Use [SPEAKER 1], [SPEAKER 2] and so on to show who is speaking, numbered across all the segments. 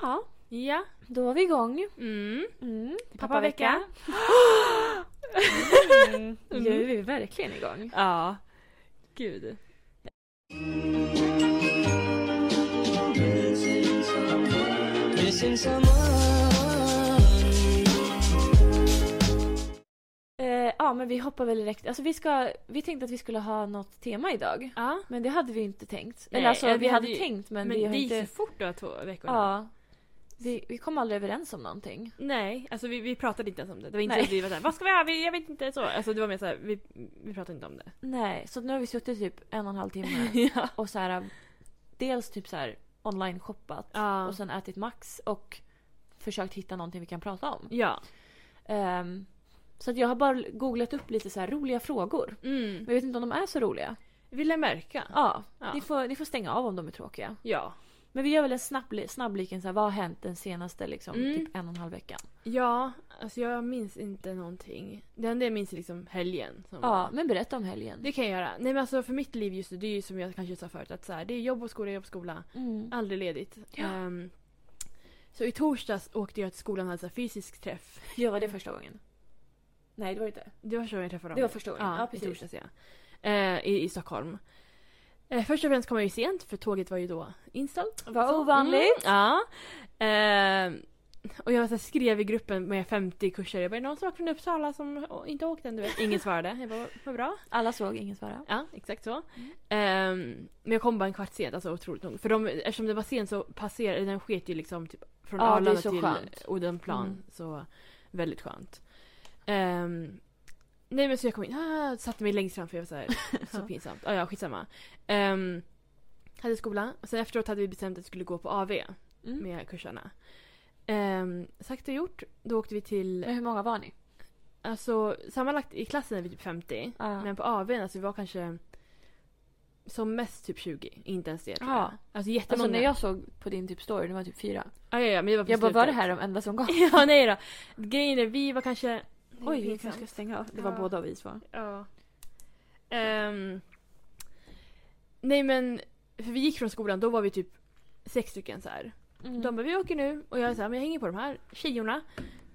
[SPEAKER 1] Jaha,
[SPEAKER 2] Ja.
[SPEAKER 1] då var vi igång.
[SPEAKER 2] Mm.
[SPEAKER 1] Mm.
[SPEAKER 2] Pappavecka.
[SPEAKER 1] Mm. Nu är vi verkligen igång.
[SPEAKER 2] Ja. Gud.
[SPEAKER 3] Missing someone.
[SPEAKER 1] Eh, ja, men vi hoppar väl direkt. Alltså, vi, ska, vi tänkte att vi skulle ha något tema idag.
[SPEAKER 2] Ja.
[SPEAKER 1] Men det hade vi ju inte tänkt.
[SPEAKER 2] Nej,
[SPEAKER 1] Eller alltså,
[SPEAKER 2] ja,
[SPEAKER 1] vi,
[SPEAKER 2] vi
[SPEAKER 1] hade
[SPEAKER 2] hade ju-
[SPEAKER 1] tänkt men,
[SPEAKER 2] Men,
[SPEAKER 1] vi
[SPEAKER 2] det
[SPEAKER 1] har
[SPEAKER 2] gick
[SPEAKER 1] inte...
[SPEAKER 2] så fort då två veckor nu.
[SPEAKER 1] Ja. Vi, vi kom aldrig överens om någonting.
[SPEAKER 2] Nej, alltså vi, vi pratade inte ens om det. Det var inte
[SPEAKER 1] Nej.
[SPEAKER 2] så att vi var såhär, vad ska vi göra? Vi- Jag vet inte. så. Alltså det var mer såhär, vi, vi pratade inte om det.
[SPEAKER 1] Nej, så nu har vi suttit typ en och en halv timme
[SPEAKER 2] ja.
[SPEAKER 1] och så här, dels typ så här online-shoppat
[SPEAKER 2] Ja.
[SPEAKER 1] och sen ätit Max och försökt hitta någonting vi kan prata om.
[SPEAKER 2] Ja.
[SPEAKER 1] Ehm, så att jag har bara googlat upp lite så här roliga frågor.
[SPEAKER 2] Mm.
[SPEAKER 1] Men jag vet inte om de är så roliga.
[SPEAKER 2] Vill jag märka?
[SPEAKER 1] Ja,
[SPEAKER 2] Ja.
[SPEAKER 1] Ni, får, ni får stänga av om de är tråkiga.
[SPEAKER 2] Ja.
[SPEAKER 1] Men vi gör väl en snabb, snabblik, så här, vad har hänt den senaste liksom,
[SPEAKER 2] Mm.
[SPEAKER 1] typ en och en halv veckan?
[SPEAKER 2] Ja, alltså jag minns inte någonting. Det enda jag minns är liksom helgen. Som
[SPEAKER 1] Ja,
[SPEAKER 2] var.
[SPEAKER 1] men berätta om helgen.
[SPEAKER 2] Det kan jag göra. Nej men alltså för mitt liv just nu, det är ju som jag kanske sa förut att så här, det är jobb och skola, jobb och skola.
[SPEAKER 1] Mm.
[SPEAKER 2] Aldrig ledigt.
[SPEAKER 1] Ja.
[SPEAKER 2] Ehm, så i torsdags åkte jag till skolan och hade så här fysisk träff.
[SPEAKER 1] Ja, var det första gången? Nej, det var det inte.
[SPEAKER 2] Det var så jag träffade dem.
[SPEAKER 1] Det var första gången.
[SPEAKER 2] Ja,
[SPEAKER 1] Ja,
[SPEAKER 2] i
[SPEAKER 1] precis.
[SPEAKER 2] torsdags ja. Eh, i, I Stockholm. Eh, först och främst kom jag ju sent för tåget var ju då inställt.
[SPEAKER 1] Vad
[SPEAKER 2] Så,
[SPEAKER 1] ovanligt.
[SPEAKER 2] Mm, ja. Eh, och jag så här, skrev i gruppen med 50 kurser. Jag bara, "Är det någon som åker från Uppsala som inte åkt än? Du vet. Ingen svarade. Jag bara, vad bra.
[SPEAKER 1] Alla såg, ingen svarade.
[SPEAKER 2] Ja, exakt så.
[SPEAKER 1] Mm.
[SPEAKER 2] Ehm, men jag kom bara en kvart sent, alltså otroligt nog. För de, eftersom det var sent så passerade den sket ju liksom typ från
[SPEAKER 1] Ja, det är
[SPEAKER 2] Arlanda
[SPEAKER 1] så
[SPEAKER 2] till
[SPEAKER 1] skönt.
[SPEAKER 2] Odenplan.
[SPEAKER 1] Mm.
[SPEAKER 2] Så väldigt skönt. Ehm, nej men så jag kom in, ah, satte mig längst fram för jag var såhär, så pinsamt. Ah, ja, skitsamma. Um, hade skola, och sen efteråt hade vi bestämt att vi skulle gå på AV
[SPEAKER 1] Mm.
[SPEAKER 2] med kursarna. Um, sagt och gjort, då åkte vi till,
[SPEAKER 1] Men hur många var ni?
[SPEAKER 2] alltså sammanlagt i klassen är vi typ 50.
[SPEAKER 1] Ja.
[SPEAKER 2] Men på AWn, alltså vi var kanske som mest typ 20. Inte ens det tror
[SPEAKER 1] Ja.
[SPEAKER 2] jag. Alltså jättemånga.
[SPEAKER 1] Alltså när jag såg på din typ story, det var typ fyra.
[SPEAKER 2] ja, ja, ja, men det var på
[SPEAKER 1] Jag bara, var det
[SPEAKER 2] slutet.
[SPEAKER 1] här de enda som gav?
[SPEAKER 2] ja, nej då. Grejen är, vi var kanske...
[SPEAKER 1] Oj, vi
[SPEAKER 2] Pinsamt.
[SPEAKER 1] kanske ska stänga av. Det var
[SPEAKER 2] Ja.
[SPEAKER 1] båda vi svar.
[SPEAKER 2] Ja. Ehm, nej men, för vi gick från skolan, då var vi typ sex stycken så här.
[SPEAKER 1] Mm.
[SPEAKER 2] De bara, vi åker nu. Och jag är så här, men jag hänger på de här tjejorna.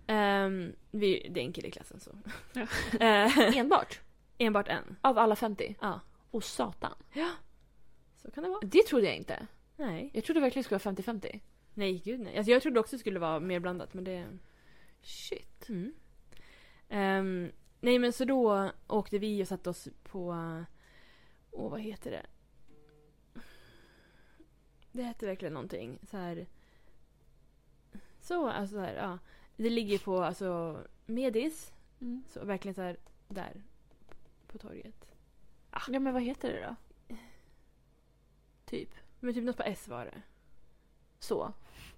[SPEAKER 2] Ehm, vi, det är en kille i klassen så. Ehm,
[SPEAKER 1] Enbart?
[SPEAKER 2] enbart en.
[SPEAKER 1] Av alla 50?
[SPEAKER 2] Ja,
[SPEAKER 1] Och satan.
[SPEAKER 2] så kan det vara.
[SPEAKER 1] Det trodde jag inte.
[SPEAKER 2] Nej.
[SPEAKER 1] Jag trodde verkligen det skulle vara 50-50.
[SPEAKER 2] Nej, gud nej. Alltså, jag trodde också det skulle vara mer blandat men det...
[SPEAKER 1] Shit.
[SPEAKER 2] Mm. Ehm, nej men så då åkte vi och satte oss på... Åh vad heter det? Det hette verkligen någonting. Så här... Så, alltså så här, ja. Det ligger på alltså Medis.
[SPEAKER 1] Mm.
[SPEAKER 2] Så verkligen så här där. På torget.
[SPEAKER 1] Ah. Ja men vad heter det då? Typ.
[SPEAKER 2] Men typ något på S var det.
[SPEAKER 1] Så.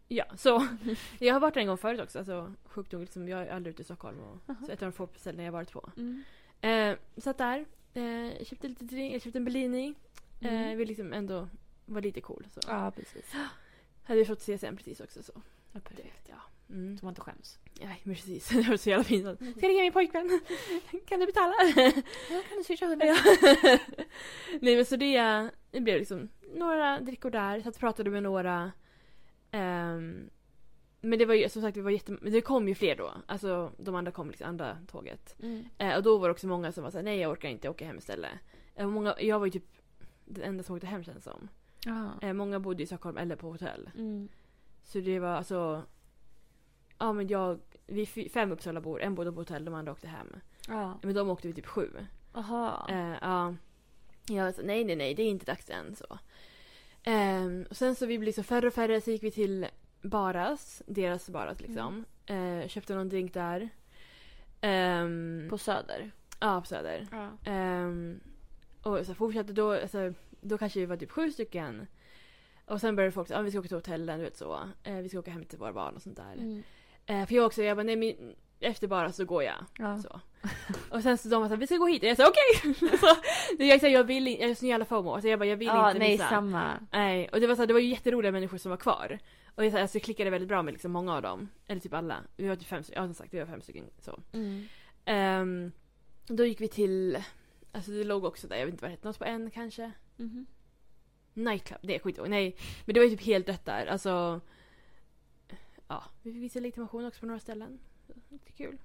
[SPEAKER 2] Ja, så. Jag har varit där en gång förut också. Alltså sjukt nog, liksom, jag är aldrig ute i Stockholm. Och, Så ett av de få ställen jag har varit på.
[SPEAKER 1] Mm.
[SPEAKER 2] Eh, satt där, eh, köpte lite drink, jag köpte en Bellini.
[SPEAKER 1] Mm.
[SPEAKER 2] Eh, vill liksom ändå vara lite cool. Så.
[SPEAKER 1] Ja precis.
[SPEAKER 2] Hade vi fått CSN precis också så.
[SPEAKER 1] Ja,
[SPEAKER 2] Det,
[SPEAKER 1] perfekt.
[SPEAKER 2] ja. Mm.
[SPEAKER 1] Så man inte skäms.
[SPEAKER 2] Nej men precis, det var så jävla pinsamt. Ska ringa min pojkvän? Kan du betala?
[SPEAKER 1] Jag kan du swisha
[SPEAKER 2] Ja. Nej men så det, eh, det blev liksom några drickor där, satt och pratade med några. Ehm, men det var ju som sagt, det, var jätte, det kom ju fler då. Alltså de andra kom liksom, andra tåget.
[SPEAKER 1] Mm.
[SPEAKER 2] Eh, och då var det också många som var såhär, nej jag orkar inte åka hem istället. Eh, många, jag var ju typ den enda som åkte hem känns som.
[SPEAKER 1] Ja.
[SPEAKER 2] Eh, många bodde i Stockholm eller på hotell.
[SPEAKER 1] Mm.
[SPEAKER 2] Så det var alltså... Ja men jag, vi är fy- fem Uppsalabor, en bodde på hotell, de andra åkte hem.
[SPEAKER 1] Ja.
[SPEAKER 2] Men de åkte vi typ sju.
[SPEAKER 1] Aha.
[SPEAKER 2] Eh, ja. Jag var så, nej nej nej, det är inte dags än så. Ehm, och sen så vi blev liksom färre och färre, så gick vi till Baras, deras Baras liksom. Eh, köpte någon drink där. Ehm,
[SPEAKER 1] Mm. På Söder.
[SPEAKER 2] ja, på Söder.
[SPEAKER 1] Ja.
[SPEAKER 2] Ehm, och så fortsatte då, alltså, då kanske vi var typ sju stycken. Och sen började folk säga ah, vi ska åka till hotellen, du vet så. Eh, vi ska åka hem till våra barn och sånt där.
[SPEAKER 1] Mm.
[SPEAKER 2] Eh, för jag också, jag bara nej men efter bara så går jag.
[SPEAKER 1] Ja.
[SPEAKER 2] Så. Och sen så de var såhär, vi ska gå hit. Och jag sa okej! så, det- jag, så, jag vill inte, jag är så jävla fomo. Så jag bara, jag vill
[SPEAKER 1] ja
[SPEAKER 2] inte
[SPEAKER 1] nej
[SPEAKER 2] missa.
[SPEAKER 1] samma.
[SPEAKER 2] Nej, och det var, så här, det var ju jätteroliga människor som var kvar. Och jag, så, här, alltså, jag klickade väldigt bra med liksom, många av dem. Eller typ alla. Vi var typ fem, stycken- ja som sagt vi var fem stycken. Så.
[SPEAKER 1] Mm.
[SPEAKER 2] Ehm, då gick vi till, alltså det låg också där, jag vet inte vad det hette, något på en kanske?
[SPEAKER 1] Mhm.
[SPEAKER 2] Nightclub, det skiter jag i. Nej, men det var ju typ helt dött där. Alltså, ja, vi fick visa legitimation också på några ställen. Så, Lite kul.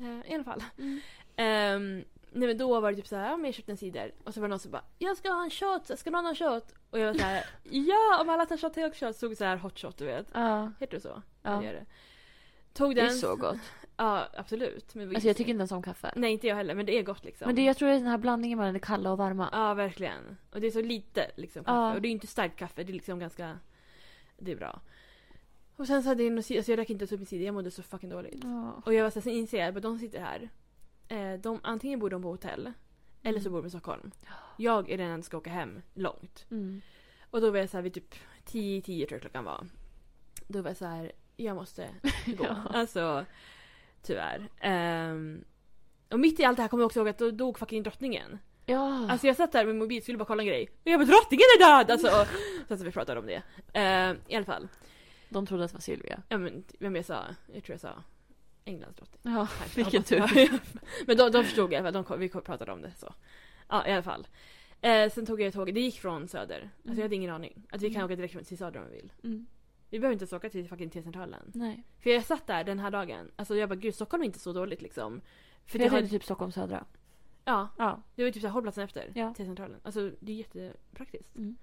[SPEAKER 2] Eh, I alla fall.
[SPEAKER 1] Mm.
[SPEAKER 2] Ehm, nej men då var det typ så här, ja men jag köpte en cider. Och så var det någon som bara, jag ska ha en shot, ska någon ha en shot? Och jag var så här, ja om alla tar shot, jag också shot. Stod så här hot shot du vet.
[SPEAKER 1] Ja.
[SPEAKER 2] Heter det så?
[SPEAKER 1] Ja.
[SPEAKER 2] det gör det. Tog
[SPEAKER 1] Det
[SPEAKER 2] den.
[SPEAKER 1] är så gott.
[SPEAKER 2] Ja, absolut. Men det var
[SPEAKER 1] Alltså jag
[SPEAKER 2] inte-
[SPEAKER 1] tycker inte ens om kaffe.
[SPEAKER 2] Nej inte jag heller, men det är gott liksom.
[SPEAKER 1] Men det, jag tror det är den här blandningen mellan det kalla och varma.
[SPEAKER 2] Ja, verkligen. Och det är så lite liksom, kaffe.
[SPEAKER 1] Ja.
[SPEAKER 2] Och det är ju inte starkt kaffe, det är liksom ganska... Det är bra. Och sen så hade jag en cider, alltså jag drack inte ens upp min cider, jag mådde så fucking dåligt.
[SPEAKER 1] Ja.
[SPEAKER 2] Och jag var så här, sen inser jag att de sitter här. Eh, de, antingen bor de på hotell, eller så
[SPEAKER 1] Mm.
[SPEAKER 2] bor de i Stockholm. Jag är den som ska åka hem långt.
[SPEAKER 1] Mm.
[SPEAKER 2] Och då var jag så här vid typ 10, 10 tror jag klockan var. Då var jag så här, jag måste gå.
[SPEAKER 1] Ja.
[SPEAKER 2] Alltså, tyvärr. Ehm, och mitt i allt det här kommer jag också ihåg att då dog fucking drottningen.
[SPEAKER 1] Ja.
[SPEAKER 2] Alltså jag satt där med min mobil skulle bara kolla en grej. Och jag bara drottningen är död! Alltså, och, så att vi pratade om det. Eh, I alla fall.
[SPEAKER 1] de trodde att det var Silvia.
[SPEAKER 2] Ja men vem jag sa? Jag tror jag sa Englands drottning.
[SPEAKER 1] Ja,
[SPEAKER 2] kanske.
[SPEAKER 1] vilken
[SPEAKER 2] Ja,
[SPEAKER 1] tur.
[SPEAKER 2] men de, de förstod i alla fall. De, kom- vi kom- pratade om det så. Ja i alla fall. Eh, sen tog jag tåget. Det gick från söder. Alltså jag hade ingen aning. Att vi kan
[SPEAKER 1] Mm.
[SPEAKER 2] åka direkt från till söder om vi vill.
[SPEAKER 1] Mm.
[SPEAKER 2] Vi behöver inte ens åka till fucking T-centralen.
[SPEAKER 1] Nej.
[SPEAKER 2] För jag satt där den här dagen. Alltså jag bara gud Stockholm är inte så dåligt liksom. För
[SPEAKER 1] För
[SPEAKER 2] det
[SPEAKER 1] jag
[SPEAKER 2] har,
[SPEAKER 1] tänkte typ Stockholm södra.
[SPEAKER 2] ja,
[SPEAKER 1] Ja.
[SPEAKER 2] det var ju typ såhär hållplatsen efter
[SPEAKER 1] Ja.
[SPEAKER 2] till centralen. Alltså det är jättepraktiskt.
[SPEAKER 1] Mm.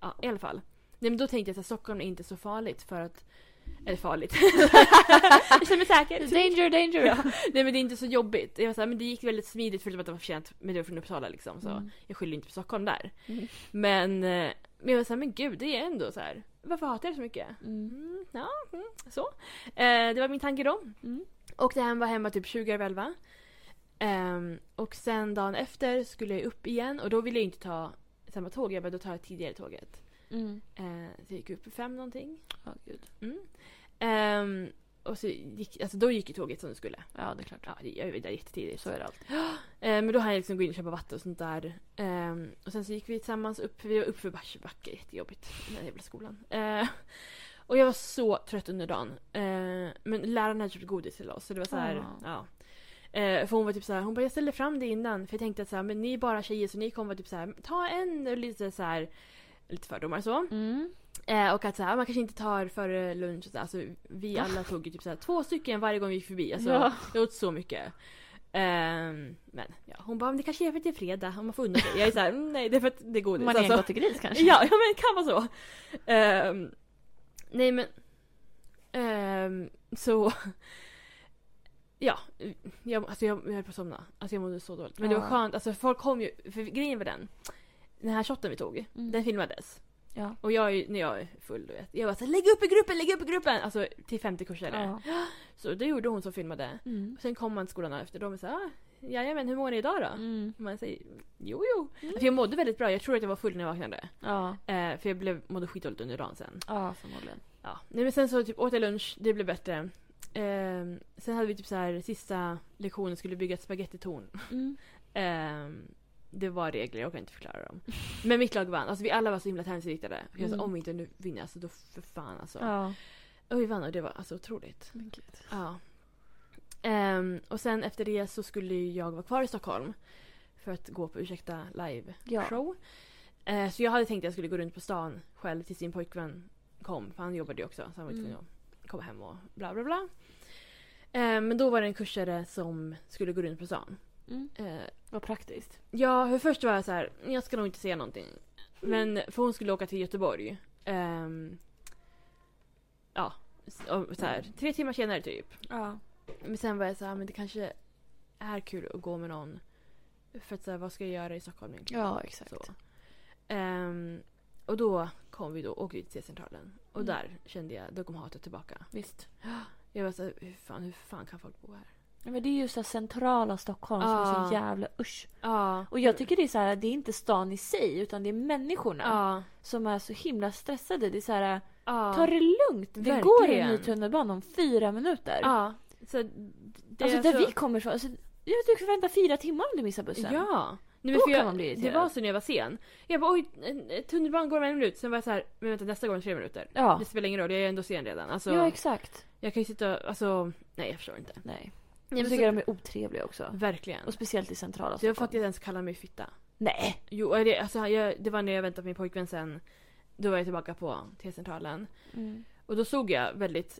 [SPEAKER 2] Ja, i alla fall. Nej men då tänkte jag att Stockholm är inte så farligt för att... Eller farligt. jag känner mig säker.
[SPEAKER 1] Danger, danger!
[SPEAKER 2] Ja. Nej men det är inte så jobbigt. Jag var så här, men det gick väldigt smidigt förutom att det var förtjänt. Men det var från Uppsala liksom så
[SPEAKER 1] Mm.
[SPEAKER 2] jag skyller inte på Stockholm där.
[SPEAKER 1] Mm.
[SPEAKER 2] Men, eh, men jag var såhär, men gud det är ändå så här. Varför hatar jag det så mycket?
[SPEAKER 1] Mm.
[SPEAKER 2] Mm, ja, mm, så. Eh, det var min tanke då.
[SPEAKER 1] Mm.
[SPEAKER 2] Åkte hem, var hemma typ 20 över 11. Ehm, och sen dagen efter skulle jag upp igen och då ville jag inte ta samma tåg. Jag bara, då tar jag tidigare tåget.
[SPEAKER 1] Mm.
[SPEAKER 2] Eh, så jag gick upp i fem någonting.
[SPEAKER 1] Ja, gud.
[SPEAKER 2] Mm. Ehm, och så gick, alltså då gick ju tåget som det skulle.
[SPEAKER 1] Ja, det är klart.
[SPEAKER 2] Ja, det- jag var där jättetidigt.
[SPEAKER 1] Så är det alltid.
[SPEAKER 2] Eh, men då hann jag liksom gå in och köpa vatten och sånt där. Ehm, och sen så gick vi tillsammans upp, vi var upp för Barsebacke, jättejobbigt. Den där jävla skolan. Eh, och jag var så trött under dagen. Eh, men läraren hade köpt godis till oss så det var så här,
[SPEAKER 1] Ah.
[SPEAKER 2] ja. Eh, för hon var typ så här, hon bara jag ställde fram det innan för jag tänkte att så här, men ni är bara tjejer så ni kommer vara typ så här, ta en och lite så här lite fördomar så.
[SPEAKER 1] Mm.
[SPEAKER 2] Eh, och att så här, man kanske inte tar före lunch. och Så här. Alltså, vi alla tog ju typ så här, två stycken varje gång vi gick förbi. Alltså,
[SPEAKER 1] Ah. Ja.
[SPEAKER 2] Jag åt så mycket. Ehm, men ja, hon bara, "Men det kanske är för att det är fredag om man får unna sig. Jag är såhär, nej det är för att det är godis.
[SPEAKER 1] Man är en
[SPEAKER 2] alltså.
[SPEAKER 1] gris kanske?
[SPEAKER 2] Ja, ja men det kan vara så. Ehm, nej men. ehm, så. Ja, jag, alltså jag, jag höll på att somna. Alltså jag mådde så dåligt. Men det var
[SPEAKER 1] Ja.
[SPEAKER 2] skönt, alltså folk kom ju, för grejen var den. Den här shotten vi tog,
[SPEAKER 1] Mm.
[SPEAKER 2] den filmades.
[SPEAKER 1] Ja.
[SPEAKER 2] Och jag, är ju- när jag är full du vet, jag bara så här, lägg upp i gruppen, lägg upp i gruppen! Alltså till 50 kursare.
[SPEAKER 1] Ja.
[SPEAKER 2] Så det gjorde hon som filmade.
[SPEAKER 1] Mm.
[SPEAKER 2] Och sen kom man till skolan efter och de sa ah, jajamän hur mår ni idag då?
[SPEAKER 1] Mm.
[SPEAKER 2] Och Man säger jo jo. Alltså, jag mådde väldigt bra, jag tror att jag var full när jag vaknade.
[SPEAKER 1] Ja.
[SPEAKER 2] Eh, för jag blev, mådde skitdåligt under dagen sen.
[SPEAKER 1] Ja, förmodligen.
[SPEAKER 2] Ja. Nej, men sen så typ åt jag lunch, det blev bättre. Ehm, sen hade vi typ så här sista lektionen skulle bygga ett spagettitorn.
[SPEAKER 1] Mm.
[SPEAKER 2] Ehm, det var regler, jag kan inte förklara dem. Men mitt lag vann. Alltså vi alla var så himla tävlingsinriktade. Jag sa
[SPEAKER 1] Mm.
[SPEAKER 2] om vi inte nu vinner alltså då för fan alltså.
[SPEAKER 1] Ja.
[SPEAKER 2] Och vi vann och det var alltså otroligt.
[SPEAKER 1] Men gud.
[SPEAKER 2] Ja. Ehm, och sen efter det så skulle ju jag vara kvar i Stockholm. För att gå på Ursäkta
[SPEAKER 1] Ja.
[SPEAKER 2] live-show. Eh, så jag hade tänkt att jag skulle gå runt på stan själv tills sin pojkvän kom. För han jobbade ju också så han var ju tvungen
[SPEAKER 1] Mm.
[SPEAKER 2] att komma hem och bla bla bla. Eh, men då var det en kursare som skulle gå runt på stan.
[SPEAKER 1] Mm.
[SPEAKER 2] Eh,
[SPEAKER 1] Vad praktiskt.
[SPEAKER 2] Ja, för först var jag så här, jag ska nog inte säga någonting.
[SPEAKER 1] Mm.
[SPEAKER 2] Men för hon skulle åka till Göteborg. Ehm, ja, s- och så här, tre timmar senare typ.
[SPEAKER 1] Ja.
[SPEAKER 2] Men sen var jag så här, "Ah, men det kanske är kul att gå med någon. För att så här, vad ska jag göra i Stockholm egentligen?
[SPEAKER 1] Ja, exakt.
[SPEAKER 2] Så. Ehm, och då kom vi då, åkte vi till T-centralen. Och
[SPEAKER 1] Mm.
[SPEAKER 2] där kände jag, då kom hatet tillbaka.
[SPEAKER 1] Visst.
[SPEAKER 2] Jag var så här, hur fan, hur fan kan folk bo här?
[SPEAKER 1] Ja, Men det är ju så här centrala Stockholm som är
[SPEAKER 2] Ja.
[SPEAKER 1] så jävla usch.
[SPEAKER 2] Ja.
[SPEAKER 1] Och jag tycker det är så här, det är inte stan i sig utan det är människorna
[SPEAKER 2] Ja.
[SPEAKER 1] som är så himla stressade. Det är så här,
[SPEAKER 2] Ja.
[SPEAKER 1] ta det lugnt. Det
[SPEAKER 2] Verkligen.
[SPEAKER 1] går en ny tunnelbana om fyra minuter.
[SPEAKER 2] Ja. Så det är
[SPEAKER 1] alltså där vi kommer ifrån. Alltså, jag tycker du får vänta fyra timmar om du missar bussen.
[SPEAKER 2] Ja! Nej, men
[SPEAKER 1] Då
[SPEAKER 2] för
[SPEAKER 1] kan
[SPEAKER 2] jag,
[SPEAKER 1] man bli
[SPEAKER 2] det
[SPEAKER 1] irriterad.
[SPEAKER 2] var så när jag var sen. Jag bara oj, eh, tunnelbanan går om en minut. Sen var jag så här, men vänta nästa gång är det tre minuter.
[SPEAKER 1] Ja.
[SPEAKER 2] Det spelar ingen roll, jag är ändå sen redan. Alltså,
[SPEAKER 1] ja, exakt.
[SPEAKER 2] jag kan ju sitta och, alltså, nej jag förstår inte.
[SPEAKER 1] Nej.
[SPEAKER 2] men
[SPEAKER 1] Jag tycker de är otrevliga också.
[SPEAKER 2] Verkligen.
[SPEAKER 1] Och speciellt i centrala
[SPEAKER 2] Det var
[SPEAKER 1] Stockholm.
[SPEAKER 2] faktiskt en som kallade mig fitta.
[SPEAKER 1] Nej!
[SPEAKER 2] Jo, är det, alltså, jag, det var när jag väntade på Mm. min pojkvän sen. Då var jag tillbaka på T-centralen. Och då såg jag väldigt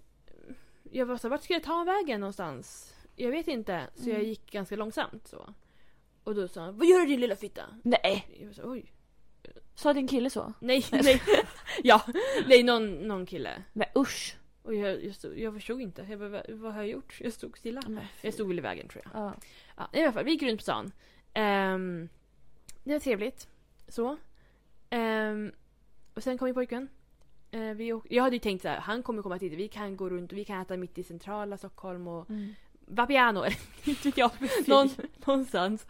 [SPEAKER 2] jag var så här, vart ska jag ta vägen någonstans? Jag vet inte. Så jag
[SPEAKER 1] Mm.
[SPEAKER 2] gick ganska långsamt så. Och då sa han, vad gör du din lilla fitta?
[SPEAKER 1] Nej!
[SPEAKER 2] Jag var så, oj.
[SPEAKER 1] Sa din kille så?
[SPEAKER 2] Nej, nej. ja, nej någon, någon kille.
[SPEAKER 1] Men usch!
[SPEAKER 2] Och jag, jag, stod, jag förstod inte. Jag bara, "Va- vad har jag gjort? Jag stod stilla.
[SPEAKER 1] Men
[SPEAKER 2] Jag stod väl i vägen tror jag.
[SPEAKER 1] Ja.
[SPEAKER 2] Ja, I alla fall, vi gick runt på stan. Ehm, det var trevligt. Så. Ehm, och sen kom ju pojkvän. Eh, vi åk- jag hade ju tänkt så här, han kommer komma hit. Vi kan gå runt och vi kan äta mitt i centrala Stockholm och
[SPEAKER 1] Mm.
[SPEAKER 2] Vapiano eller inte vet jag. Någon, någonstans.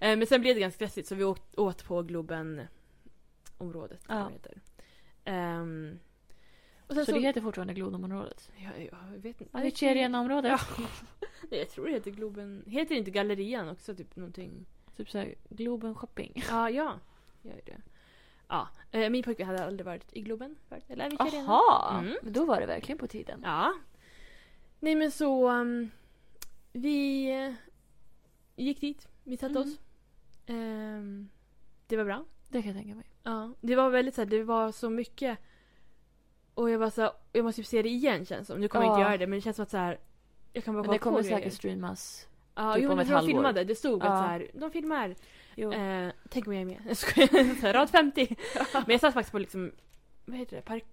[SPEAKER 2] Eh, men sen blev det ganska stressigt så vi åt, åt på Globen-området. eller vad det heter. Ehm, och sen
[SPEAKER 1] Så
[SPEAKER 2] så...
[SPEAKER 1] det heter fortfarande Glodområdet?
[SPEAKER 2] jag, jag vet inte.
[SPEAKER 1] Avicerien-området?
[SPEAKER 2] Nej, jag tror det heter Globen. Heter inte Gallerian också typ någonting?
[SPEAKER 1] Typ såhär Globen shopping.
[SPEAKER 2] Ja, ja. Gör det. Ja, eh, min pojkvän hade aldrig varit i Globen förut. Eller vi körde igenom.
[SPEAKER 1] Jaha!
[SPEAKER 2] Mm.
[SPEAKER 1] Då var det verkligen på tiden.
[SPEAKER 2] Ja. Nej men så. um, vi eh, gick dit. Vi satte
[SPEAKER 1] Mm.
[SPEAKER 2] oss. Ehm, det var bra.
[SPEAKER 1] Det kan jag tänka mig.
[SPEAKER 2] Ja. Det var väldigt så här, det var så mycket. Och jag var så här, jag måste typ se det igen känns som. Nu kommer jag
[SPEAKER 1] Ja.
[SPEAKER 2] inte göra det men det känns som att så här. Jag kan bara
[SPEAKER 1] Men det
[SPEAKER 2] komma på
[SPEAKER 1] kommer
[SPEAKER 2] grejer.
[SPEAKER 1] säkert streamas.
[SPEAKER 2] Ja,
[SPEAKER 1] typ
[SPEAKER 2] jo,
[SPEAKER 1] om
[SPEAKER 2] men
[SPEAKER 1] ett
[SPEAKER 2] de
[SPEAKER 1] halvår.
[SPEAKER 2] filmade. Det stod
[SPEAKER 1] Ja.
[SPEAKER 2] att så här, de filmar.
[SPEAKER 1] Jo.
[SPEAKER 2] Eh, tänk om jag är med. Jag skojar. Så här, Rad 50. Men jag satt faktiskt på liksom, vad heter det, park,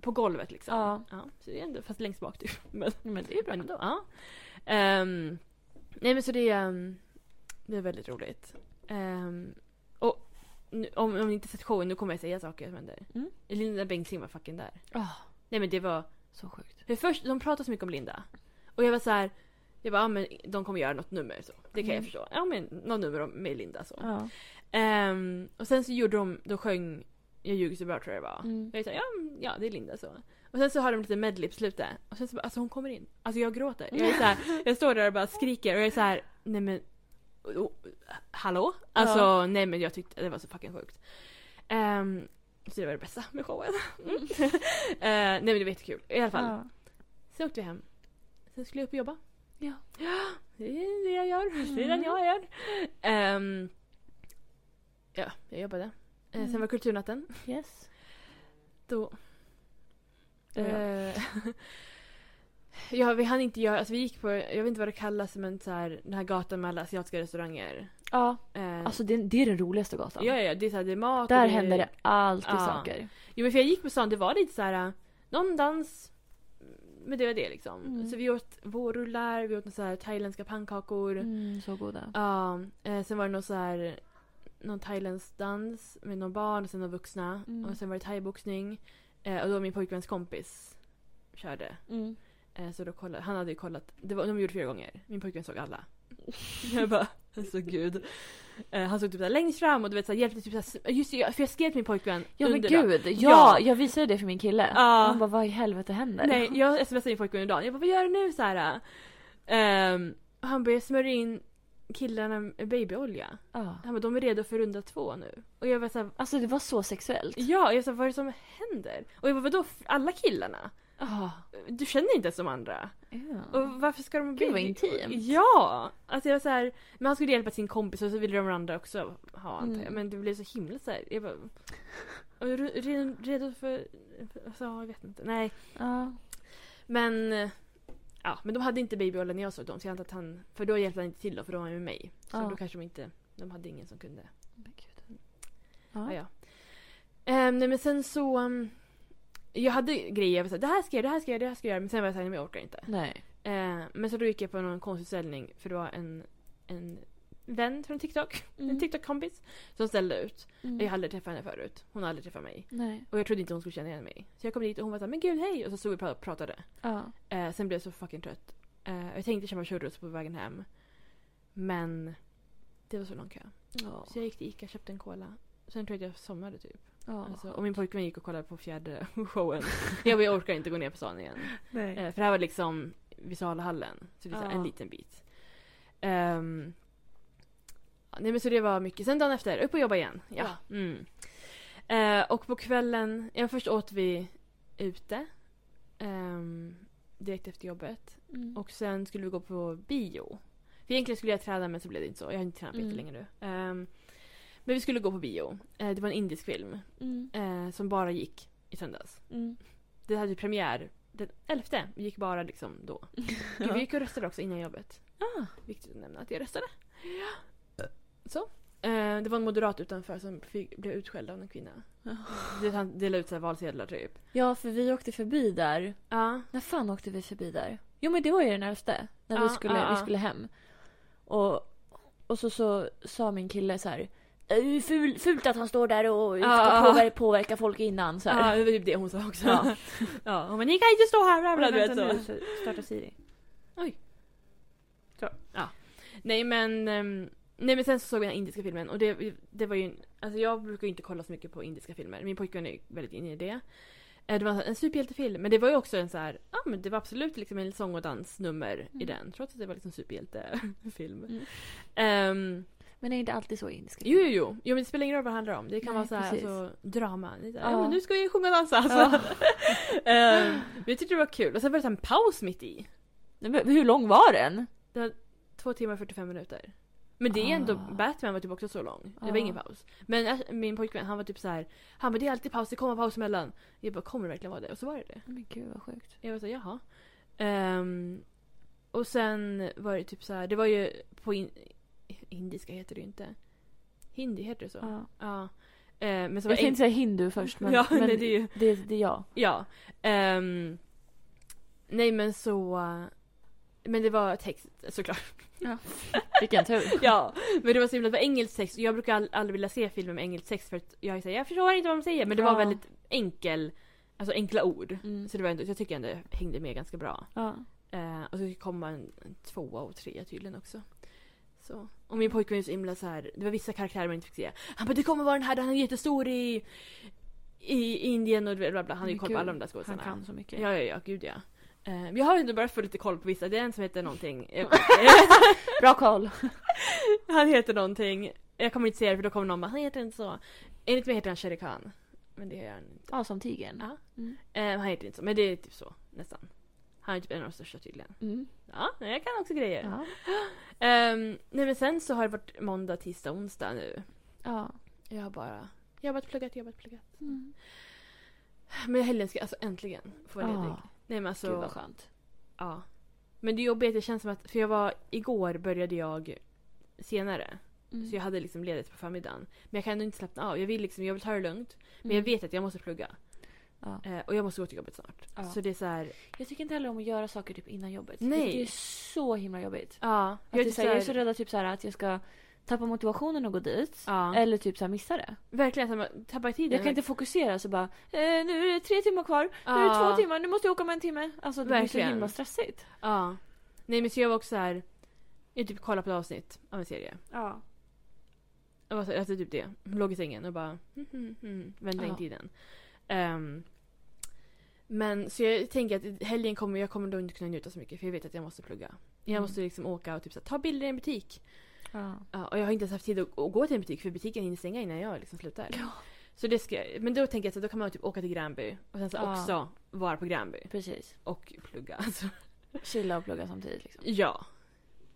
[SPEAKER 2] på golvet liksom.
[SPEAKER 1] Ja.
[SPEAKER 2] så det är ändå, fast längst bak typ. Men,
[SPEAKER 1] men det är bra
[SPEAKER 2] men,
[SPEAKER 1] ändå.
[SPEAKER 2] ja. Ehm, nej men så det, är, ehm, det är väldigt roligt. Ehm, och nu, om, om ni inte sett showen, nu kommer jag säga saker som händer.
[SPEAKER 1] Mm.
[SPEAKER 2] Linda Bengtzing var fucking där.
[SPEAKER 1] Ah,
[SPEAKER 2] Nej men det var,
[SPEAKER 1] så sjukt.
[SPEAKER 2] för först, de pratade så mycket om Linda. Och jag var så här, jag bara, ja, men de kommer göra något nummer så. Det kan jag
[SPEAKER 1] Mm. Ah.
[SPEAKER 2] förstå. Ja men något nummer om- med Linda så.
[SPEAKER 1] Ja.
[SPEAKER 2] Ehm, och sen så gjorde de, de sjöng Jag ljuger så bra tror jag det var.
[SPEAKER 1] Mm.
[SPEAKER 2] Jag sa ja, mm, ja det är Linda så. Och sen så har de lite medley på slutet. Och sen så bara, alltså hon kommer in. Alltså jag gråter. Jag, är så här, jag står där och bara skriker och jag är så här, nej men oh, oh, hallå? Alltså
[SPEAKER 1] Ja.
[SPEAKER 2] nej men jag tyckte det var så fucking sjukt. Ehm, så det var det bästa med showen. Mm. Eh, nej men det var jättekul. I alla fall.
[SPEAKER 1] Ja.
[SPEAKER 2] Sen åkte vi hem. Sen skulle jag upp och jobba.
[SPEAKER 1] Ja. Mm.
[SPEAKER 2] Det är det jag gör. Det är den jag gör. Ehm, ja, jag jobbade. Eh, Sen
[SPEAKER 1] Mm.
[SPEAKER 2] var kulturnatten.
[SPEAKER 1] Yes.
[SPEAKER 2] Då...
[SPEAKER 1] Det var
[SPEAKER 2] eh, ja, vi hann inte göra... Alltså vi gick på, jag vet inte vad det kallas, men så här, den här gatan med alla asiatiska restauranger.
[SPEAKER 1] Ja.
[SPEAKER 2] Eh,
[SPEAKER 1] Alltså det, det är den roligaste gatan.
[SPEAKER 2] ja, ja, ja, det är så här, det är mat och
[SPEAKER 1] Där
[SPEAKER 2] är-
[SPEAKER 1] händer det alltid
[SPEAKER 2] Ja.
[SPEAKER 1] saker.
[SPEAKER 2] Jo men för jag gick på stan, det var lite så här. äh, någon dans. Men det var det liksom.
[SPEAKER 1] Mm.
[SPEAKER 2] Så vi åt vårrullar, vi åt några så här thailändska pannkakor.
[SPEAKER 1] Mm, så goda.
[SPEAKER 2] Ja, eh, sen var det någon så här någon thailändsk dans med någon barn och sen några vuxna.
[SPEAKER 1] Mm.
[SPEAKER 2] Och sen var det thaiboxning. Eh, och då min pojkväns kompis körde.
[SPEAKER 1] Mm.
[SPEAKER 2] Eh, så då kollade, han hade ju kollat. Det var, de gjorde fyra gånger. Min pojkvän såg alla. jag bara, alltså gud. Eh, han såg typ så här längst fram och du vet så här, hjälpte typ så här, Just det, jag- för jag skrev till min pojkvän
[SPEAKER 1] Ja men
[SPEAKER 2] under dagen.
[SPEAKER 1] gud, ja,
[SPEAKER 2] Ja.
[SPEAKER 1] jag visade det för min kille.
[SPEAKER 2] Ja.
[SPEAKER 1] Han bara vad i helvete händer?
[SPEAKER 2] Nej, jag smsade min pojkvän idag. Jag bara, vad gör du nu? Så här, ehm, och han började smörja in killarna med babyolja.
[SPEAKER 1] Ja.
[SPEAKER 2] Han bara, de är redo för runda två nu. Och jag var så här,
[SPEAKER 1] Alltså det var så sexuellt.
[SPEAKER 2] ja, jag sa, vad är det som händer? Och jag bara, vadå för alla killarna?
[SPEAKER 1] Ja.
[SPEAKER 2] Du känner inte ens de andra.
[SPEAKER 1] Ja.
[SPEAKER 2] Och varför ska de...
[SPEAKER 1] Gud, vad intimt.
[SPEAKER 2] Ja! Alltså jag var så här, men han skulle hjälpa sin kompis och så ville de andra också ha antar jag.
[SPEAKER 1] Mm.
[SPEAKER 2] Men det blev så himla så här, jag bara... Och re- re- redo för... Alltså, jag vet inte. Nej.
[SPEAKER 1] Ja.
[SPEAKER 2] Men... Ja, men de hade inte babyolja när jag såg dem så jag antar att han... För då hjälpte han inte till då för då var han med mig. Så
[SPEAKER 1] Ja.
[SPEAKER 2] då kanske de inte... De hade ingen som kunde
[SPEAKER 1] Men gud. Ja.
[SPEAKER 2] Ja, ja. Ehm, nej men sen så... ehm, jag hade grejer, jag var såhär, det här ska jag göra, det här ska jag göra, det här ska jag göra. Men sen var jag såhär, nej men jag orkar inte.
[SPEAKER 1] Nej.
[SPEAKER 2] Ehm, men så då gick jag på någon konstutställning för det var en, en vän från TikTok, en TikTok-kompis, som ställde ut.
[SPEAKER 1] Mm.
[SPEAKER 2] Jag hade aldrig träffat henne förut. Hon hade aldrig träffat mig.
[SPEAKER 1] Nej.
[SPEAKER 2] Och jag trodde inte hon skulle känna igen mig. Så jag kom dit och hon var såhär, men gud hej! Och så stod vi och pra- pratade.
[SPEAKER 1] Ja.
[SPEAKER 2] Ehm, sen blev jag så fucking trött. Ehm, jag tänkte köpa churros på vägen hem. Men det var så lång kö.
[SPEAKER 1] Ja.
[SPEAKER 2] Så jag gick till Ica, köpte en cola. Sen tror jag att jag somnade typ.
[SPEAKER 1] Ja.
[SPEAKER 2] Alltså, och min pojkvän gick och kollade på fjärde showen. jag bara, jag orkar inte gå ner på stan igen.
[SPEAKER 1] Nej.
[SPEAKER 2] Eh, för det här var liksom Visalahallen. Så det är så här
[SPEAKER 1] Ja.
[SPEAKER 2] en liten bit. Ehm, ja, nej men så det var mycket. Sen dagen efter, upp och jobba igen. Ja. Mm. Eh, och på kvällen, ja, först åt vi ute. ehm, direkt efter jobbet.
[SPEAKER 1] Mm.
[SPEAKER 2] Och sen skulle vi gå på bio. För egentligen skulle jag träna men så blev det inte så. Jag har inte tränat på
[SPEAKER 1] Mm.
[SPEAKER 2] jättelänge nu. Ehm, men vi skulle gå på bio. Eh, det var en indisk film
[SPEAKER 1] Mm.
[SPEAKER 2] eh, som bara gick i söndags.
[SPEAKER 1] Mm.
[SPEAKER 2] Det hade premiär den elfte gick bara liksom då. Gud, vi gick och röstade också innan jobbet.
[SPEAKER 1] Ah.
[SPEAKER 2] Viktigt att nämna att jag röstade. Så. Eh, det var en moderat utanför som fick, blev utskälld av en kvinna.
[SPEAKER 1] Ja.
[SPEAKER 2] Det, han delade ut så här valsedlar typ.
[SPEAKER 1] Ja, för vi åkte förbi där.
[SPEAKER 2] Ja.
[SPEAKER 1] När fan åkte vi förbi där? Jo, men det var ju den elfte. När
[SPEAKER 2] Ja,
[SPEAKER 1] vi, skulle,
[SPEAKER 2] ja, ja.
[SPEAKER 1] vi skulle hem. Och, och så, så sa min kille så här. "Eh, Ful, fult att han står där och ska
[SPEAKER 2] Ja, ja.
[SPEAKER 1] påver- påverka folk innan. Så här.
[SPEAKER 2] ja, det var typ det hon sa också.
[SPEAKER 1] Ja.
[SPEAKER 2] ja. Hon bara, ni kan inte stå här! Bla, bla,
[SPEAKER 1] Vänta
[SPEAKER 2] du vet, så.
[SPEAKER 1] nu, så Starta Siri.
[SPEAKER 2] Nej men, ehm, nej men sen så såg jag den här indiska filmen och det, det var ju, en- alltså jag brukar ju inte kolla så mycket på indiska filmer. Min pojkvän är väldigt inne i det. Eh, Det var en superhjältefilm men det var ju också en så här, ja men det var absolut liksom en sång och dansnummer i
[SPEAKER 1] Mm.
[SPEAKER 2] den trots att det var liksom superhjältefilm.
[SPEAKER 1] Mm.
[SPEAKER 2] Ehm,
[SPEAKER 1] Men det är inte alltid så i indiska
[SPEAKER 2] jo, jo, jo. Jo men det spelar ingen roll vad det handlar om. Det kan
[SPEAKER 1] Nej,
[SPEAKER 2] vara så här,
[SPEAKER 1] precis.
[SPEAKER 2] alltså, drama. Det är så här,
[SPEAKER 1] Ja.
[SPEAKER 2] ja men nu ska vi sjunga och dansa alltså.
[SPEAKER 1] Ja.
[SPEAKER 2] Ehm, men jag tyckte det var kul och sen var det så här en paus mitt i.
[SPEAKER 1] Nej, men Hur lång var den?
[SPEAKER 2] Det var två timmar och 45 minuter. Men det är ändå,
[SPEAKER 1] Ah.
[SPEAKER 2] Batman var typ också så lång. Det var
[SPEAKER 1] Ah.
[SPEAKER 2] ingen paus. Men Ash- min pojkvän han var typ så här. han bara det är alltid paus, det kommer paus emellan. Jag bara kommer det verkligen vara det? Och så var det det.
[SPEAKER 1] Men gud vad sjukt.
[SPEAKER 2] Jag var så här, jaha. Ehm, och sen var det typ så här. det var ju på in, indiska heter det ju inte. Hindi heter det så? Ja.
[SPEAKER 1] Ja.
[SPEAKER 2] Ehm, men så var
[SPEAKER 1] Ah. Jag
[SPEAKER 2] det
[SPEAKER 1] tänkte säga hindu först men,
[SPEAKER 2] Ja,
[SPEAKER 1] men
[SPEAKER 2] nej, det är ju-
[SPEAKER 1] det, det är jag.
[SPEAKER 2] Ja. ehm, nej men så... Men det var text såklart.
[SPEAKER 1] Vilken tur.
[SPEAKER 2] Ja, men det var så himla, det var engelsk text och jag brukar all, aldrig vilja se filmer med engelsk text för att jag är så här, jag förstår inte vad de säger men det var
[SPEAKER 1] Ja.
[SPEAKER 2] väldigt enkel, alltså enkla ord.
[SPEAKER 1] Mm.
[SPEAKER 2] Så det var ändå, jag tycker ändå det hängde med ganska bra.
[SPEAKER 1] Ja.
[SPEAKER 2] Eh, och så kom en, en tvåa och trea tydligen också. Så. Och min pojkvän är så himla så här, det var vissa karaktärer man inte fick se. Han bara det kommer vara den här, han är jättestor i, i Indien och bla bla bla. Han har ju
[SPEAKER 1] Men
[SPEAKER 2] koll på
[SPEAKER 1] gud,
[SPEAKER 2] alla de där
[SPEAKER 1] Han
[SPEAKER 2] skådisarna.
[SPEAKER 1] kan så mycket.
[SPEAKER 2] Ja, ja, ja, gud ja. Eh, men jag har ändå börjat få lite koll på vissa, det är en som heter någonting. Jag-
[SPEAKER 1] Bra koll.
[SPEAKER 2] Han heter någonting. Jag kommer inte säga det för då kommer någon bara han heter inte så. Enligt mig heter han Shere Khan. Men det gör han inte.
[SPEAKER 1] Ja, som tigern.
[SPEAKER 2] Ja.
[SPEAKER 1] Mm.
[SPEAKER 2] Eh, han heter inte så men det är typ så nästan. Han är typ en av de största tydligen.
[SPEAKER 1] Mm.
[SPEAKER 2] Ja, men jag kan också grejer.
[SPEAKER 1] Ja.
[SPEAKER 2] Ehm, nej men sen så har det varit måndag, tisdag, onsdag nu.
[SPEAKER 1] ja.
[SPEAKER 2] Jag har bara jobbat, pluggat, jobbat, pluggat.
[SPEAKER 1] Mm.
[SPEAKER 2] Men helgen ska jag alltså äntligen få vara ledig.
[SPEAKER 1] Ah,
[SPEAKER 2] Nej men alltså.
[SPEAKER 1] Gud vad skönt.
[SPEAKER 2] Ja. Men det jobbiga är att det känns som att, för jag var, igår började jag senare.
[SPEAKER 1] Mm.
[SPEAKER 2] Så jag hade liksom ledigt på förmiddagen. Men jag kan ändå inte slappna av. Jag vill liksom, jag vill ta det lugnt. Men
[SPEAKER 1] Mm.
[SPEAKER 2] jag vet att jag måste plugga.
[SPEAKER 1] Ja.
[SPEAKER 2] Eh, och jag måste gå till jobbet snart.
[SPEAKER 1] Ja.
[SPEAKER 2] Så det är så här,
[SPEAKER 1] Jag tycker inte heller om att göra saker typ innan jobbet.
[SPEAKER 2] Nej.
[SPEAKER 1] Det är så himla jobbigt.
[SPEAKER 2] ja.
[SPEAKER 1] Jag,
[SPEAKER 2] Jag,
[SPEAKER 1] typ,
[SPEAKER 2] är
[SPEAKER 1] så här, jag är
[SPEAKER 2] typ
[SPEAKER 1] så
[SPEAKER 2] så här,
[SPEAKER 1] rädd att, typ, så här, att jag ska tappa motivationen och gå dit.
[SPEAKER 2] ja.
[SPEAKER 1] Eller typ så här, missa det.
[SPEAKER 2] Verkligen, så här, man tappar tiden.
[SPEAKER 1] Jag kan inte fokusera så bara eh, nu är det tre timmar kvar, nu är
[SPEAKER 2] Ja.
[SPEAKER 1] det två timmar, nu måste jag åka om en timme. Alltså det blir
[SPEAKER 2] Verkligen.
[SPEAKER 1] så himla stressigt.
[SPEAKER 2] Ja. Nej men så jag var också så här, jag typ kollade på ett avsnitt av en serie.
[SPEAKER 1] Ja.
[SPEAKER 2] Jag var så här, alltså typ det. Låg i sängen och bara mm, mm, mm, vände in
[SPEAKER 1] Ja.
[SPEAKER 2] tiden. Ehm, men så jag tänker att helgen kommer, jag kommer då inte kunna njuta så mycket för jag vet att jag måste plugga. Jag
[SPEAKER 1] Mm.
[SPEAKER 2] måste liksom åka och typ så här, ta bilder i en butik.
[SPEAKER 1] ja.
[SPEAKER 2] Ja, och jag har inte ens haft tid att, att gå till en butik för butiken hinner stänga innan jag liksom slutar.
[SPEAKER 1] Ja.
[SPEAKER 2] Så det ska, jag- men då tänker jag att då kan man typ åka till Gränby och sen så
[SPEAKER 1] Ja.
[SPEAKER 2] också vara på Gränby
[SPEAKER 1] Precis.
[SPEAKER 2] och plugga. Alltså,
[SPEAKER 1] Chilla och plugga samtidigt liksom.
[SPEAKER 2] ja,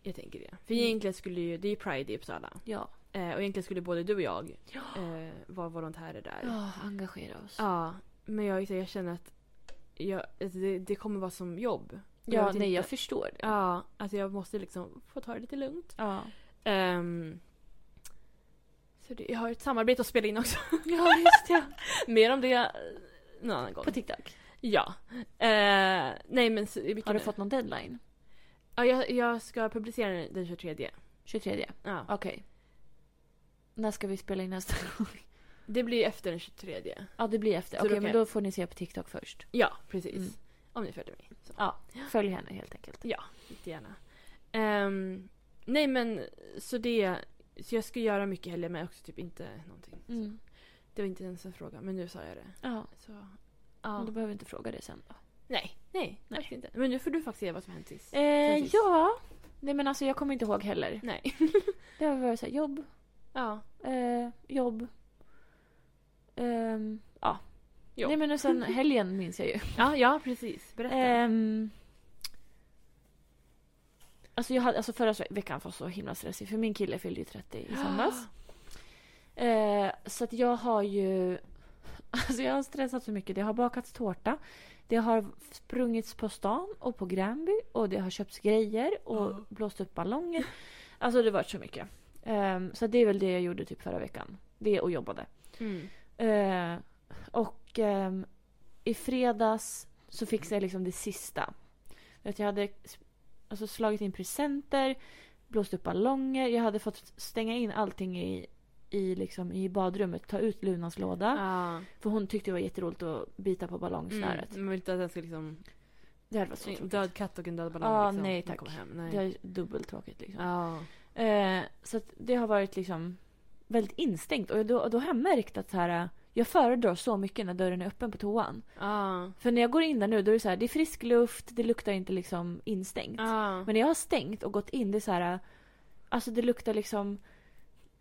[SPEAKER 2] jag tänker det. För
[SPEAKER 1] Mm.
[SPEAKER 2] egentligen skulle ju, det är ju Pride i Uppsala.
[SPEAKER 1] Ja.
[SPEAKER 2] Eh, och egentligen skulle både du och jag
[SPEAKER 1] Ja.
[SPEAKER 2] eh, vara volontärer där.
[SPEAKER 1] Ja, engagera oss.
[SPEAKER 2] Ja, men jag, jag känner att jag, alltså det, det kommer vara som jobb.
[SPEAKER 1] Ja,
[SPEAKER 2] vet
[SPEAKER 1] nej
[SPEAKER 2] inte.
[SPEAKER 1] jag förstår det.
[SPEAKER 2] Ja, alltså jag måste liksom få ta det lite lugnt.
[SPEAKER 1] Ja.
[SPEAKER 2] Ehm, så det, jag har ett samarbete att spela in också.
[SPEAKER 1] Ja, just det.
[SPEAKER 2] Mer om det eh, någon annan gång.
[SPEAKER 1] På TikTok.
[SPEAKER 2] Ja. Eh, nej men... så- vilken
[SPEAKER 1] Har du
[SPEAKER 2] är-
[SPEAKER 1] fått någon deadline?
[SPEAKER 2] Ja, jag, jag ska publicera den den 23.
[SPEAKER 1] 23.
[SPEAKER 2] Ja.
[SPEAKER 1] Okej. När ska vi spela in nästa gång?
[SPEAKER 2] Det blir efter den 23.
[SPEAKER 1] Ja, det blir efter.
[SPEAKER 2] Så
[SPEAKER 1] Okej,
[SPEAKER 2] då kan
[SPEAKER 1] men
[SPEAKER 2] jag-
[SPEAKER 1] då får ni se på TikTok först.
[SPEAKER 2] Ja, precis.
[SPEAKER 1] Mm.
[SPEAKER 2] Om ni följer mig. Så,
[SPEAKER 1] Följ henne helt enkelt.
[SPEAKER 2] jättegärna. Ehm, nej men så det... Så jag ska göra mycket heller men också typ inte någonting.
[SPEAKER 1] Mm.
[SPEAKER 2] Det var inte ens en fråga men nu sa jag det.
[SPEAKER 1] Ja,
[SPEAKER 2] Så,
[SPEAKER 1] men
[SPEAKER 2] ja.
[SPEAKER 1] då behöver vi inte fråga det sen då.
[SPEAKER 2] Nej, nej,
[SPEAKER 1] Nej.
[SPEAKER 2] faktiskt inte. Men nu får du faktiskt se vad som hänt sist.
[SPEAKER 1] Eh,
[SPEAKER 2] Precis.
[SPEAKER 1] ja. Nej men alltså jag kommer inte ihåg heller.
[SPEAKER 2] Nej.
[SPEAKER 1] Det har varit så här, jobb,
[SPEAKER 2] Ja.
[SPEAKER 1] eh, jobb. Ehm, ja.
[SPEAKER 2] Jobb.
[SPEAKER 1] Nej men och sen helgen minns jag ju.
[SPEAKER 2] ja, ja precis. Berätta.
[SPEAKER 1] Ehm, alltså, jag hade, alltså förra veckan var så himla stressig för min kille fyllde ju 30 i söndags. Eh, så att jag har ju... Alltså jag har stressat så mycket. Det har bakats tårta. Det har sprungits på stan och på Gränby och det har köpts grejer och
[SPEAKER 2] Ja.
[SPEAKER 1] blåst upp ballonger. Alltså det har varit så mycket. Ehm, så det är väl det jag gjorde typ förra veckan. Det och jobbade.
[SPEAKER 2] Mm.
[SPEAKER 1] Eh, och ehm, i fredags så fixade jag liksom det sista. För Att jag hade s- alltså, slagit in presenter, blåst upp ballonger. Jag hade fått stänga in allting i, i, liksom, i badrummet. Ta ut Lunas låda.
[SPEAKER 2] Ja.
[SPEAKER 1] För hon tyckte det var jätteroligt att bita på ballongsnäret.
[SPEAKER 2] Mm. Man vill inte att den ska liksom...
[SPEAKER 1] Det hade varit så
[SPEAKER 2] En
[SPEAKER 1] tråkigt.
[SPEAKER 2] död katt och en död ballong
[SPEAKER 1] Ja,
[SPEAKER 2] liksom.
[SPEAKER 1] nej,
[SPEAKER 2] som
[SPEAKER 1] tack.
[SPEAKER 2] kommer Hem.
[SPEAKER 1] Det
[SPEAKER 2] Nej.
[SPEAKER 1] är dubbelt tråkigt liksom.
[SPEAKER 2] Ja.
[SPEAKER 1] Eh, så att det har varit liksom väldigt instängt. Och då, då har jag märkt att så här, eh, jag föredrar så mycket när dörren är öppen på toan.
[SPEAKER 2] Ja.
[SPEAKER 1] För när jag går in där nu då är det så här, det är frisk luft, det luktar inte liksom instängt.
[SPEAKER 2] Ja.
[SPEAKER 1] Men när jag har stängt och gått in, det är så här, eh, alltså det luktar liksom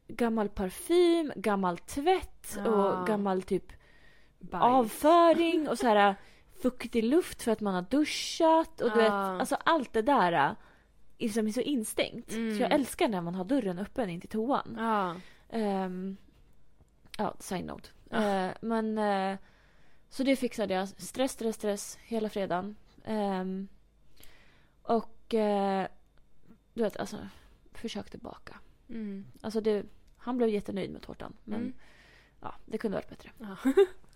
[SPEAKER 1] gammal parfym, gammal tvätt
[SPEAKER 2] Ja.
[SPEAKER 1] och gammal typ
[SPEAKER 2] Bajs.
[SPEAKER 1] avföring och så här fuktig luft för att man har duschat och du
[SPEAKER 2] Ja.
[SPEAKER 1] vet, alltså allt det där eh, är liksom så instängt.
[SPEAKER 2] Mm.
[SPEAKER 1] Så jag älskar när man har dörren öppen in till toan.
[SPEAKER 2] Ja.
[SPEAKER 1] Ehm, ja, side note. Eh, men eh, så det fixade jag. Stress, stress, stress hela fredagen. Ehm, och eh, du vet, alltså försökte baka.
[SPEAKER 2] Mm.
[SPEAKER 1] Alltså det, han blev jättenöjd med tårtan. Men
[SPEAKER 2] Mm.
[SPEAKER 1] ja, det kunde varit bättre.
[SPEAKER 2] Ja.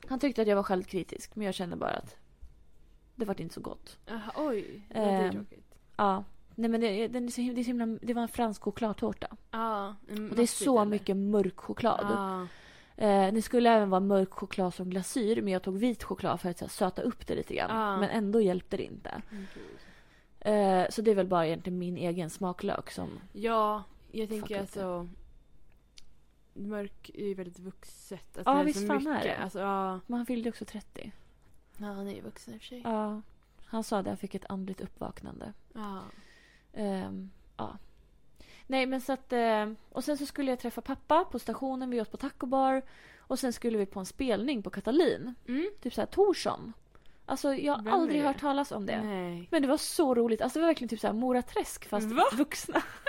[SPEAKER 1] Han tyckte att jag var självkritisk men jag kände bara att det vart inte så gott.
[SPEAKER 2] Aha, oj. Ja, det är
[SPEAKER 1] Ehm.
[SPEAKER 2] tråkigt.
[SPEAKER 1] Ja. Nej men det, den är så, him- det, är så himla, det var en fransk chokladtårta.
[SPEAKER 2] Ja.
[SPEAKER 1] Och det är så mycket mörk choklad. Eh, det skulle även vara mörk choklad som glasyr men jag tog vit choklad för att så här, söta upp det lite grann.
[SPEAKER 2] Ah.
[SPEAKER 1] Men ändå hjälpte det inte.
[SPEAKER 2] Mm,
[SPEAKER 1] Eh, så det är väl bara egentligen min egen smaklök som...
[SPEAKER 2] Ja, jag
[SPEAKER 1] Fuck
[SPEAKER 2] tänker
[SPEAKER 1] up
[SPEAKER 2] alltså... Mörk är ju väldigt vuxet. Alltså,
[SPEAKER 1] Ja,
[SPEAKER 2] det
[SPEAKER 1] visst
[SPEAKER 2] så
[SPEAKER 1] fan
[SPEAKER 2] mycket.
[SPEAKER 1] är det.
[SPEAKER 2] Alltså, ja.
[SPEAKER 1] Men han fyllde ju också 30.
[SPEAKER 2] ja, han är ju vuxen i och för sig.
[SPEAKER 1] Ja. Han sa att han fick ett andligt uppvaknande.
[SPEAKER 2] Ja.
[SPEAKER 1] Ehm, ja. Nej men så att... Eh, och sen så skulle jag träffa pappa på stationen, vi åt på taco bar. Och sen skulle vi på en spelning på Katalin.
[SPEAKER 2] Mm.
[SPEAKER 1] Typ såhär Torsson. Alltså jag har
[SPEAKER 2] Vem är
[SPEAKER 1] aldrig
[SPEAKER 2] det?
[SPEAKER 1] hört talas om det.
[SPEAKER 2] Nej.
[SPEAKER 1] Men det var så roligt. Alltså det var verkligen typ så här Mora Träsk fast
[SPEAKER 2] Va?
[SPEAKER 1] vuxna.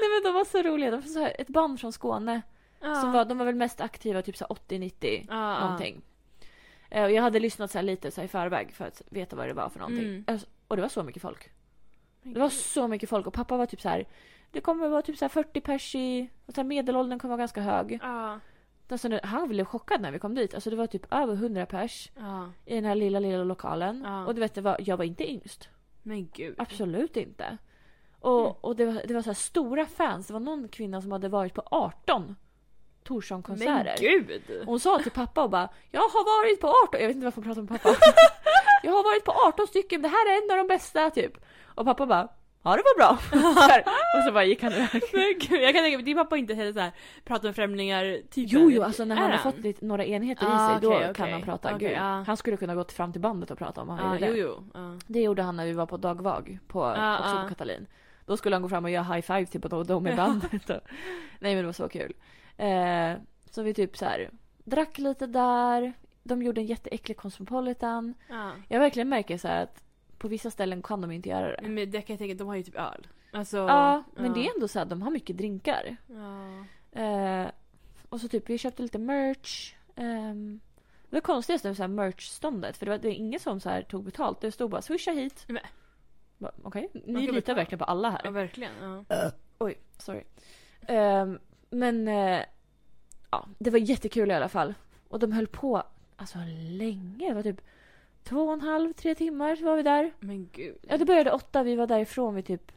[SPEAKER 1] Nej men de var så roliga. De var så här, ett band från Skåne.
[SPEAKER 2] Ja.
[SPEAKER 1] Som var, de var väl mest aktiva typ så här 80-90
[SPEAKER 2] Ja, ja.
[SPEAKER 1] någonting. Eh, Och jag hade lyssnat så här lite så här i förväg för att veta vad det var för någonting.
[SPEAKER 2] Mm.
[SPEAKER 1] Alltså, och det var så mycket folk. Det var så mycket folk och pappa var typ så här. Det kommer vara typ så här 40 pers i... Och så här medelåldern kommer vara ganska hög.
[SPEAKER 2] Ja.
[SPEAKER 1] Alltså, nu- han blev chockad när vi kom dit. Alltså det var typ över 100 pers
[SPEAKER 2] Ja.
[SPEAKER 1] i den här lilla, lilla lokalen.
[SPEAKER 2] Ja.
[SPEAKER 1] Och du vet, det var, jag var inte yngst.
[SPEAKER 2] Men
[SPEAKER 1] typ.
[SPEAKER 2] gud.
[SPEAKER 1] Absolut inte. Och, och det var, det var så här stora fans. Det var någon kvinna som hade varit på 18
[SPEAKER 2] Men
[SPEAKER 1] Torsson-konserter.
[SPEAKER 2] gud!
[SPEAKER 1] Och Hon sa till pappa och bara “Jag har varit på 18” Jag vet inte varför hon pratar om pappa. “Jag har varit på 18 stycken, det här är en av de bästa” typ. Och pappa bara “Ja det var bra”. Så här, och så bara gick han iväg.
[SPEAKER 2] Men gud, jag kan tänka mig, din pappa inte heller såhär pratar med främlingar typ
[SPEAKER 1] Jo jo alltså när
[SPEAKER 2] Är
[SPEAKER 1] han har
[SPEAKER 2] han?
[SPEAKER 1] fått lite, några enheter
[SPEAKER 2] Ah,
[SPEAKER 1] i sig då
[SPEAKER 2] okej,
[SPEAKER 1] kan
[SPEAKER 2] okej.
[SPEAKER 1] han prata.
[SPEAKER 2] Okej,
[SPEAKER 1] Gud.
[SPEAKER 2] ja.
[SPEAKER 1] Han skulle kunna gått fram till bandet och prata om han
[SPEAKER 2] Ja,
[SPEAKER 1] ville det.
[SPEAKER 2] jo jo. Ja.
[SPEAKER 1] Det gjorde han när vi var på dagvag på,
[SPEAKER 2] Ja,
[SPEAKER 1] också
[SPEAKER 2] ja.
[SPEAKER 1] på Katalin. Då skulle han gå fram och göra high five typ och de i bandet. Och, nej men det var så kul. Eh, så vi typ så här drack lite där. De gjorde en jätteäcklig Cosmopolitan.
[SPEAKER 2] Ja.
[SPEAKER 1] Jag verkligen märker så här att på vissa ställen kan de inte göra det.
[SPEAKER 2] Men det kan jag tänka, de har ju typ öl. Alltså,
[SPEAKER 1] Mm. ja, men det är ändå så att de har mycket drinkar.
[SPEAKER 2] Ja.
[SPEAKER 1] Eh, och så typ vi köpte lite merch. Ehm, det var konstigast det var så här merch-ståndet för det var, det var ingen som så här tog betalt. Det stod bara swisha hit.
[SPEAKER 2] Nej.
[SPEAKER 1] Bara, Okej,
[SPEAKER 2] Man
[SPEAKER 1] ni
[SPEAKER 2] kan
[SPEAKER 1] litar
[SPEAKER 2] betala.
[SPEAKER 1] verkligen på alla
[SPEAKER 2] ja,
[SPEAKER 1] här.
[SPEAKER 2] verkligen. Ja.
[SPEAKER 1] Oj, sorry. Ehm, men eh, ja, det var jättekul i alla fall. Och de höll på alltså länge. Det var typ två och en halv, tre timmar så var vi där.
[SPEAKER 2] Men gud.
[SPEAKER 1] Ja, det började åtta. Vi var därifrån vid typ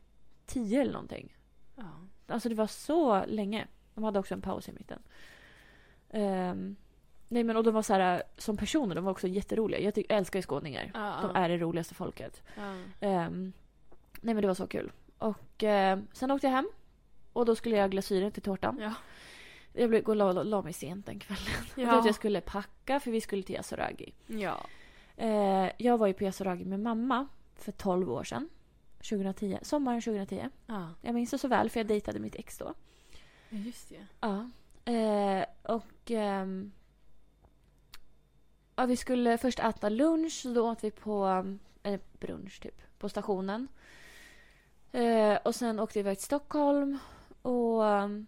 [SPEAKER 1] tio eller någonting.
[SPEAKER 2] Ja.
[SPEAKER 1] Alltså det var så länge. De hade också en paus i mitten. Ehm, nej men och de var så här som personer, de var också jätteroliga. Jag, tycker, jag älskar ju skåningar.
[SPEAKER 2] Ja,
[SPEAKER 1] De
[SPEAKER 2] ja.
[SPEAKER 1] är det roligaste folket.
[SPEAKER 2] Ja.
[SPEAKER 1] Ehm, nej men det var så kul. Och ehm, sen åkte jag hem. Och då skulle jag göra glasyren till tårtan.
[SPEAKER 2] Ja.
[SPEAKER 1] Jag blev, gå och la, la, la mig sent den kvällen. Jag trodde att jag skulle packa för vi skulle till Yasuragi.
[SPEAKER 2] Ja.
[SPEAKER 1] Eh, jag var ju på Yasuragi med mamma för 12 år sedan. 2010, sommaren 2010.
[SPEAKER 2] ja.
[SPEAKER 1] Jag minns det så väl för jag dejtade mitt ex då.
[SPEAKER 2] Ja, just det.
[SPEAKER 1] Ja. Eh, och... ehm, ja, vi skulle först äta lunch. så Då åt vi på... Eller brunch, typ. På stationen. Eh, och sen åkte vi iväg till Stockholm. Och... ehm,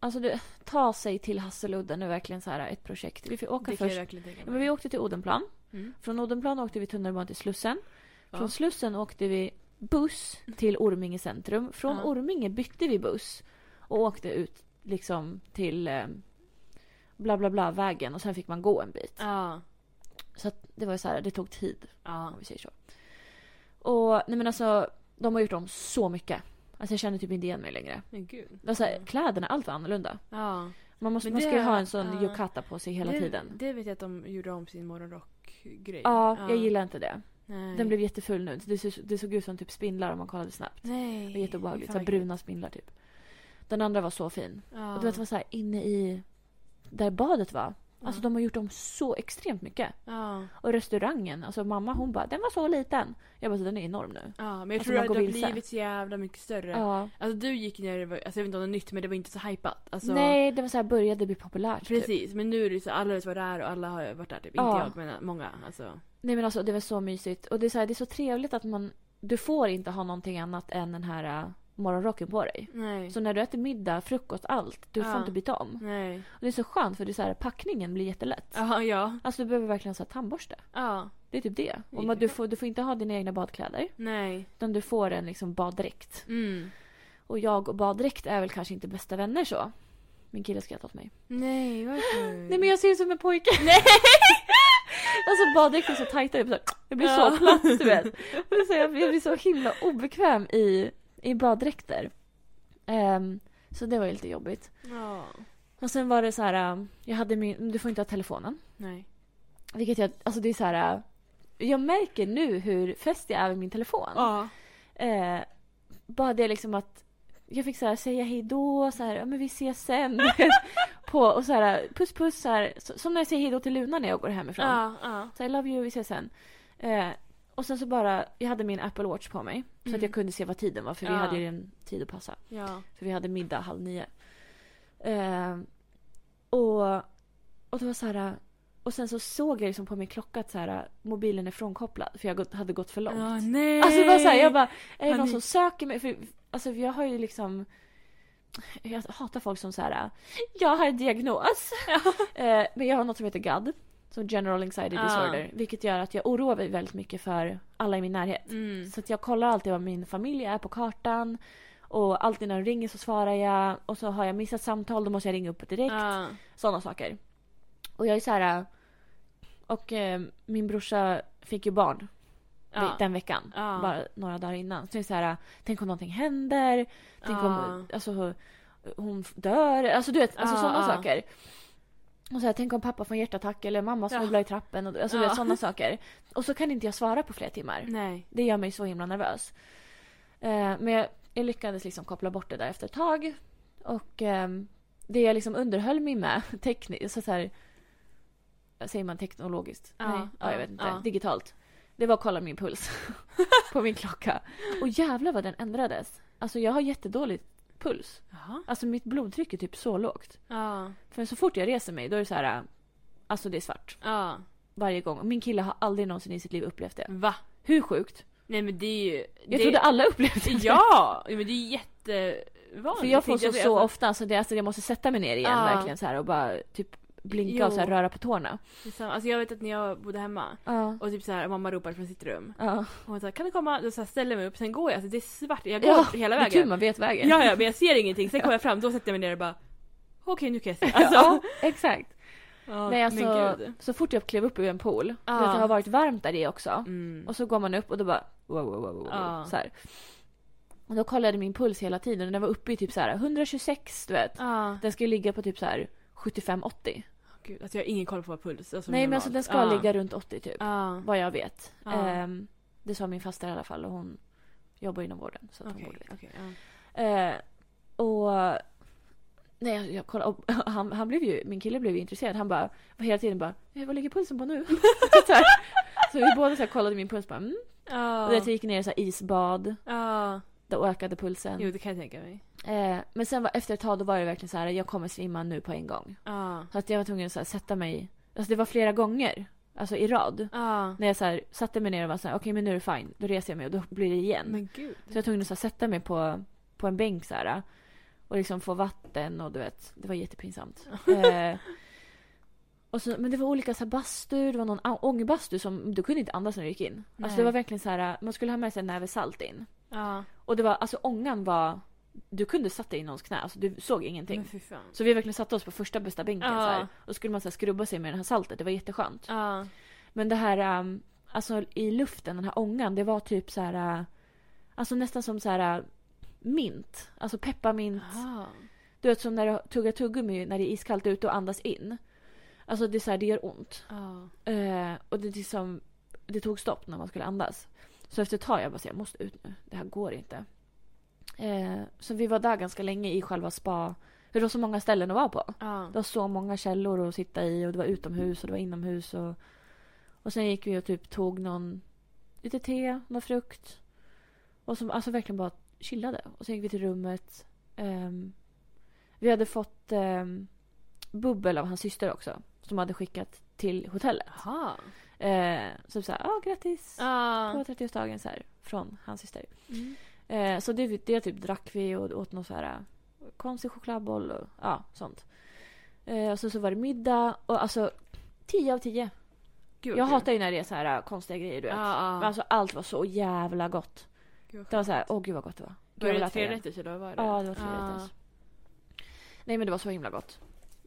[SPEAKER 1] Alltså, det, ta sig till Hasseludden är verkligen så här ett projekt. Vi fick åka
[SPEAKER 2] Det kan jag
[SPEAKER 1] först.
[SPEAKER 2] verkligen tänka
[SPEAKER 1] Ja, men
[SPEAKER 2] mig.
[SPEAKER 1] vi åkte till Odenplan.
[SPEAKER 2] Mm.
[SPEAKER 1] Från Odenplan åkte vi tunnelbana till Slussen.
[SPEAKER 2] Ja.
[SPEAKER 1] Från Slussen åkte vi buss till Orminge centrum. Från
[SPEAKER 2] Ja.
[SPEAKER 1] Orminge bytte vi buss och åkte ut liksom till eh, bla bla bla vägen och sen fick man gå en bit.
[SPEAKER 2] Ja.
[SPEAKER 1] Så att det var ju så här, det tog tid om
[SPEAKER 2] Ja.
[SPEAKER 1] vi säger så. Och nej men alltså, de har gjort om så mycket. Alltså jag känner typ inte igen mig längre.
[SPEAKER 2] Men gud.
[SPEAKER 1] Alltså,
[SPEAKER 2] Ja.
[SPEAKER 1] kläderna, allt var annorlunda.
[SPEAKER 2] Ja.
[SPEAKER 1] Man, måste,
[SPEAKER 2] Mm. Men
[SPEAKER 1] man
[SPEAKER 2] det-
[SPEAKER 1] ska ju ha en sån
[SPEAKER 2] ja.
[SPEAKER 1] yukata på sig hela
[SPEAKER 2] det,
[SPEAKER 1] tiden.
[SPEAKER 2] Det vet jag att de gjorde om sin morgonrock-grej.
[SPEAKER 1] Ja, jag gillar inte det.
[SPEAKER 2] Nej.
[SPEAKER 1] Den blev jätteful nu. Det, så, det såg ut som typ spindlar om man kollade snabbt.
[SPEAKER 2] Nej.
[SPEAKER 1] Det var jätteobehagligt.
[SPEAKER 2] fan
[SPEAKER 1] Så här
[SPEAKER 2] vad
[SPEAKER 1] bruna spindlar typ. Den andra var så fin.
[SPEAKER 2] äckligt. Ja.
[SPEAKER 1] Och du vet, det var så här inne i där badet var. Alltså
[SPEAKER 2] Ja.
[SPEAKER 1] de har gjort om så extremt mycket.
[SPEAKER 2] Ja.
[SPEAKER 1] Och restaurangen, alltså mamma hon bara den var så liten. Jag bara så den är enorm nu.
[SPEAKER 2] ja, men jag
[SPEAKER 1] Alltså,
[SPEAKER 2] tror
[SPEAKER 1] man
[SPEAKER 2] att
[SPEAKER 1] går
[SPEAKER 2] det har
[SPEAKER 1] vilse.
[SPEAKER 2] blivit så jävla mycket större.
[SPEAKER 1] Ja.
[SPEAKER 2] Alltså du gick när det var, alltså jag vet inte om det var nytt men det var inte så hypat. Alltså,
[SPEAKER 1] Nej, det var så här började bli populärt. Typ.
[SPEAKER 2] Precis, men nu är det så alla vet vad det är och alla har varit där typ.
[SPEAKER 1] Ja.
[SPEAKER 2] Inte jag men många. Alltså.
[SPEAKER 1] Nej men alltså det var så mysigt. Och det är så, här, det är så trevligt att man, du får inte ha någonting annat än den här äh, morgonrocken på dig.
[SPEAKER 2] Nej.
[SPEAKER 1] Så när du äter middag, frukost, allt, du får
[SPEAKER 2] Mm. Ja.
[SPEAKER 1] inte byta om.
[SPEAKER 2] Nej.
[SPEAKER 1] Och det är så skönt för det är så här, packningen blir jättelätt.
[SPEAKER 2] Ja, ja.
[SPEAKER 1] Alltså du behöver verkligen så här, tandborste.
[SPEAKER 2] Ja.
[SPEAKER 1] Det är typ det. Och
[SPEAKER 2] Ja.
[SPEAKER 1] man, du, får, du får inte ha dina egna badkläder.
[SPEAKER 2] Nej.
[SPEAKER 1] Utan du får en liksom baddräkt.
[SPEAKER 2] Mm.
[SPEAKER 1] Och jag och baddräkt är väl kanske inte bästa vänner så. Min kille skrattar åt mig.
[SPEAKER 2] Mm. Nej, varför?
[SPEAKER 1] Nej men jag ser ut som en pojke. Nej! Alltså baddräkten är så tajta, det blir så, det blir
[SPEAKER 2] Ja.
[SPEAKER 1] så platt du vet. Men så jag, jag blir så himla obekväm i, i baddräkter. Ehm, så det var ju lite jobbigt.
[SPEAKER 2] Ja.
[SPEAKER 1] Och sen var det så här, ähm, jag hade min, du får inte ha telefonen.
[SPEAKER 2] Nej.
[SPEAKER 1] Vilket jag, alltså det är så här. äh, Jag märker nu hur fäst jag är vid min telefon.
[SPEAKER 2] Ja.
[SPEAKER 1] Eh, bara det liksom att jag fick så här, säga hej då, så här, ja, men vi ses sen. på, och så här, puss puss, så här, så, som när jag säger hej då till Luna när jag går hemifrån.
[SPEAKER 2] Ja. ja.
[SPEAKER 1] Så här, I love you, vi ses sen. Eh, och sen så bara, jag hade min Apple Watch på mig. Så att
[SPEAKER 2] Mm.
[SPEAKER 1] jag kunde se vad tiden var för vi
[SPEAKER 2] Ja.
[SPEAKER 1] hade ju en tid att passa.
[SPEAKER 2] Ja.
[SPEAKER 1] För vi hade middag halv nio. Eh, och, och det var så här. Och sen så såg jag liksom på min klocka att så här, mobilen är frånkopplad för jag gått- hade gått för långt.
[SPEAKER 2] Ja, nej.
[SPEAKER 1] Alltså det var så här, jag bara, är det någon
[SPEAKER 2] Panik.
[SPEAKER 1] som söker mig? För, alltså jag har ju liksom jag hatar folk som så här. jag har en diagnos. Eh, men jag har något som heter GAD, som general anxiety
[SPEAKER 2] Ah.
[SPEAKER 1] disorder, vilket gör att jag oroar mig väldigt mycket för alla i min närhet.
[SPEAKER 2] Mm.
[SPEAKER 1] Så att jag kollar alltid vad min familj är på kartan och alltid när de ringer så svarar jag och så har jag missat samtal då måste jag ringa upp direkt.
[SPEAKER 2] Ja.
[SPEAKER 1] Sådana saker. Och jag är så här. och eh, min brorsa fick ju barn
[SPEAKER 2] Ja.
[SPEAKER 1] den veckan.
[SPEAKER 2] Ja.
[SPEAKER 1] Bara några dagar innan. Så det är så här, tänk om någonting händer. Tänk om
[SPEAKER 2] Ja.
[SPEAKER 1] alltså, hon- hon dör. Alltså du vet, alltså
[SPEAKER 2] Ja,
[SPEAKER 1] sådana
[SPEAKER 2] ja.
[SPEAKER 1] saker. Och så här, tänk om pappa får en hjärtattack eller mamma
[SPEAKER 2] Ja.
[SPEAKER 1] snubblar i trappen. Och, alltså du
[SPEAKER 2] Ja.
[SPEAKER 1] vet, sådana saker. Och så kan inte jag svara på flera timmar.
[SPEAKER 2] Nej.
[SPEAKER 1] Det gör mig så himla nervös. Eh, men jag, jag lyckades liksom koppla bort det där efter ett tag. Och ehm, det jag liksom underhöll mig med tekniskt, så så här, säger man teknologiskt?
[SPEAKER 2] Ja,
[SPEAKER 1] Nej, ja, jag
[SPEAKER 2] ja,
[SPEAKER 1] vet inte.
[SPEAKER 2] ja.
[SPEAKER 1] Digitalt. Det var att kolla min puls på min klocka. Och jävlar vad den ändrades. Alltså jag har jättedålig puls.
[SPEAKER 2] Jaha.
[SPEAKER 1] Alltså mitt blodtryck är typ så lågt.
[SPEAKER 2] Ja.
[SPEAKER 1] För så fort jag reser mig då är det så här, äh, alltså det är svart
[SPEAKER 2] Ja.
[SPEAKER 1] varje gång. Och Min kille har aldrig någonsin i sitt liv upplevt det.
[SPEAKER 2] Va?
[SPEAKER 1] Hur sjukt?
[SPEAKER 2] Nej men det är ju...
[SPEAKER 1] Jag
[SPEAKER 2] det...
[SPEAKER 1] trodde alla upplevde det.
[SPEAKER 2] Ja! Men det är jättevanligt.
[SPEAKER 1] För jag får så,
[SPEAKER 2] Alltså,
[SPEAKER 1] så
[SPEAKER 2] alltså-
[SPEAKER 1] ofta, så det, alltså, jag måste sätta mig ner igen
[SPEAKER 2] Ja.
[SPEAKER 1] verkligen så här och bara typ blinka och så här,
[SPEAKER 2] Jo.
[SPEAKER 1] röra på tårna.
[SPEAKER 2] Detsamma. Alltså jag vet att när jag bodde hemma
[SPEAKER 1] Ja.
[SPEAKER 2] och typ så här, mamma ropar från sitt rum.
[SPEAKER 1] Ja.
[SPEAKER 2] Och hon sa kan du komma? Då så här, ställer jag mig upp, sen går jag. Alltså, det är svart, jag går
[SPEAKER 1] Ja,
[SPEAKER 2] hela
[SPEAKER 1] det är tur
[SPEAKER 2] vägen.
[SPEAKER 1] man vet vägen.
[SPEAKER 2] Ja, ja, men jag ser ingenting. Sen kommer jag fram, då sätter jag mig ner och bara okej nu kan jag se. Alltså,
[SPEAKER 1] Ja, exakt.
[SPEAKER 2] ja,
[SPEAKER 1] Nej, alltså,
[SPEAKER 2] men gud.
[SPEAKER 1] så fort jag klev upp ur en pool,
[SPEAKER 2] Ja.
[SPEAKER 1] du vet, det har varit varmt där i också.
[SPEAKER 2] Mm.
[SPEAKER 1] Och så går man upp och då bara wow, wow, wow, wow, wow,
[SPEAKER 2] Ja.
[SPEAKER 1] så här. Och då kollade jag min puls hela tiden och den var uppe i typ så här 126 du vet.
[SPEAKER 2] Ja,
[SPEAKER 1] Den ska ju ligga på typ så här 75-80.
[SPEAKER 2] gud. Alltså jag har ingen koll på vad puls alltså,
[SPEAKER 1] Nej men alltså den
[SPEAKER 2] normalt.
[SPEAKER 1] ska
[SPEAKER 2] Ja.
[SPEAKER 1] ligga runt 80 typ.
[SPEAKER 2] Ja.
[SPEAKER 1] Vad jag vet.
[SPEAKER 2] Ja.
[SPEAKER 1] Ehm, det sa min faster i alla fall och hon jobbar inom vården. Så att hon
[SPEAKER 2] Okej,
[SPEAKER 1] borde veta.
[SPEAKER 2] okej. ja.
[SPEAKER 1] Eh, och... Nej, jag, jag kollade, och han, han blev ju, min kille blev ju intresserad. Han bara, var hela tiden bara, "Eh, vad ligger pulsen på nu? så, här. så vi båda så här kollade min puls bara, mm.
[SPEAKER 2] Ja.
[SPEAKER 1] Och jag gick ner i så här isbad,
[SPEAKER 2] Ja.
[SPEAKER 1] då ökade pulsen.
[SPEAKER 2] Jo, det kan jag tänka mig.
[SPEAKER 1] Eh, men sen var, efter ett tag då var det verkligen så här, jag kommer svimma nu på en gång.
[SPEAKER 2] Ja.
[SPEAKER 1] Så att jag var tvungen att så här, sätta mig, alltså det var flera gånger, alltså i rad.
[SPEAKER 2] Ja.
[SPEAKER 1] När jag så här, satte mig ner och var så här, okej men nu är det fine, då reser jag mig och då blir det igen.
[SPEAKER 2] Men gud.
[SPEAKER 1] Så jag var tvungen att så här, sätta mig på, på en bänk så här, och liksom få vatten och du vet, det var jättepinsamt. eh, och Och så, men det var olika så här bastur, det var någon a- ångbastu som du kunde inte andas när du gick in.
[SPEAKER 2] Nej.
[SPEAKER 1] Alltså det var verkligen så här, man skulle ha med sig en näve salt in.
[SPEAKER 2] Ja.
[SPEAKER 1] Och det var, alltså ångan var, du kunde satt dig i någons knä, alltså du såg ingenting.
[SPEAKER 2] Men fy fan.
[SPEAKER 1] Så vi verkligen satte oss på första bästa bänken
[SPEAKER 2] Ja.
[SPEAKER 1] så här. Och så skulle man så här, skrubba sig med det här saltet, det var jätteskönt.
[SPEAKER 2] Ja.
[SPEAKER 1] Men det här, ehm, alltså i luften, den här ångan, det var typ så här, eh, alltså nästan som så här eh, mint, alltså pepparmint.
[SPEAKER 2] Aha.
[SPEAKER 1] Du vet som när du tuggar tuggummi när det är iskallt ute och andas in. Alltså det, är så här, det gör ont.
[SPEAKER 2] Ja.
[SPEAKER 1] Eh, och det, är liksom, det tog stopp när man skulle andas. Så efter ett tag jag bara så, jag måste ut nu. Det här går inte. Eh, så vi var där ganska länge i själva spa. För det var så många ställen att vara på.
[SPEAKER 2] Ja.
[SPEAKER 1] Det var så många källor att sitta i och det var utomhus och det var inomhus. Och, och sen gick vi och typ tog någon, lite te, någon frukt. Och som, alltså verkligen bara chillade. Och sen gick vi till rummet. Ehm, vi hade fått ehm, bubbel av hans syster också. Som hade skickat till hotellet.
[SPEAKER 2] Aha.
[SPEAKER 1] Eh, så såhär, ah, grattis på
[SPEAKER 2] Ja.
[SPEAKER 1] 30-årsdagen så här, från hans syster.
[SPEAKER 2] Mm.
[SPEAKER 1] Eh, så det, det typ drack vi och åt någon så här eh, konstig chokladboll och ja, sånt. Eh, och så, så var det middag och alltså 10 av 10.
[SPEAKER 2] Gud,
[SPEAKER 1] Jag
[SPEAKER 2] vad kul.
[SPEAKER 1] hatar ju när det är så här eh, konstiga grejer du vet.
[SPEAKER 2] Ja,
[SPEAKER 1] Men
[SPEAKER 2] ja.
[SPEAKER 1] alltså allt var så jävla gott.
[SPEAKER 2] Gud, vad
[SPEAKER 1] Det var
[SPEAKER 2] skönt.
[SPEAKER 1] så här, åh gud vad gott det var. Gud, jag
[SPEAKER 2] Var
[SPEAKER 1] vill
[SPEAKER 2] det
[SPEAKER 1] äta
[SPEAKER 2] tre
[SPEAKER 1] igen.
[SPEAKER 2] rätter så då var det?
[SPEAKER 1] Ja, det var tre
[SPEAKER 2] Ja.
[SPEAKER 1] rätters. Nej men det var så himla gott.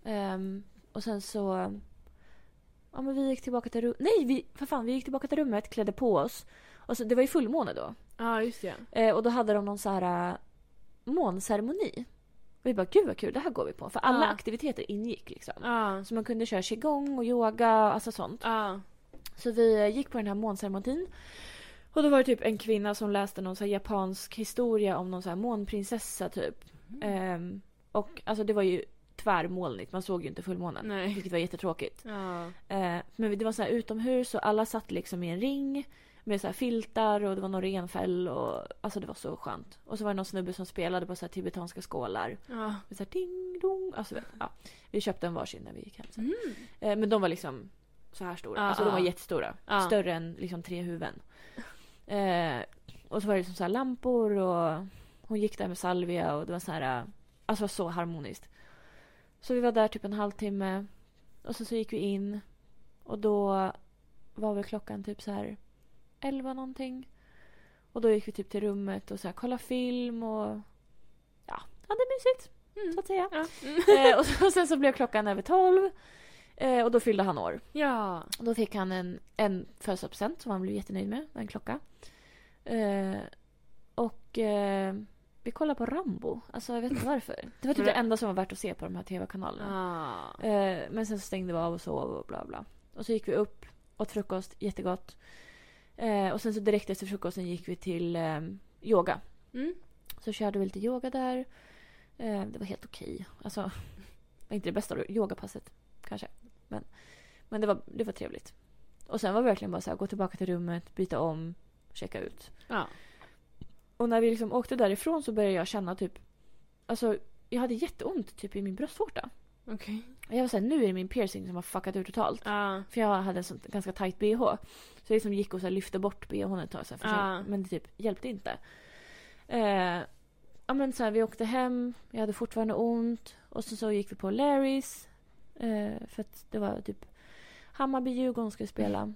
[SPEAKER 1] Ehm, och sen så... Ja men vi gick tillbaka till rummet. Nej! Vi, för fan, vi gick tillbaka till rummet, klädde på oss. Och så, det var ju fullmåne då.
[SPEAKER 2] Ja, just det.
[SPEAKER 1] Eh, och då hade de någon så här äh, månceremoni. Och vi bara gud vad kul, det här går vi på. För alla
[SPEAKER 2] Ja.
[SPEAKER 1] aktiviteter ingick liksom.
[SPEAKER 2] Ja.
[SPEAKER 1] Så man kunde köra qigong och yoga, alltså sånt.
[SPEAKER 2] Ja.
[SPEAKER 1] Så vi eh, gick på den här månceremonin. Och då var det typ en kvinna som läste någon så här japansk historia om någon så här månprinsessa typ.
[SPEAKER 2] Mm.
[SPEAKER 1] Ehm, och alltså det var ju tvärmolnigt, man såg ju inte fullmånen.
[SPEAKER 2] Nej.
[SPEAKER 1] Vilket var jättetråkigt.
[SPEAKER 2] Ja.
[SPEAKER 1] Eh, men det var så här utomhus och alla satt liksom i en ring med så här filtar och det var någon renfäll och alltså det var så skönt. Och så var det någon snubbe som spelade på så här tibetanska skålar.
[SPEAKER 2] Ja.
[SPEAKER 1] Med så här ding dong. Alltså, vet- ja. Vi köpte en varsin när vi gick hem sen.
[SPEAKER 2] Mm.
[SPEAKER 1] Eh, men de var liksom så här stora.
[SPEAKER 2] Ja,
[SPEAKER 1] alltså de var
[SPEAKER 2] ja.
[SPEAKER 1] jättestora.
[SPEAKER 2] Ja.
[SPEAKER 1] Större än liksom tre huvuden. Eh, och så var det liksom så här lampor och hon gick där med salvia och det var så här, eh, alltså det var så harmoniskt. Så vi var där typ en halvtimme och sen så gick vi in och då var väl klockan typ så här 11 någonting. Och då gick vi typ till rummet och så här kollade film och ja, hade mysigt så
[SPEAKER 2] Mm.
[SPEAKER 1] att säga.
[SPEAKER 2] Ja.
[SPEAKER 1] Eh, och, så, och sen så blev klockan över 12 eh, och då fyllde han år.
[SPEAKER 2] Ja.
[SPEAKER 1] Och då fick han en, en födelsedagspresent som han blev jättenöjd med. En klocka. Eh, och eh, vi kollade på Rambo. Alltså jag vet inte varför. Det var typ det enda som var värt att se på de här tv-kanalerna.
[SPEAKER 2] Ja.
[SPEAKER 1] Eh, men sen så stängde vi av och sov och bla bla. Och så gick vi upp, åt frukost, jättegott. Eh, och sen så direkt efter frukosten gick vi till eh, yoga.
[SPEAKER 2] Mm.
[SPEAKER 1] Så körde vi lite yoga där. Eh, det var helt okej. Alltså, det var inte det bästa yogapasset kanske. Men, men det, var, det var trevligt. Och sen var det verkligen bara så här, gå tillbaka till rummet, byta om, checka ut.
[SPEAKER 2] Ja.
[SPEAKER 1] Och när vi liksom åkte därifrån så började jag känna typ... Alltså, jag hade jätteont typ i min bröstvårta.
[SPEAKER 2] Okej.
[SPEAKER 1] Och jag var såhär, nu är det min piercing som har fuckat ur totalt.
[SPEAKER 2] Ja.
[SPEAKER 1] För jag hade en sån ganska tight bh. Så jag liksom gick och så här lyfte bort bhn ett tag. Så här, för
[SPEAKER 2] Ah.
[SPEAKER 1] Men det typ hjälpte inte. Eh, ja, men så här, vi åkte hem, jag hade fortfarande ont. Och så, så gick vi på Larrys. Eh, för att det var typ Hammarby-Djurgården skulle spela.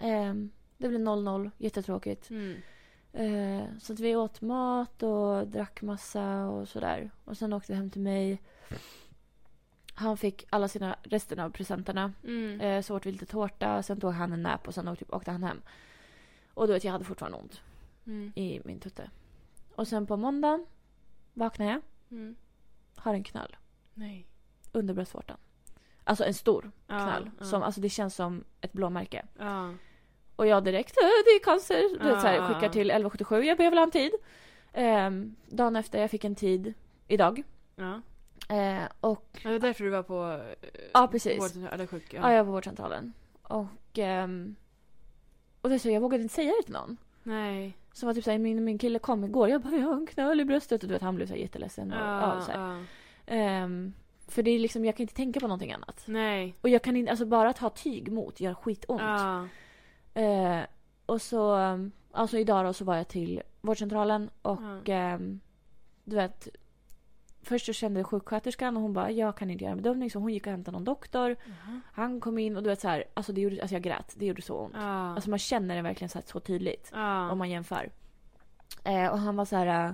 [SPEAKER 1] Eh, det blev 0-0, jättetråkigt.
[SPEAKER 2] Mm.
[SPEAKER 1] Eh, så att vi åt mat och drack massa och sådär. Och sen åkte vi hem till mig. Han fick alla sina resten av presenterna.
[SPEAKER 2] Mm.
[SPEAKER 1] Eh, Så åt vi lite tårta, sen tog han en nap och sen åkte, typ åkte han hem. Och du vet, jag hade fortfarande ont
[SPEAKER 2] Mm.
[SPEAKER 1] i min tutte. Och sen på måndagen vaknar jag,
[SPEAKER 2] Mm.
[SPEAKER 1] har en knöl
[SPEAKER 2] Nej.
[SPEAKER 1] under bröstvårtan. Alltså en stor
[SPEAKER 2] Ja,
[SPEAKER 1] knöl.
[SPEAKER 2] ja.
[SPEAKER 1] Som, alltså det känns som ett blåmärke.
[SPEAKER 2] Ja.
[SPEAKER 1] Och jag direkt, "Äh, det är cancer. Du vet, så
[SPEAKER 2] Ja,
[SPEAKER 1] här,
[SPEAKER 2] ja,
[SPEAKER 1] skickar
[SPEAKER 2] ja.
[SPEAKER 1] till 1177, jag behöver ha en tid. Ehm, dagen efter, jag fick en tid idag.
[SPEAKER 2] Ja.
[SPEAKER 1] Eh, och
[SPEAKER 2] Ja, Det var därför du var på... eh,
[SPEAKER 1] Ja, precis.
[SPEAKER 2] vården- Eller sjuk.
[SPEAKER 1] ja. jag var på vårdcentralen. Och, ehm, och det är så, jag vågade inte säga det till någon.
[SPEAKER 2] Nej.
[SPEAKER 1] Som var typ såhär, min, min kille kom igår, jag bara jag har en knöl i bröstet och du vet han blev såhär jätteledsen. Och, ja,
[SPEAKER 2] Ja.
[SPEAKER 1] så här.
[SPEAKER 2] ja.
[SPEAKER 1] Ehm, för det är liksom, jag kan inte tänka på någonting annat.
[SPEAKER 2] Nej.
[SPEAKER 1] Och jag kan inte, alltså bara att ha tyg mot gör skitont.
[SPEAKER 2] Ja.
[SPEAKER 1] Ehm, och så, ehm, alltså idag då så var jag till vårdcentralen och
[SPEAKER 2] Ja.
[SPEAKER 1] ehm, du vet Först så kände sjuksköterskan och hon bara jag kan inte göra en bedömning så hon gick och hämtade någon doktor. Han kom in och du vet så här, alltså, det gjorde, alltså jag grät. Det gjorde så ont.
[SPEAKER 2] Ah.
[SPEAKER 1] Alltså man känner det verkligen så, här, så tydligt
[SPEAKER 2] ah.
[SPEAKER 1] om man jämför. Eh, och han var så här... eh,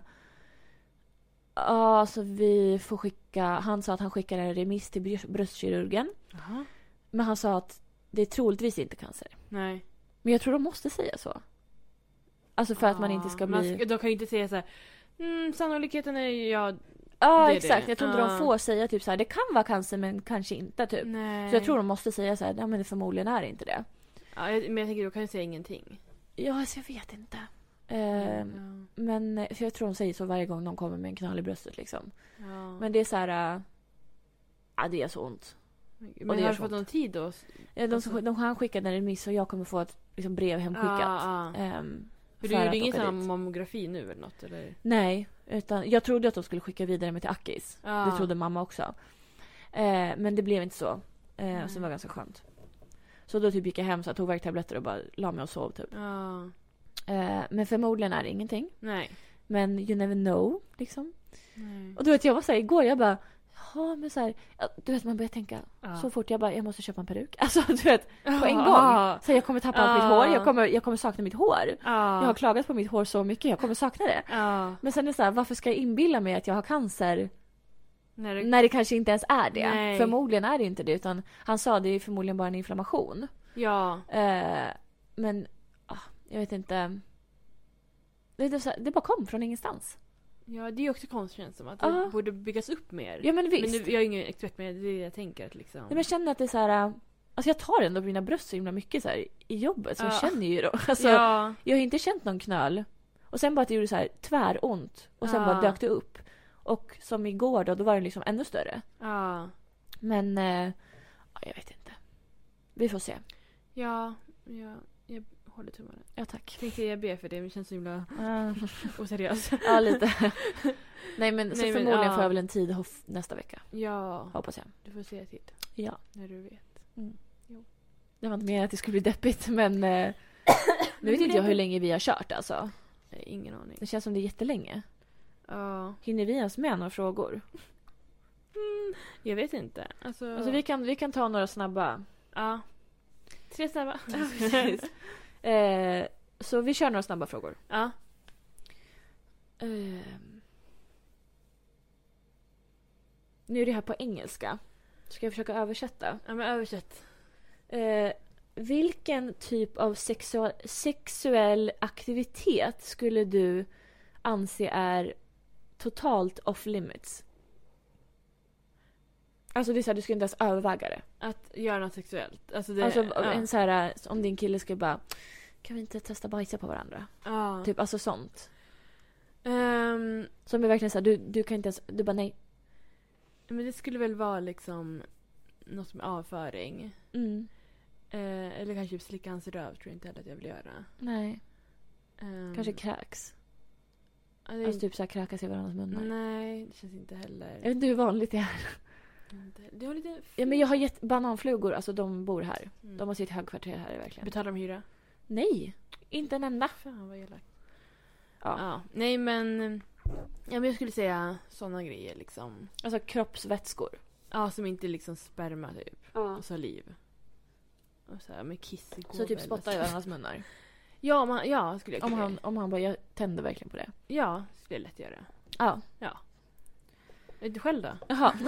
[SPEAKER 1] Ja, alltså vi får skicka... Han sa att han skickar en remiss till brö- bröstkirurgen.
[SPEAKER 2] Jaha.
[SPEAKER 1] Men han sa att det är troligtvis inte cancer.
[SPEAKER 2] Nej.
[SPEAKER 1] Men jag tror de måste säga så. Alltså för att man inte ska
[SPEAKER 2] Ah,
[SPEAKER 1] bli...
[SPEAKER 2] ska- de kan ju inte säga så här. Mm, sannolikheten är ju ja.
[SPEAKER 1] Ja,
[SPEAKER 2] det är
[SPEAKER 1] exakt.
[SPEAKER 2] det.
[SPEAKER 1] Jag tror inte
[SPEAKER 2] Ah.
[SPEAKER 1] de får säga typ så här, det kan vara cancer men kanske inte typ.
[SPEAKER 2] Nej.
[SPEAKER 1] Så jag tror de måste säga så här, ja men det förmodligen är inte det.
[SPEAKER 2] Ja, jag- men jag tänker då kan jag säga ingenting.
[SPEAKER 1] Ja, alltså jag vet inte. Eh,
[SPEAKER 2] Ja.
[SPEAKER 1] Men eh, för jag tror de säger så varje gång de kommer med en knall i bröstet liksom.
[SPEAKER 2] Ja.
[SPEAKER 1] Men det är så här... äh, Ja, det gör så ont.
[SPEAKER 2] Men
[SPEAKER 1] det gör
[SPEAKER 2] har du
[SPEAKER 1] så
[SPEAKER 2] fått
[SPEAKER 1] ont.
[SPEAKER 2] någon tid då?
[SPEAKER 1] Ja, De,
[SPEAKER 2] Alltså-
[SPEAKER 1] som- de, han skickade en remiss och jag kommer få ett liksom, brev hemskickat.
[SPEAKER 2] Ah, ah.
[SPEAKER 1] ehm, för
[SPEAKER 2] För du gjorde
[SPEAKER 1] att
[SPEAKER 2] ingen
[SPEAKER 1] åka
[SPEAKER 2] sån här
[SPEAKER 1] dit.
[SPEAKER 2] mammografi nu eller något? Eller?
[SPEAKER 1] Nej, utan jag trodde att de skulle skicka vidare mig till Akis.
[SPEAKER 2] Ah.
[SPEAKER 1] Det trodde mamma också. Eh, men det blev inte så. Eh, och
[SPEAKER 2] Nej.
[SPEAKER 1] så var det ganska skönt. Så då typ gick jag hem så jag tog värktabletter och bara la mig och sov typ.
[SPEAKER 2] Ja.
[SPEAKER 1] Eh, men förmodligen är det ingenting.
[SPEAKER 2] Nej.
[SPEAKER 1] Men you never know liksom.
[SPEAKER 2] Nej.
[SPEAKER 1] Och du vet jag var såhär igår, jag bara Jaha men såhär. ja, Du vet man börjar tänka
[SPEAKER 2] Ja.
[SPEAKER 1] så fort jag bara jag måste köpa en peruk. Alltså du vet på en gång.
[SPEAKER 2] Ja.
[SPEAKER 1] Så jag kommer tappa allt
[SPEAKER 2] Ah.
[SPEAKER 1] mitt hår, jag kommer, jag kommer sakna mitt hår. Jag har
[SPEAKER 2] Ja.
[SPEAKER 1] klagat på mitt hår så mycket, jag kommer sakna det.
[SPEAKER 2] Ja.
[SPEAKER 1] Men sen är det så här, varför ska jag inbilla mig att jag har cancer
[SPEAKER 2] När det...
[SPEAKER 1] när det kanske inte ens är det?
[SPEAKER 2] Nej.
[SPEAKER 1] Förmodligen är det inte det utan han sa det är förmodligen bara en inflammation.
[SPEAKER 2] Ja.
[SPEAKER 1] Eh, men ah, jag vet inte. Det, är så här, det bara kom från ingenstans.
[SPEAKER 2] ja, det är ju också konstigt känns det som. Att det
[SPEAKER 1] Ja.
[SPEAKER 2] borde byggas upp mer.
[SPEAKER 1] Ja men visst.
[SPEAKER 2] men nu, jag är ingen expert men det är det jag tänker. Att liksom...
[SPEAKER 1] Nej, men jag känner att det är så här. äh, Alltså jag tar ändå på mina bröst så himla mycket så här, i jobbet så jag
[SPEAKER 2] Ja.
[SPEAKER 1] känner ju dem. Alltså,
[SPEAKER 2] ja.
[SPEAKER 1] Jag har inte känt någon knöl. Och sen bara att det gjorde så här tväront och sen
[SPEAKER 2] Ja.
[SPEAKER 1] bara dök det upp. Och som igår då, då var den liksom ännu större.
[SPEAKER 2] Ja.
[SPEAKER 1] Men eh, ja, jag vet inte. Vi får se.
[SPEAKER 2] Ja. ja. Jag håller tummarna.
[SPEAKER 1] Ja tack.
[SPEAKER 2] Tänkte jag be för det men det känns så himla oseriöst.
[SPEAKER 1] ja lite. Nej men så
[SPEAKER 2] Nej, men,
[SPEAKER 1] förmodligen
[SPEAKER 2] ja.
[SPEAKER 1] får jag väl en tid hof- nästa vecka.
[SPEAKER 2] Ja.
[SPEAKER 1] Hoppas jag.
[SPEAKER 2] Du får säga till
[SPEAKER 1] Ja.
[SPEAKER 2] när du vet.
[SPEAKER 1] Det var inte meningen att det skulle bli deppigt men eh, nu vet inte
[SPEAKER 2] det
[SPEAKER 1] jag
[SPEAKER 2] blev-
[SPEAKER 1] hur länge vi har kört alltså.
[SPEAKER 2] Nej, ingen aning.
[SPEAKER 1] Det känns som det är jättelänge.
[SPEAKER 2] Ja.
[SPEAKER 1] Hinner vi ens med några frågor?
[SPEAKER 2] Jag vet inte. Alltså,
[SPEAKER 1] Alltså vi kan, vi kan ta några snabba.
[SPEAKER 2] ja. Tre snabba.
[SPEAKER 1] Eh, så vi kör några snabba frågor.
[SPEAKER 2] ja.
[SPEAKER 1] Ehm. Nu är det här på engelska. Ska jag försöka översätta?
[SPEAKER 2] ja, men översätt.
[SPEAKER 1] Eh, vilken typ av sexual, sexuell aktivitet skulle du anse är totalt off limits? Alltså det är så här, du skulle inte ens överväga det.
[SPEAKER 2] Att göra något sexuellt. Alltså det...
[SPEAKER 1] alltså
[SPEAKER 2] ja.
[SPEAKER 1] en så här, om din kille skulle bara kan vi inte testa bajsa på varandra?
[SPEAKER 2] Ja.
[SPEAKER 1] Typ alltså sånt.
[SPEAKER 2] Ehm,
[SPEAKER 1] Som är verkligen så här, du, du kan inte ens, du bara nej.
[SPEAKER 2] men det skulle väl vara liksom något med avföring.
[SPEAKER 1] Mm,
[SPEAKER 2] Eh, eller kanske typ slicka hans röv tror jag inte heller att jag vill göra.
[SPEAKER 1] nej.
[SPEAKER 2] Ehm,
[SPEAKER 1] Kanske kräks.
[SPEAKER 2] ja, det är
[SPEAKER 1] Alltså
[SPEAKER 2] inte-
[SPEAKER 1] typ såhär kräkas i varandras munnar.
[SPEAKER 2] Nej, det känns inte heller.
[SPEAKER 1] Mm. Jag vet inte hur vanligt det är.
[SPEAKER 2] Inte- Det har lite...
[SPEAKER 1] Ja, men jag har gett bananflugor, alltså de bor här.
[SPEAKER 2] Mm.
[SPEAKER 1] De har sitt högkvarter här verkligen.
[SPEAKER 2] Betalar de hyra?
[SPEAKER 1] Nej! Inte en enda.
[SPEAKER 2] Fan vad elakt.
[SPEAKER 1] Ja.
[SPEAKER 2] Ja. Nej men... Ja men jag skulle säga sådana grejer liksom.
[SPEAKER 1] Alltså kroppsvätskor.
[SPEAKER 2] Ja, som inte liksom sperma typ.
[SPEAKER 1] Ja.
[SPEAKER 2] Och saliv. Och så här med kiss i
[SPEAKER 1] Så typ spottar i
[SPEAKER 2] jag.
[SPEAKER 1] varandras munnar.
[SPEAKER 2] Ja, man, ja skulle jag
[SPEAKER 1] Om
[SPEAKER 2] kunna
[SPEAKER 1] han,
[SPEAKER 2] göra.
[SPEAKER 1] om han bara, jag tänder verkligen på det.
[SPEAKER 2] Ja, skulle jag lätt göra.
[SPEAKER 1] Ja.
[SPEAKER 2] Är du själv då?
[SPEAKER 1] Jaha.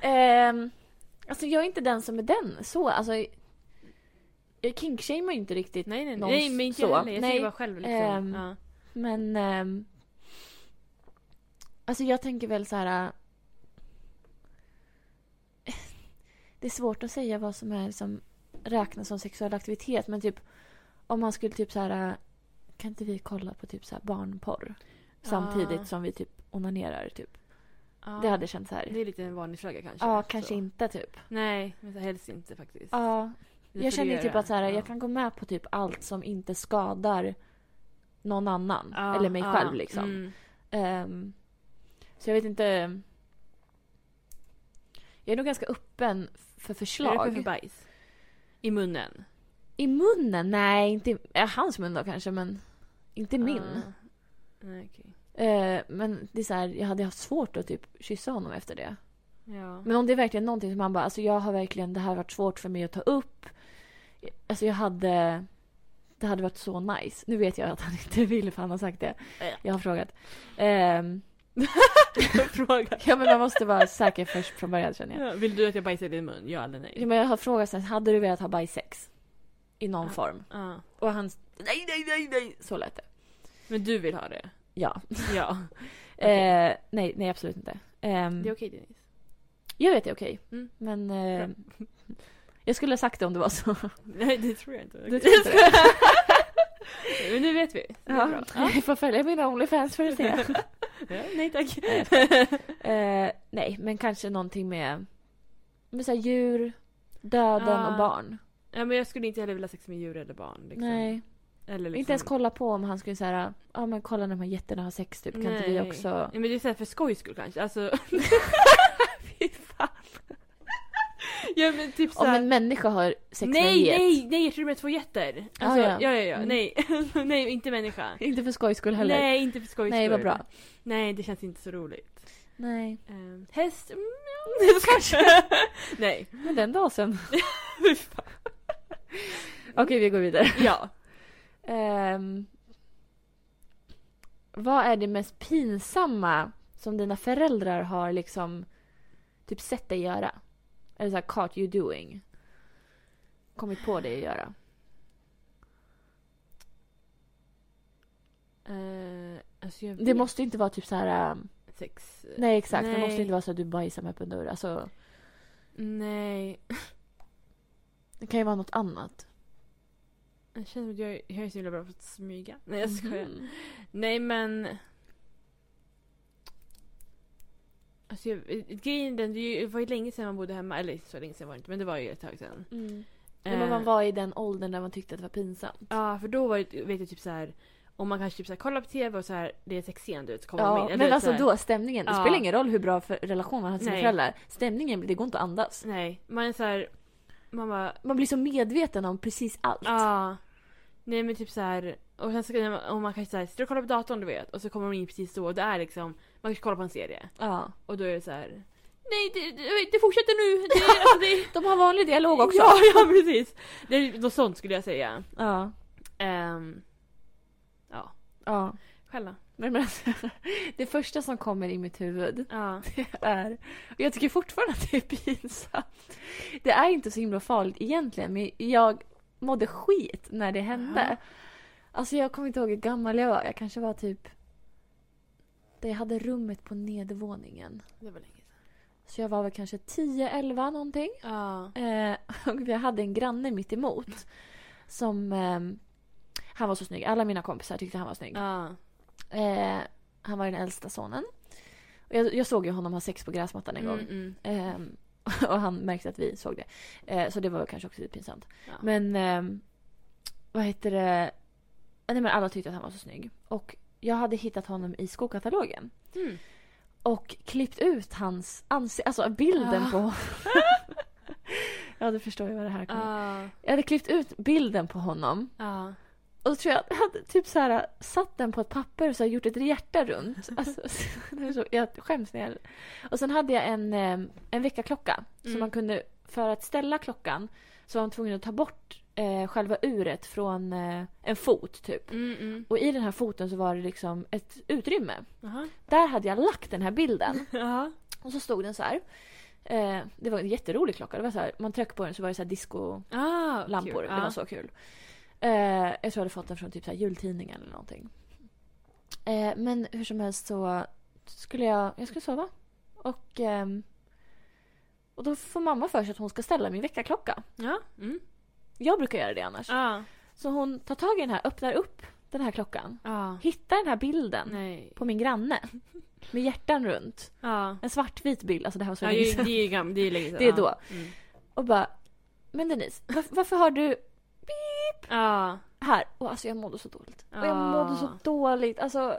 [SPEAKER 1] Ehm, alltså jag är inte den som är den så. Alltså, jag kinkshamear ju inte riktigt.
[SPEAKER 2] Nej, nej, nej.
[SPEAKER 1] Någon
[SPEAKER 2] Nej, men inte
[SPEAKER 1] så.
[SPEAKER 2] jag heller. Jag
[SPEAKER 1] Nej.
[SPEAKER 2] säger bara själv liksom.
[SPEAKER 1] Ehm.
[SPEAKER 2] Ja.
[SPEAKER 1] Men... ehm, alltså jag tänker väl så här... äh, Det är svårt att säga vad som är som räknas som sexuell aktivitet. Men typ om man skulle typ så här... äh, Kan inte vi kolla på typ så här barnporr?
[SPEAKER 2] Ah.
[SPEAKER 1] Samtidigt som vi typ onanerar typ.
[SPEAKER 2] Ja.
[SPEAKER 1] Det hade känts så
[SPEAKER 2] Ah. Det
[SPEAKER 1] här.
[SPEAKER 2] är lite en varningsflagga kanske.
[SPEAKER 1] Ja, kanske
[SPEAKER 2] så.
[SPEAKER 1] inte typ.
[SPEAKER 2] Nej, men så helst inte faktiskt.
[SPEAKER 1] Ja,
[SPEAKER 2] Det får
[SPEAKER 1] jag
[SPEAKER 2] du
[SPEAKER 1] känner ju typ
[SPEAKER 2] göra.
[SPEAKER 1] att så här,
[SPEAKER 2] Ja.
[SPEAKER 1] jag kan gå med på typ allt som inte skadar någon annan.
[SPEAKER 2] Ja,
[SPEAKER 1] eller mig
[SPEAKER 2] ja,
[SPEAKER 1] själv liksom.
[SPEAKER 2] mm.
[SPEAKER 1] Ehm, så jag vet inte. Jag är nog ganska öppen för
[SPEAKER 2] Vad är det
[SPEAKER 1] förslag.
[SPEAKER 2] för bajs? I munnen?
[SPEAKER 1] I munnen? Nej, inte i, eh, hans mun då kanske men inte min.
[SPEAKER 2] Ah. Nej, okej.
[SPEAKER 1] Eh, men det är så här, jag hade haft svårt att typ kyssa honom efter det.
[SPEAKER 2] Ja.
[SPEAKER 1] Men om det är verkligen någonting som han bara, alltså jag har verkligen, det här har varit svårt för mig att ta upp. Alltså jag hade, det hade varit så nice. Nu vet jag att han inte vill för han har sagt det.
[SPEAKER 2] Ja.
[SPEAKER 1] Jag har frågat. Ehm, ja men man måste vara säker först från början känner jag.
[SPEAKER 2] Ja, Vill du att jag bajsar i din mun? Ja eller
[SPEAKER 1] Ja,
[SPEAKER 2] nej?
[SPEAKER 1] men jag har frågat sen, hade du velat ha bajsex? I någon
[SPEAKER 2] Ja.
[SPEAKER 1] form.
[SPEAKER 2] Ja.
[SPEAKER 1] Och han, nej nej nej nej. Så lät det.
[SPEAKER 2] Men du vill ha det?
[SPEAKER 1] Ja.
[SPEAKER 2] Ja.
[SPEAKER 1] Eh, nej, nej absolut inte. Ehm,
[SPEAKER 2] Det är okej Denise.
[SPEAKER 1] Jag vet det är okej.
[SPEAKER 2] Mm.
[SPEAKER 1] Men eh, jag skulle ha sagt det om det var så.
[SPEAKER 2] Nej det tror jag inte.
[SPEAKER 1] Du tror inte det?
[SPEAKER 2] Men nu vet vi. Det är
[SPEAKER 1] Ja,
[SPEAKER 2] bra.
[SPEAKER 1] ni får följa mina Onlyfans för att se.
[SPEAKER 2] Ja, Nej tack.
[SPEAKER 1] eh, nej, men kanske någonting med, med så här djur, döden
[SPEAKER 2] Ah,
[SPEAKER 1] och barn.
[SPEAKER 2] Ja, men jag skulle inte heller vilja ha sex med djur eller barn. Liksom.
[SPEAKER 1] Nej,
[SPEAKER 2] Eller liksom...
[SPEAKER 1] inte ens kolla på om han skulle säga ja men kolla när de här jätterna har sex typ, kan inte vi
[SPEAKER 2] Nej.
[SPEAKER 1] också?
[SPEAKER 2] Ja, men det är såhär för skojs skull kanske. Alltså...
[SPEAKER 1] Fy fan.
[SPEAKER 2] ja men typ
[SPEAKER 1] Om
[SPEAKER 2] såhär...
[SPEAKER 1] en människa har sex med en
[SPEAKER 2] nej,
[SPEAKER 1] get.
[SPEAKER 2] nej, nej! Jag tror det är två getter.
[SPEAKER 1] Ah,
[SPEAKER 2] Alltså,
[SPEAKER 1] ja.
[SPEAKER 2] ja, ja, ja.
[SPEAKER 1] Mm.
[SPEAKER 2] Nej. nej, inte människa.
[SPEAKER 1] Inte för skojs skull heller.
[SPEAKER 2] Nej, inte för skojs
[SPEAKER 1] nej vad
[SPEAKER 2] skull.
[SPEAKER 1] bra.
[SPEAKER 2] Nej, det känns inte så roligt.
[SPEAKER 1] Nej.
[SPEAKER 2] Um, häst? Mm, ja, kanske. nej.
[SPEAKER 1] Men den dagen.
[SPEAKER 2] Fy fan.
[SPEAKER 1] Okej, vi går vidare.
[SPEAKER 2] ja.
[SPEAKER 1] Ehm, vad är det mest pinsamma som dina föräldrar har liksom typ sett dig göra? Eller så här, caught you doing. Kommit på dig att göra.
[SPEAKER 2] Uh, alltså jag
[SPEAKER 1] Det
[SPEAKER 2] vet-
[SPEAKER 1] måste inte vara typ så här. ähm,
[SPEAKER 2] Sex?
[SPEAKER 1] nej exakt, det
[SPEAKER 2] Nej.
[SPEAKER 1] måste inte vara så att du bajsar med öppen dörr. Alltså,
[SPEAKER 2] Nej.
[SPEAKER 1] det kan ju vara något annat.
[SPEAKER 2] Det känns som att jag, jag är så himla bra på att smyga. Nej jag skojar.
[SPEAKER 1] Mhm.
[SPEAKER 2] Nej men... Alltså jag, grejen är den, det är ju- det var ju länge sedan man bodde hemma. Eller så länge sedan var det inte men det var ju ett tag sedan.
[SPEAKER 1] Mm. Ja, men man
[SPEAKER 2] Eh,
[SPEAKER 1] var i den åldern där man tyckte att det var pinsamt.
[SPEAKER 2] Ja för då var det, vet jag typ så här. Om man kanske typ så här, kollar på TV och så här, det är sexscen du vet så kommer de in.
[SPEAKER 1] Ja,
[SPEAKER 2] Eller typ
[SPEAKER 1] men
[SPEAKER 2] så
[SPEAKER 1] alltså
[SPEAKER 2] här-
[SPEAKER 1] då stämningen. Det
[SPEAKER 2] Ja.
[SPEAKER 1] spelar ingen roll hur bra för relation man har till sina
[SPEAKER 2] Nej.
[SPEAKER 1] föräldrar. Stämningen, det går inte att andas.
[SPEAKER 2] Nej, man är så här, Man bara...
[SPEAKER 1] Man blir så medveten om precis allt.
[SPEAKER 2] Typ. Ja. Nej men typ så här. Och sen så, om man kanske så här, sitter och kollar på datorn du vet och så kommer de in precis då och det är liksom, man kanske kollar på en serie
[SPEAKER 1] Ja.
[SPEAKER 2] och då är det så här. Nej det, det, det fortsätter nu! Det, alltså, det,
[SPEAKER 1] De har vanlig dialog också.
[SPEAKER 2] Ja, ja precis! Det är något sånt skulle jag säga.
[SPEAKER 1] Ja.
[SPEAKER 2] Ehm, ja,
[SPEAKER 1] ja.
[SPEAKER 2] själv då?
[SPEAKER 1] Men, men alltså, det första som kommer i mitt huvud
[SPEAKER 2] Ja.
[SPEAKER 1] är, och jag tycker fortfarande att det är pinsamt. Det är inte så himla farligt egentligen men jag mådde skit när det hände. Alltså jag kommer inte ihåg hur gammal jag var. Jag kanske var typ... Där jag hade rummet på nedervåningen.
[SPEAKER 2] Det var länge sedan.
[SPEAKER 1] Så jag var väl kanske 10-11 någonting.
[SPEAKER 2] Ja.
[SPEAKER 1] Eh, och jag hade en granne mitt emot som... ehm, han var så snygg. Alla mina kompisar tyckte han var snygg.
[SPEAKER 2] Ja.
[SPEAKER 1] Eh, han var den äldsta sonen. Och jag, jag såg ju honom ha sex på gräsmattan en
[SPEAKER 2] Mm,
[SPEAKER 1] gång.
[SPEAKER 2] mm.
[SPEAKER 1] Ehm, och han märkte att vi såg det. Eh, så det var kanske också lite pinsamt.
[SPEAKER 2] Ja.
[SPEAKER 1] Men ehm, vad heter det? Nej, men alla tyckte att han var så snygg. Och jag hade hittat honom i skokatalogen.
[SPEAKER 2] Mm.
[SPEAKER 1] Och klippt ut hans ansikte, alltså bilden
[SPEAKER 2] Ah.
[SPEAKER 1] på... ja, du förstår ju vad det här kommer.
[SPEAKER 2] Ja.
[SPEAKER 1] Jag hade klippt ut bilden på honom
[SPEAKER 2] Ja.
[SPEAKER 1] och så tror jag att jag hade typ så här, satt den på ett papper och så här, gjort ett hjärta runt. Alltså, det är så, jag skäms när jag... Och sen hade jag en, eh, en väckarklocka. Så
[SPEAKER 2] Mm.
[SPEAKER 1] man kunde, för att ställa klockan så var man tvungen att ta bort eh, själva uret från eh, en fot typ.
[SPEAKER 2] Mm, mm.
[SPEAKER 1] Och i den här foten så var det liksom ett utrymme.
[SPEAKER 2] Jaha.
[SPEAKER 1] Där hade jag lagt den här bilden.
[SPEAKER 2] Ja.
[SPEAKER 1] Och så stod den så här. Eh, det var en jätterolig klocka. Det var så här, man tryckte på den så var det så här disco-lampor.
[SPEAKER 2] Ah, kul.
[SPEAKER 1] Det
[SPEAKER 2] Ja.
[SPEAKER 1] var så kul. Eh, jag tror jag hade fått den från typ så här jultidningen eller någonting. Eh, men hur som helst så skulle jag, jag skulle sova. Och, ehm, och då får mamma för sig att hon ska ställa min väckarklocka.
[SPEAKER 2] Ja. Mm.
[SPEAKER 1] Jag brukar göra det annars.
[SPEAKER 2] Ja.
[SPEAKER 1] Så hon tar tag i den här, öppnar upp den här klockan.
[SPEAKER 2] Ja.
[SPEAKER 1] Hittar den här bilden
[SPEAKER 2] Nej.
[SPEAKER 1] på min granne. Med hjärtan runt.
[SPEAKER 2] Ja.
[SPEAKER 1] En svartvit bild. Alltså det här var så
[SPEAKER 2] Ja,
[SPEAKER 1] länge
[SPEAKER 2] ju-
[SPEAKER 1] sedan.
[SPEAKER 2] det är ju gam- det är länge sedan.
[SPEAKER 1] Det är
[SPEAKER 2] ja.
[SPEAKER 1] då.
[SPEAKER 2] Mm.
[SPEAKER 1] Och bara, men Denise, varför, varför har du
[SPEAKER 2] Ja.
[SPEAKER 1] här? Och alltså jag mådde så dåligt. Och jag
[SPEAKER 2] Ah.
[SPEAKER 1] mådde så dåligt. Alltså,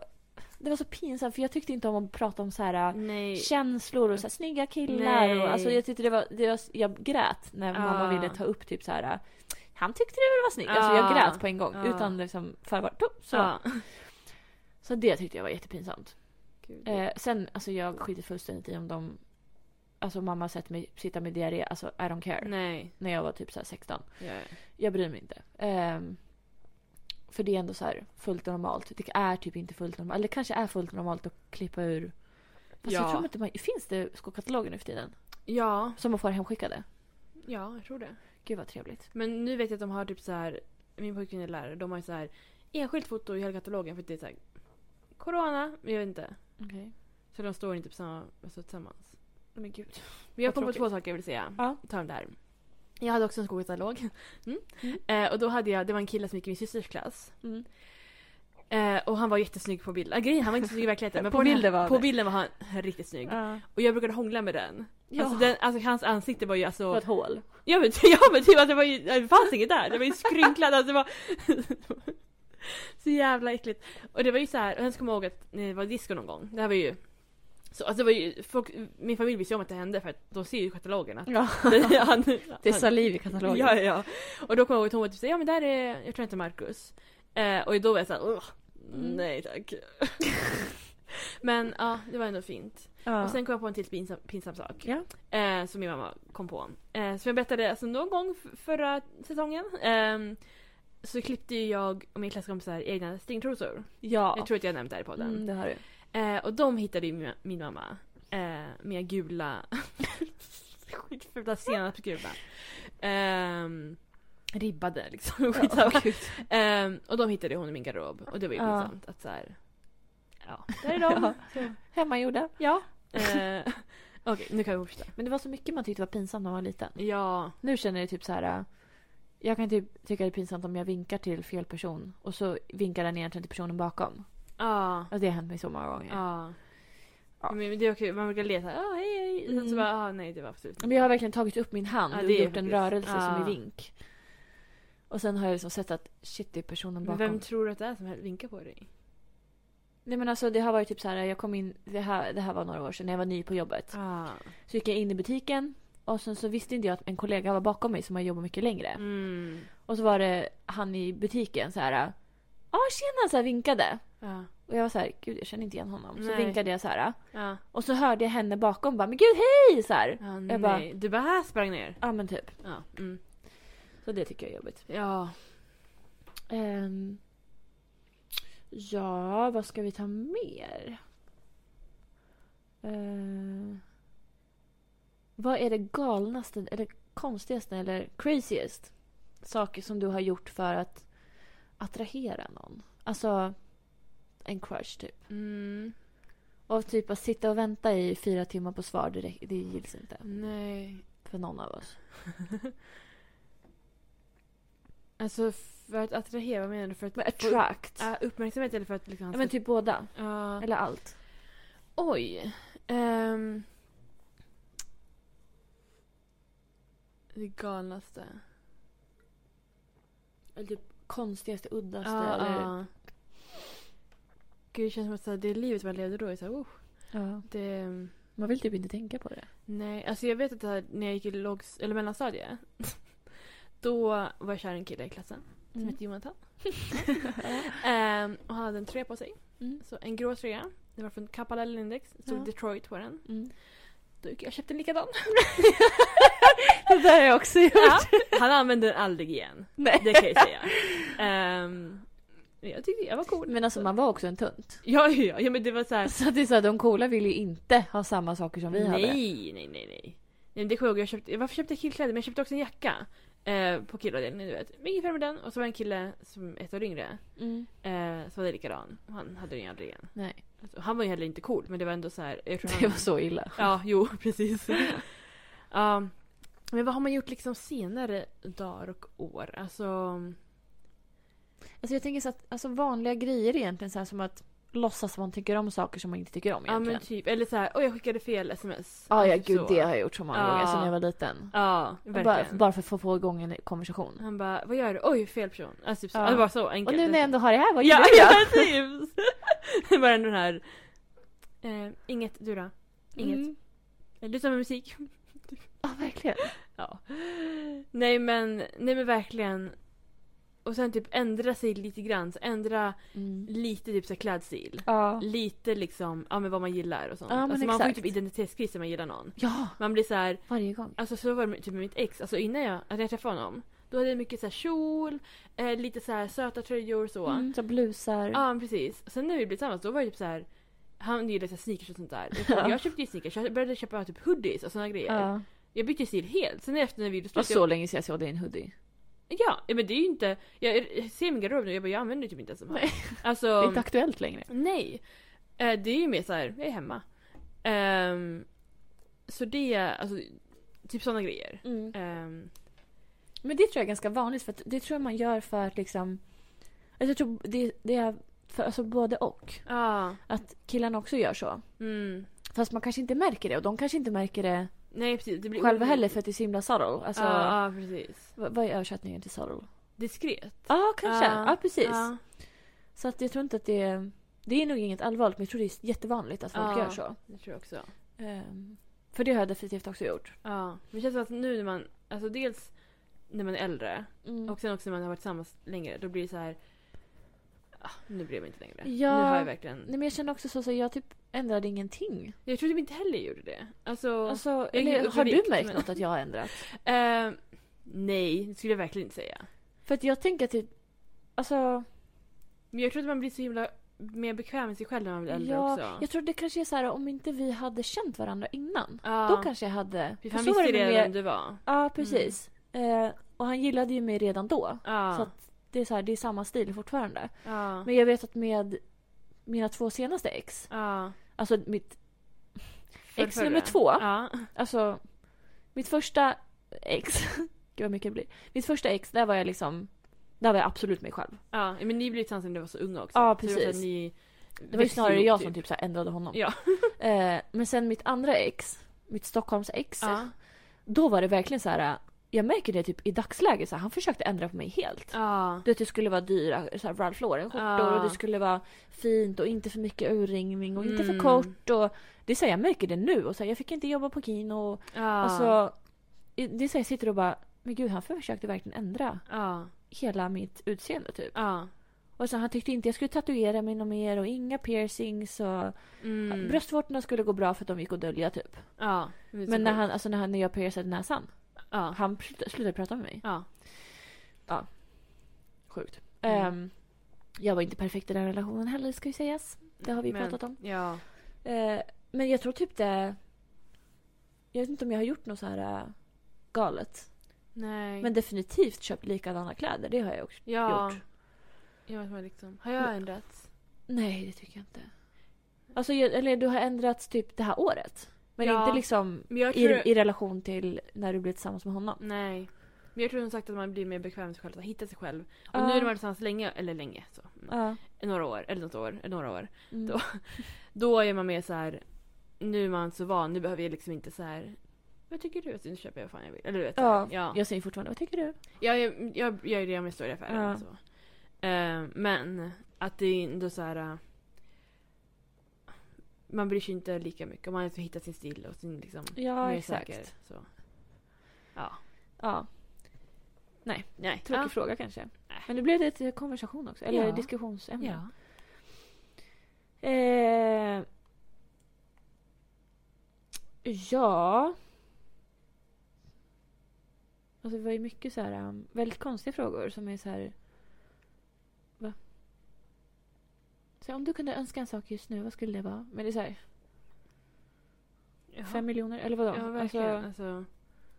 [SPEAKER 1] det var så pinsamt för jag tyckte inte om att prata om så här äh,
[SPEAKER 2] Nej.
[SPEAKER 1] känslor och så här, snygga killar. Och,
[SPEAKER 2] Nej.
[SPEAKER 1] alltså, jag, tyckte det var, det var, jag grät när mamma
[SPEAKER 2] Ah.
[SPEAKER 1] ville ta upp typ så här. äh, Han tyckte du var snygg. Alltså jag
[SPEAKER 2] Ah.
[SPEAKER 1] grät på en gång
[SPEAKER 2] Ah.
[SPEAKER 1] utan liksom förvarning. Så.
[SPEAKER 2] Ja.
[SPEAKER 1] Så det tyckte jag var jättepinsamt.
[SPEAKER 2] Gud.
[SPEAKER 1] Eh, sen, alltså jag skiter fullständigt i om de... Alltså mamma har sett mig sitta med diarré, alltså I don't care.
[SPEAKER 2] Nej.
[SPEAKER 1] När jag var typ så här 16.
[SPEAKER 2] Ja, ja.
[SPEAKER 1] Jag bryr mig inte. Ehm, för det är ändå så här fullt normalt. Det är typ inte fullt normalt. Eller det kanske är fullt normalt att klippa ur... Fast jag
[SPEAKER 2] Ja.
[SPEAKER 1] tror inte man... Finns det skokataloger nu för tiden?
[SPEAKER 2] Ja,
[SPEAKER 1] Som man får hemskickade?
[SPEAKER 2] ja, jag tror det.
[SPEAKER 1] Gud vad trevligt.
[SPEAKER 2] Men nu vet jag att de har typ så här. Min pojkvän är lärare. De har ju så här enskilt foto i hela katalogen för att det är så här, Corona, men jag vet inte.
[SPEAKER 1] Okej.
[SPEAKER 2] Så de står inte på samma, alltså, tillsammans.
[SPEAKER 1] Men gud.
[SPEAKER 2] Men jag
[SPEAKER 1] Vad
[SPEAKER 2] kom på
[SPEAKER 1] tråkigt.
[SPEAKER 2] två saker jag vill säga.
[SPEAKER 1] Ja.
[SPEAKER 2] Ta dem där. Jag hade också en skogskatalog. Mm. Eh, och då hade jag, det var en kille som gick i min systers klass.
[SPEAKER 1] Mm.
[SPEAKER 2] Eh, och han var jättesnygg på bild. Ah, grejen, han var inte så snygg i verkligheten. Men
[SPEAKER 1] På
[SPEAKER 2] på, den här-
[SPEAKER 1] bilden var han
[SPEAKER 2] på
[SPEAKER 1] det.
[SPEAKER 2] bilden var han riktigt snygg.
[SPEAKER 1] Ja.
[SPEAKER 2] Och jag brukade hångla med den. Alltså, den alltså hans ansikte var ju alltså...
[SPEAKER 1] Det var ett hål.
[SPEAKER 2] Ja men, ja, men typ att det var ju, det fanns inget där. Det var ju skrynklat. Alltså, det var... så jävla äckligt. Och det var ju så här, och sen kommer jag ihåg att när det var disco någon gång. Det här var ju... Så, alltså det var ju, folk, min familj visste ju om att det hände för att de ser ju katalogerna.
[SPEAKER 1] Ja.
[SPEAKER 2] han,
[SPEAKER 1] Det är
[SPEAKER 2] han-
[SPEAKER 1] saliv i katalogen.
[SPEAKER 2] Ja, ja, ja. Och då kommer jag ihåg att hon var typ såhär, ja men där är, jag tror inte Marcus. Eh, och då var jag såhär, "Ugh,
[SPEAKER 1] Mm.
[SPEAKER 2] nej tack. men ja, det var ändå fint.
[SPEAKER 1] Ja.
[SPEAKER 2] Och sen kom jag på en till pinsam, pinsam sak.
[SPEAKER 1] Ja.
[SPEAKER 2] Eh, som min mamma kom på. Eh, som jag berättade alltså, någon gång f- förra säsongen. ehm, så klippte ju jag och min klasskompisar egna stringtrosor.
[SPEAKER 1] ja.
[SPEAKER 2] Jag tror att jag nämnt det här i podden.
[SPEAKER 1] mm, det har du.
[SPEAKER 2] Eh, och de hittade ju min, min mamma. Eh, med gula... skitfula senapsgula. Ehm, ribbade liksom. Skitsamma.
[SPEAKER 1] Åh, gud.
[SPEAKER 2] Ehm, och de hittade hon i min garderob. Och det var ju
[SPEAKER 1] Ja.
[SPEAKER 2] pinsamt att så här. Ja, där är de. Så,
[SPEAKER 1] Hemmagjorda.
[SPEAKER 2] ja. Eh, Okej, nu kan jag fortsätta.
[SPEAKER 1] Men det var så mycket man tyckte var pinsamt när man var liten.
[SPEAKER 2] Ja.
[SPEAKER 1] Nu känner jag typ så här. äh, Jag kan typ tycka det är pinsamt om jag vinkar till fel person och så vinkar den egentligen till personen bakom.
[SPEAKER 2] Ja.
[SPEAKER 1] Alltså det har hänt mig så många gånger.
[SPEAKER 2] Ja.
[SPEAKER 1] Ja.
[SPEAKER 2] Men det är okej, man brukar leta. Ah, hej, hej. Sen så
[SPEAKER 1] Mm.
[SPEAKER 2] bara, ah, nej det var absolut
[SPEAKER 1] Men jag har verkligen tagit upp min hand
[SPEAKER 2] Ja,
[SPEAKER 1] och
[SPEAKER 2] det är
[SPEAKER 1] gjort en
[SPEAKER 2] faktiskt-
[SPEAKER 1] rörelse som
[SPEAKER 2] ja.
[SPEAKER 1] i vink. Och sen har jag liksom sett att shit det är personen
[SPEAKER 2] Men
[SPEAKER 1] bakom.
[SPEAKER 2] vem tror du att det är som vinkar på dig?
[SPEAKER 1] Nej men alltså det har varit typ så här. jag kom in, det här, det här var några år sedan när jag var ny på jobbet.
[SPEAKER 2] Ah.
[SPEAKER 1] Så gick jag in i butiken och sen så visste inte jag att en kollega var bakom mig som har jobbat mycket längre.
[SPEAKER 2] Mm.
[SPEAKER 1] Och så var det han i butiken så här. äh, Ja tjena så här vinkade.
[SPEAKER 2] Ja.
[SPEAKER 1] Och jag var så här, gud jag känner inte igen honom. Så
[SPEAKER 2] Nej.
[SPEAKER 1] vinkade jag så här.
[SPEAKER 2] Ja.
[SPEAKER 1] Och så hörde jag henne bakom bara, men gud hej! Så här.
[SPEAKER 2] Ja,
[SPEAKER 1] Jag
[SPEAKER 2] nej.
[SPEAKER 1] bara-
[SPEAKER 2] Du bara här sprang ner.
[SPEAKER 1] Ja men typ.
[SPEAKER 2] Ja. Mm.
[SPEAKER 1] Så det tycker jag är jobbigt.
[SPEAKER 2] Ja.
[SPEAKER 1] Ehm, ja, vad ska vi ta mer? Ehm, vad är det galnaste eller konstigaste eller craziest saker som du har gjort för att attrahera någon? Alltså en crush typ.
[SPEAKER 2] Mm.
[SPEAKER 1] Och typ att sitta och vänta i fyra timmar på svar, det, räck- det gills inte
[SPEAKER 2] Nej.
[SPEAKER 1] för någon av oss.
[SPEAKER 2] Alltså för att attrahera, vad menar du? För att
[SPEAKER 1] Men
[SPEAKER 2] få upp,
[SPEAKER 1] attract.
[SPEAKER 2] ja, uppmärksamhet eller för att liksom...
[SPEAKER 1] Ja men typ båda.
[SPEAKER 2] Ja.
[SPEAKER 1] Eller allt.
[SPEAKER 2] Oj. Ehm. Det galnaste.
[SPEAKER 1] Eller typ konstigaste, uddaste.
[SPEAKER 2] Ja,
[SPEAKER 1] eller...
[SPEAKER 2] ja. Gud, det känns som att så här, det livet man levde då är så här, oh,
[SPEAKER 1] Ja.
[SPEAKER 2] det...
[SPEAKER 1] Man vill typ inte tänka på det.
[SPEAKER 2] Nej, alltså jag vet att det här, när jag gick i lågs, eller mellanstadiet då var jag kär i en kille i klassen som
[SPEAKER 1] Mm.
[SPEAKER 2] hette Jonathan. Ehm, och han hade en tröja på sig.
[SPEAKER 1] Mm.
[SPEAKER 2] Så en grå tröja. Det var från Kappa Index. Det stod
[SPEAKER 1] Ja.
[SPEAKER 2] Detroit på den.
[SPEAKER 1] Mm.
[SPEAKER 2] Då gick jag och köpte en likadan.
[SPEAKER 1] Det där har jag också gjort.
[SPEAKER 2] Ja, han använde den aldrig igen.
[SPEAKER 1] Nej.
[SPEAKER 2] Det kan jag säga. Ehm, men jag tyckte jag var cool.
[SPEAKER 1] Men alltså man var också en tunt.
[SPEAKER 2] Ja, ja, ja men det var så här.
[SPEAKER 1] Så att det är så här, de coola vill ju inte ha samma saker som vi hade.
[SPEAKER 2] nej, nej, nej, nej. Nej, men det kommer jag ihåg. Jag köpte, varför köpte jag killkläder? Men jag köpte också en jacka. Eh, på killavdelningen, du vet. Men gick fram med den och så var det en kille som ett år yngre.
[SPEAKER 1] Mm.
[SPEAKER 2] Eh, som var likadan. Och Han hade den aldrig igen.
[SPEAKER 1] Nej.
[SPEAKER 2] Alltså, han var ju heller inte cool men det var ändå så här. Jag tror
[SPEAKER 1] Det
[SPEAKER 2] han,
[SPEAKER 1] var så illa.
[SPEAKER 2] Ja, jo precis. Ja, men vad har man gjort liksom senare dagar och år? Alltså...
[SPEAKER 1] Alltså jag tänker så att alltså, vanliga grejer är egentligen så här som att låtsas att man tycker om saker som man inte tycker om
[SPEAKER 2] Ja
[SPEAKER 1] egentligen.
[SPEAKER 2] men typ, eller så här, oj jag skickade fel sms.
[SPEAKER 1] Ja, ja
[SPEAKER 2] Typ
[SPEAKER 1] gud
[SPEAKER 2] så.
[SPEAKER 1] det har jag gjort så många
[SPEAKER 2] Ja.
[SPEAKER 1] gånger sedan jag var liten.
[SPEAKER 2] Ja,
[SPEAKER 1] Bara,
[SPEAKER 2] verkligen.
[SPEAKER 1] bara för att få få igång en konversation.
[SPEAKER 2] Han bara, vad gör du? Oj, fel person. Alltså typ så,
[SPEAKER 1] Ja.
[SPEAKER 2] ja. det var så
[SPEAKER 1] Och
[SPEAKER 2] enkelt.
[SPEAKER 1] nu när jag ändå har det här, vad gör
[SPEAKER 2] alltså. Ja,
[SPEAKER 1] jag?
[SPEAKER 2] ja typ! Det var ändå den här, eh, inget, du då? Inget.
[SPEAKER 1] Mm.
[SPEAKER 2] Lyssna på musik.
[SPEAKER 1] Ja, verkligen.
[SPEAKER 2] Ja. Nej men, nej men verkligen. och sen typ ändra sig lite grann. Så ändra
[SPEAKER 1] Mm.
[SPEAKER 2] lite typ så här klädstil.
[SPEAKER 1] Ja.
[SPEAKER 2] Lite liksom, ja men vad man gillar och sånt.
[SPEAKER 1] Ja, men
[SPEAKER 2] alltså man får ju
[SPEAKER 1] exakt.
[SPEAKER 2] typ identitetskris när man gillar någon.
[SPEAKER 1] ja,
[SPEAKER 2] Man blir så här,
[SPEAKER 1] varje gång.
[SPEAKER 2] alltså så var det med- typ med mitt ex. Alltså innan jag, när jag träffade honom. Då hade jag mycket så här kjol, eh, lite så här söta tröjor och så.
[SPEAKER 1] Mm. Så blusar.
[SPEAKER 2] Ja men precis. Sen när vi blev tillsammans då var det typ så här. Han gillade så här sneakers och sånt där. Jag, jag köpte ju sneakers, jag började köpa typ hoodies och såna grejer.
[SPEAKER 1] Ja.
[SPEAKER 2] Jag bytte stil helt. Sen efter när vi blev
[SPEAKER 1] Det var
[SPEAKER 2] slut.
[SPEAKER 1] så länge sedan jag såg dig i en hoodie.
[SPEAKER 2] Ja, ja, men det är ju inte... Jag, jag ser min garderob nu jag bara jag använder typ inte ens de här.
[SPEAKER 1] Nej. Det är
[SPEAKER 2] Alltså,
[SPEAKER 1] inte aktuellt längre.
[SPEAKER 2] nej. Eh, det är ju mer så här, jag är hemma. Ehm, så det är alltså, typ såna grejer. Ehm,
[SPEAKER 1] Mm. Men det tror jag är ganska vanligt för att det tror jag man gör för att liksom... Alltså jag tror det, det är för, alltså både och.
[SPEAKER 2] Ja.
[SPEAKER 1] Att killarna också gör så.
[SPEAKER 2] mm.
[SPEAKER 1] Fast man kanske inte märker det och de kanske inte märker det
[SPEAKER 2] Nej precis. Det blir
[SPEAKER 1] själva heller för att det är så himla subtle. Alltså,
[SPEAKER 2] Alltså, ja, ja, precis.
[SPEAKER 1] vad, vad är översättningen till subtle?
[SPEAKER 2] Diskret.
[SPEAKER 1] Ja, kanske. Ja,
[SPEAKER 2] Ja.
[SPEAKER 1] precis.
[SPEAKER 2] Ja.
[SPEAKER 1] Så att jag tror inte att det är... Det är nog inget allvarligt men jag tror det är jättevanligt att folk
[SPEAKER 2] Ja.
[SPEAKER 1] gör så.
[SPEAKER 2] Det tror jag också.
[SPEAKER 1] Ehm, för det har jag definitivt också gjort.
[SPEAKER 2] Ja. Men det känns som att nu när man, alltså dels när man är äldre
[SPEAKER 1] Mm.
[SPEAKER 2] och sen också när man har varit tillsammans längre, då blir det så här. ah, Nu bryr jag mig inte längre.
[SPEAKER 1] Ja.
[SPEAKER 2] Nu har jag verkligen...
[SPEAKER 1] Nej men jag känner också så, så jag typ ändrade ingenting.
[SPEAKER 2] Jag tror typ inte heller gjorde det. Alltså,
[SPEAKER 1] Alltså,
[SPEAKER 2] Jag gick
[SPEAKER 1] eller,
[SPEAKER 2] upp i
[SPEAKER 1] har du
[SPEAKER 2] vikt,
[SPEAKER 1] märkt
[SPEAKER 2] men-
[SPEAKER 1] något att jag har ändrat?
[SPEAKER 2] eh, nej, det skulle jag verkligen inte säga.
[SPEAKER 1] För att jag tänker typ... Alltså,
[SPEAKER 2] Men jag tror att man blir så himla mer bekväm med sig själv när man blir äldre
[SPEAKER 1] ja,
[SPEAKER 2] också.
[SPEAKER 1] jag tror det kanske är så här om inte vi hade känt varandra innan.
[SPEAKER 2] ja.
[SPEAKER 1] Då kanske jag hade...
[SPEAKER 2] För
[SPEAKER 1] för
[SPEAKER 2] han
[SPEAKER 1] så var
[SPEAKER 2] visste
[SPEAKER 1] med
[SPEAKER 2] redan
[SPEAKER 1] mer-
[SPEAKER 2] Mm. vem du var.
[SPEAKER 1] Ja, precis. Eh, och han gillade ju mig redan då.
[SPEAKER 2] Ja.
[SPEAKER 1] Så att det är, så här, det är samma stil fortfarande.
[SPEAKER 2] ja.
[SPEAKER 1] Men jag vet att med mina två senaste ex,
[SPEAKER 2] ja.
[SPEAKER 1] alltså mitt,
[SPEAKER 2] För
[SPEAKER 1] Ex
[SPEAKER 2] förra.
[SPEAKER 1] nummer två.
[SPEAKER 2] Ja.
[SPEAKER 1] alltså, mitt första ex, gud vad mycket det blir. Mitt första ex, där var jag liksom, där var jag absolut mig själv.
[SPEAKER 2] ja. Men ni blev tillsammans när ni var så unga också.
[SPEAKER 1] Ja,
[SPEAKER 2] Så det var så
[SPEAKER 1] precis.
[SPEAKER 2] att ni
[SPEAKER 1] Det var ju
[SPEAKER 2] växte
[SPEAKER 1] snarare
[SPEAKER 2] ihop,
[SPEAKER 1] jag som typ så här ändrade honom.
[SPEAKER 2] Ja.
[SPEAKER 1] Eh, men sen mitt andra ex, mitt Stockholms ex,
[SPEAKER 2] Ja.
[SPEAKER 1] då var det verkligen så här. Jag märker det typ i dagsläget, så här, han försökte ändra på mig helt.
[SPEAKER 2] Ja.
[SPEAKER 1] Du vet, det skulle vara dyra så här, Ralph Lauren-skjortor
[SPEAKER 2] Ja.
[SPEAKER 1] och det skulle vara fint och inte för mycket urringning och inte för
[SPEAKER 2] Mm.
[SPEAKER 1] kort. Och, det är så här, jag märker det nu. Och så här, jag fick inte jobba på Kino. Och,
[SPEAKER 2] Ja.
[SPEAKER 1] alltså, det är så här, jag sitter och bara, men gud han försökte verkligen ändra
[SPEAKER 2] ja.
[SPEAKER 1] hela mitt utseende typ.
[SPEAKER 2] Ja.
[SPEAKER 1] Och så, han tyckte inte jag skulle tatuera mig något mer och inga piercings. Och,
[SPEAKER 2] Mm.
[SPEAKER 1] Bröstvårtorna skulle gå bra för att de gick att dölja typ.
[SPEAKER 2] Ja. det är så
[SPEAKER 1] Men när,
[SPEAKER 2] sjukt.
[SPEAKER 1] han, alltså, när, han, när jag piercade näsan,
[SPEAKER 2] Ja.
[SPEAKER 1] han slut- slutade prata med mig.
[SPEAKER 2] Ja.
[SPEAKER 1] Sjukt.
[SPEAKER 2] Mm.
[SPEAKER 1] Ehm, jag var inte perfekt i den relationen heller ska ju sägas. Det har vi pratat om.
[SPEAKER 2] Ja.
[SPEAKER 1] Eh, men jag tror typ det... Jag vet inte om jag har gjort något så här eh, galet.
[SPEAKER 2] Nej.
[SPEAKER 1] Men definitivt köpt likadana kläder. Det har jag också
[SPEAKER 2] ja.
[SPEAKER 1] gjort.
[SPEAKER 2] Jag vet inte liksom. Har jag ändrats?
[SPEAKER 1] Nej, det tycker jag inte. Alltså, jag, eller du har ändrats typ det här året. Men
[SPEAKER 2] Ja.
[SPEAKER 1] inte liksom
[SPEAKER 2] Men jag
[SPEAKER 1] i,
[SPEAKER 2] tror... Mm.
[SPEAKER 1] i relation till när du blev tillsammans med honom.
[SPEAKER 2] Nej. Men jag tror som sagt att man blir mer bekväm med sig själv, att hitta sig själv. Och
[SPEAKER 1] Ja.
[SPEAKER 2] nu när man är tillsammans länge, eller länge, så.
[SPEAKER 1] Ja.
[SPEAKER 2] Några år, eller något år, eller några år.
[SPEAKER 1] Mm.
[SPEAKER 2] Då- Då är man mer så här. nu är man så van, nu behöver jag liksom inte så här. Vad tycker du? Alltså, nu köper jag vad fan jag vill. Eller du vet. så
[SPEAKER 1] Ja.
[SPEAKER 2] här, ja.
[SPEAKER 1] Jag säger fortfarande, vad tycker du?
[SPEAKER 2] Jag, jag, jag gör ju det om jag står i affären.
[SPEAKER 1] Ja.
[SPEAKER 2] och Så. Eh, men att det är ändå så här. eh, man bryr sig inte lika mycket om man har hittat sin stil och sin liksom.
[SPEAKER 1] Ja,
[SPEAKER 2] man är
[SPEAKER 1] exakt.
[SPEAKER 2] säker, så. Ja.
[SPEAKER 1] Ja.
[SPEAKER 2] Nej.
[SPEAKER 1] Tråkig
[SPEAKER 2] ja.
[SPEAKER 1] fråga kanske.
[SPEAKER 2] Nej.
[SPEAKER 1] Men nu blev det ett eh, konversation också. Eller
[SPEAKER 2] Ja.
[SPEAKER 1] diskussionsämne.
[SPEAKER 2] Ja.
[SPEAKER 1] Eh, ja. Alltså det var ju mycket så här um, väldigt konstiga frågor som är så här. Va? Så om du kunde önska en sak just nu, vad skulle det vara? Men det är så här,
[SPEAKER 2] Jaha.
[SPEAKER 1] fem miljoner eller vadå?
[SPEAKER 2] Ja, verkligen.
[SPEAKER 1] alltså
[SPEAKER 2] Alltså,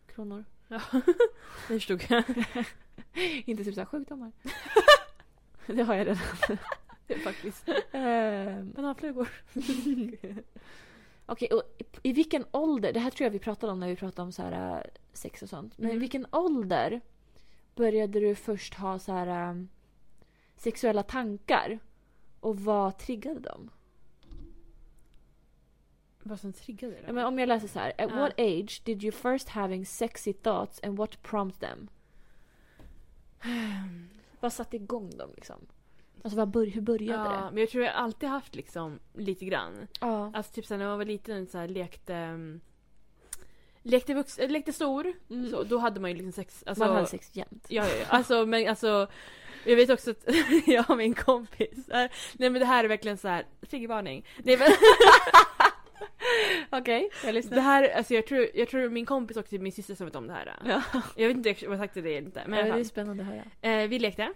[SPEAKER 1] kronor.
[SPEAKER 2] ja. Det förstod jag.
[SPEAKER 1] Inte typ så här sjukdomar. det har jag redan.
[SPEAKER 2] Faktiskt.
[SPEAKER 1] Eh,
[SPEAKER 2] Bananflugor.
[SPEAKER 1] Okej, och i, i vilken ålder, det här tror jag vi pratade om när vi pratade om så här, äh, sex och sånt. Men i
[SPEAKER 2] Mm.
[SPEAKER 1] vilken ålder började du först ha så här, ähm, sexuella tankar? Och vad triggade dem?
[SPEAKER 2] Vad som triggade det?
[SPEAKER 1] Ja, men om jag läser så här. At
[SPEAKER 2] Ja.
[SPEAKER 1] what age did you first having sexy thoughts and what prompted them? Vad satte igång dem liksom? Alltså vad bör, hur började
[SPEAKER 2] ja,
[SPEAKER 1] det?
[SPEAKER 2] men jag tror jag alltid haft liksom lite grann.
[SPEAKER 1] Ja.
[SPEAKER 2] Alltså typ såhär, när man var liten så här, lekte... mm, Lekte, vux- äh, lekte stor,
[SPEAKER 1] Mm.
[SPEAKER 2] så, då hade man ju liksom sex. Alltså,
[SPEAKER 1] Man hade sex jämt.
[SPEAKER 2] Ja, ja, ja. Alltså, men alltså... Och jag vet också att jag och min kompis, är, nej men det här är verkligen så här, triggervarning. Nej men
[SPEAKER 1] Okej, jag
[SPEAKER 2] det här, alltså jag tror, jag tror min kompis och typ min syster som vet om det här.
[SPEAKER 1] Ja.
[SPEAKER 2] Jag vet inte om jag har sagt det eller inte. Men i alla
[SPEAKER 1] det är
[SPEAKER 2] fall.
[SPEAKER 1] spännande att höra.
[SPEAKER 2] Eh, vi lekte.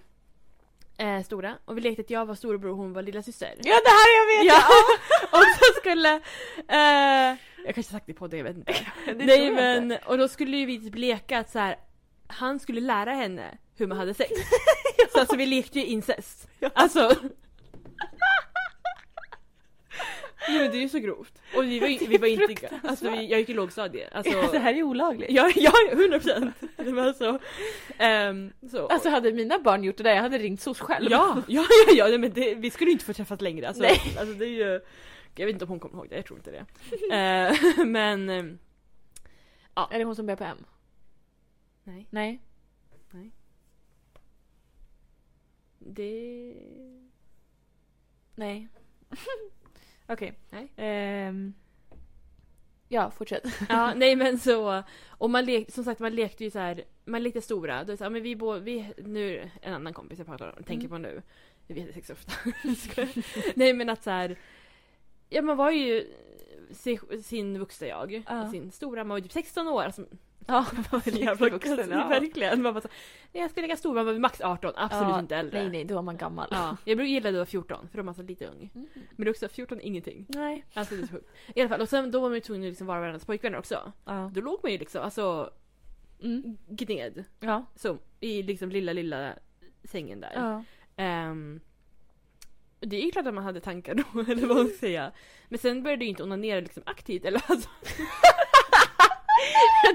[SPEAKER 2] Eh, stora. Och vi lekte att jag var storebror och hon var lilla syster.
[SPEAKER 1] Ja, det här jag vet!
[SPEAKER 2] Ja. och så skulle... Eh, jag kanske har sagt det på det, jag vet inte.
[SPEAKER 1] Det tror
[SPEAKER 2] Nej
[SPEAKER 1] jag
[SPEAKER 2] men,
[SPEAKER 1] inte.
[SPEAKER 2] och då skulle ju vi typ leka att så här. han skulle lära henne hur man hade sex. Så alltså vi lekte ju incest. Alltså. Nej men det är ju så grovt. Och vi var, ju- vi var inte... Alltså vi, jag gick i lågstadiet. Alltså,
[SPEAKER 1] Ja, det här är olagligt.
[SPEAKER 2] Ja, ja, 100 procent! Alltså, ehm, så.
[SPEAKER 1] Alltså hade mina barn gjort det där, jag hade ringt SOS själv.
[SPEAKER 2] Ja, ja, ja, ja nej, men det, vi skulle ju inte få träffas längre. Alltså,
[SPEAKER 1] Nej.
[SPEAKER 2] alltså det är ju... Jag vet inte om hon kommer ihåg det, jag tror inte det. Eh, men... ehm,
[SPEAKER 1] Är det hon som börjar på M?
[SPEAKER 2] Nej,
[SPEAKER 1] Nej.
[SPEAKER 2] det...
[SPEAKER 1] Nej. Okej.
[SPEAKER 2] Nej.
[SPEAKER 1] Ehm, ja, fortsätt.
[SPEAKER 2] Ja, nej men så... Och man lek, som sagt, man lekte ju så här... Man lekte stora. Då är det så, här, men vi, bo, vi Nu, en annan kompis jag pratar om,
[SPEAKER 1] Mm.
[SPEAKER 2] tänker på nu. Vi hade sex ofta. Skojar. nej men att så här... Ja, man var ju sin, sin vuxna jag.
[SPEAKER 1] Ja.
[SPEAKER 2] Sin stora, man var ju typ 16 år. Alltså,
[SPEAKER 1] Ja,
[SPEAKER 2] Jävla vuxen,
[SPEAKER 1] ja.
[SPEAKER 2] verkligen. Man bara så, nej jag ska lägga stor, man var max 18, absolut
[SPEAKER 1] Ja,
[SPEAKER 2] inte äldre.
[SPEAKER 1] Nej, nej, då var man gammal.
[SPEAKER 2] Ja, jag brukar gilla att du var 14, för då var man så lite ung.
[SPEAKER 1] Mm.
[SPEAKER 2] Men det är också 14 ingenting.
[SPEAKER 1] Nej.
[SPEAKER 2] Alltså det är så sjukt. I alla fall, och sen då var man ju tvungen att liksom vara varandras pojkvänner också.
[SPEAKER 1] Ja.
[SPEAKER 2] Då låg man ju liksom, alltså
[SPEAKER 1] Mm.
[SPEAKER 2] gned.
[SPEAKER 1] Ja.
[SPEAKER 2] Så, i liksom lilla, lilla sängen där.
[SPEAKER 1] ja.
[SPEAKER 2] Ehm, och det är ju klart att man hade tankar då, eller vad man ska säga. Men sen började du ju inte onanera liksom aktivt, eller alltså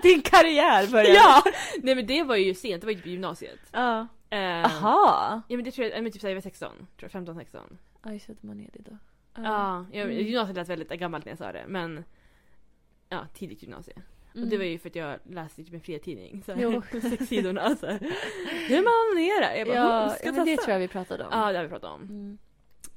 [SPEAKER 1] Din karriär började.
[SPEAKER 2] Ja! Nej men det var ju sent, det var ju typ i gymnasiet.
[SPEAKER 1] ja.
[SPEAKER 2] Ehm,
[SPEAKER 1] Aha!
[SPEAKER 2] Ja men det tror jag, ja, men typ såhär jag var 16, tror jag, 15-16.
[SPEAKER 1] Ja, just det, man är det då.
[SPEAKER 2] Ja, jag,
[SPEAKER 1] Mm.
[SPEAKER 2] gymnasiet lät väldigt gammalt när jag sa det men Ja, tidigt gymnasium. Och det var ju för att jag läste typ en fritidning. Så
[SPEAKER 1] Mm. Jo.
[SPEAKER 2] här, sex sidorna så här. Hur man onanerar! Jag bara,
[SPEAKER 1] Ja,
[SPEAKER 2] "Hm, ska
[SPEAKER 1] ja
[SPEAKER 2] testa.
[SPEAKER 1] men det tror jag vi pratade om.
[SPEAKER 2] Ja, det har vi pratat om.
[SPEAKER 1] Mm.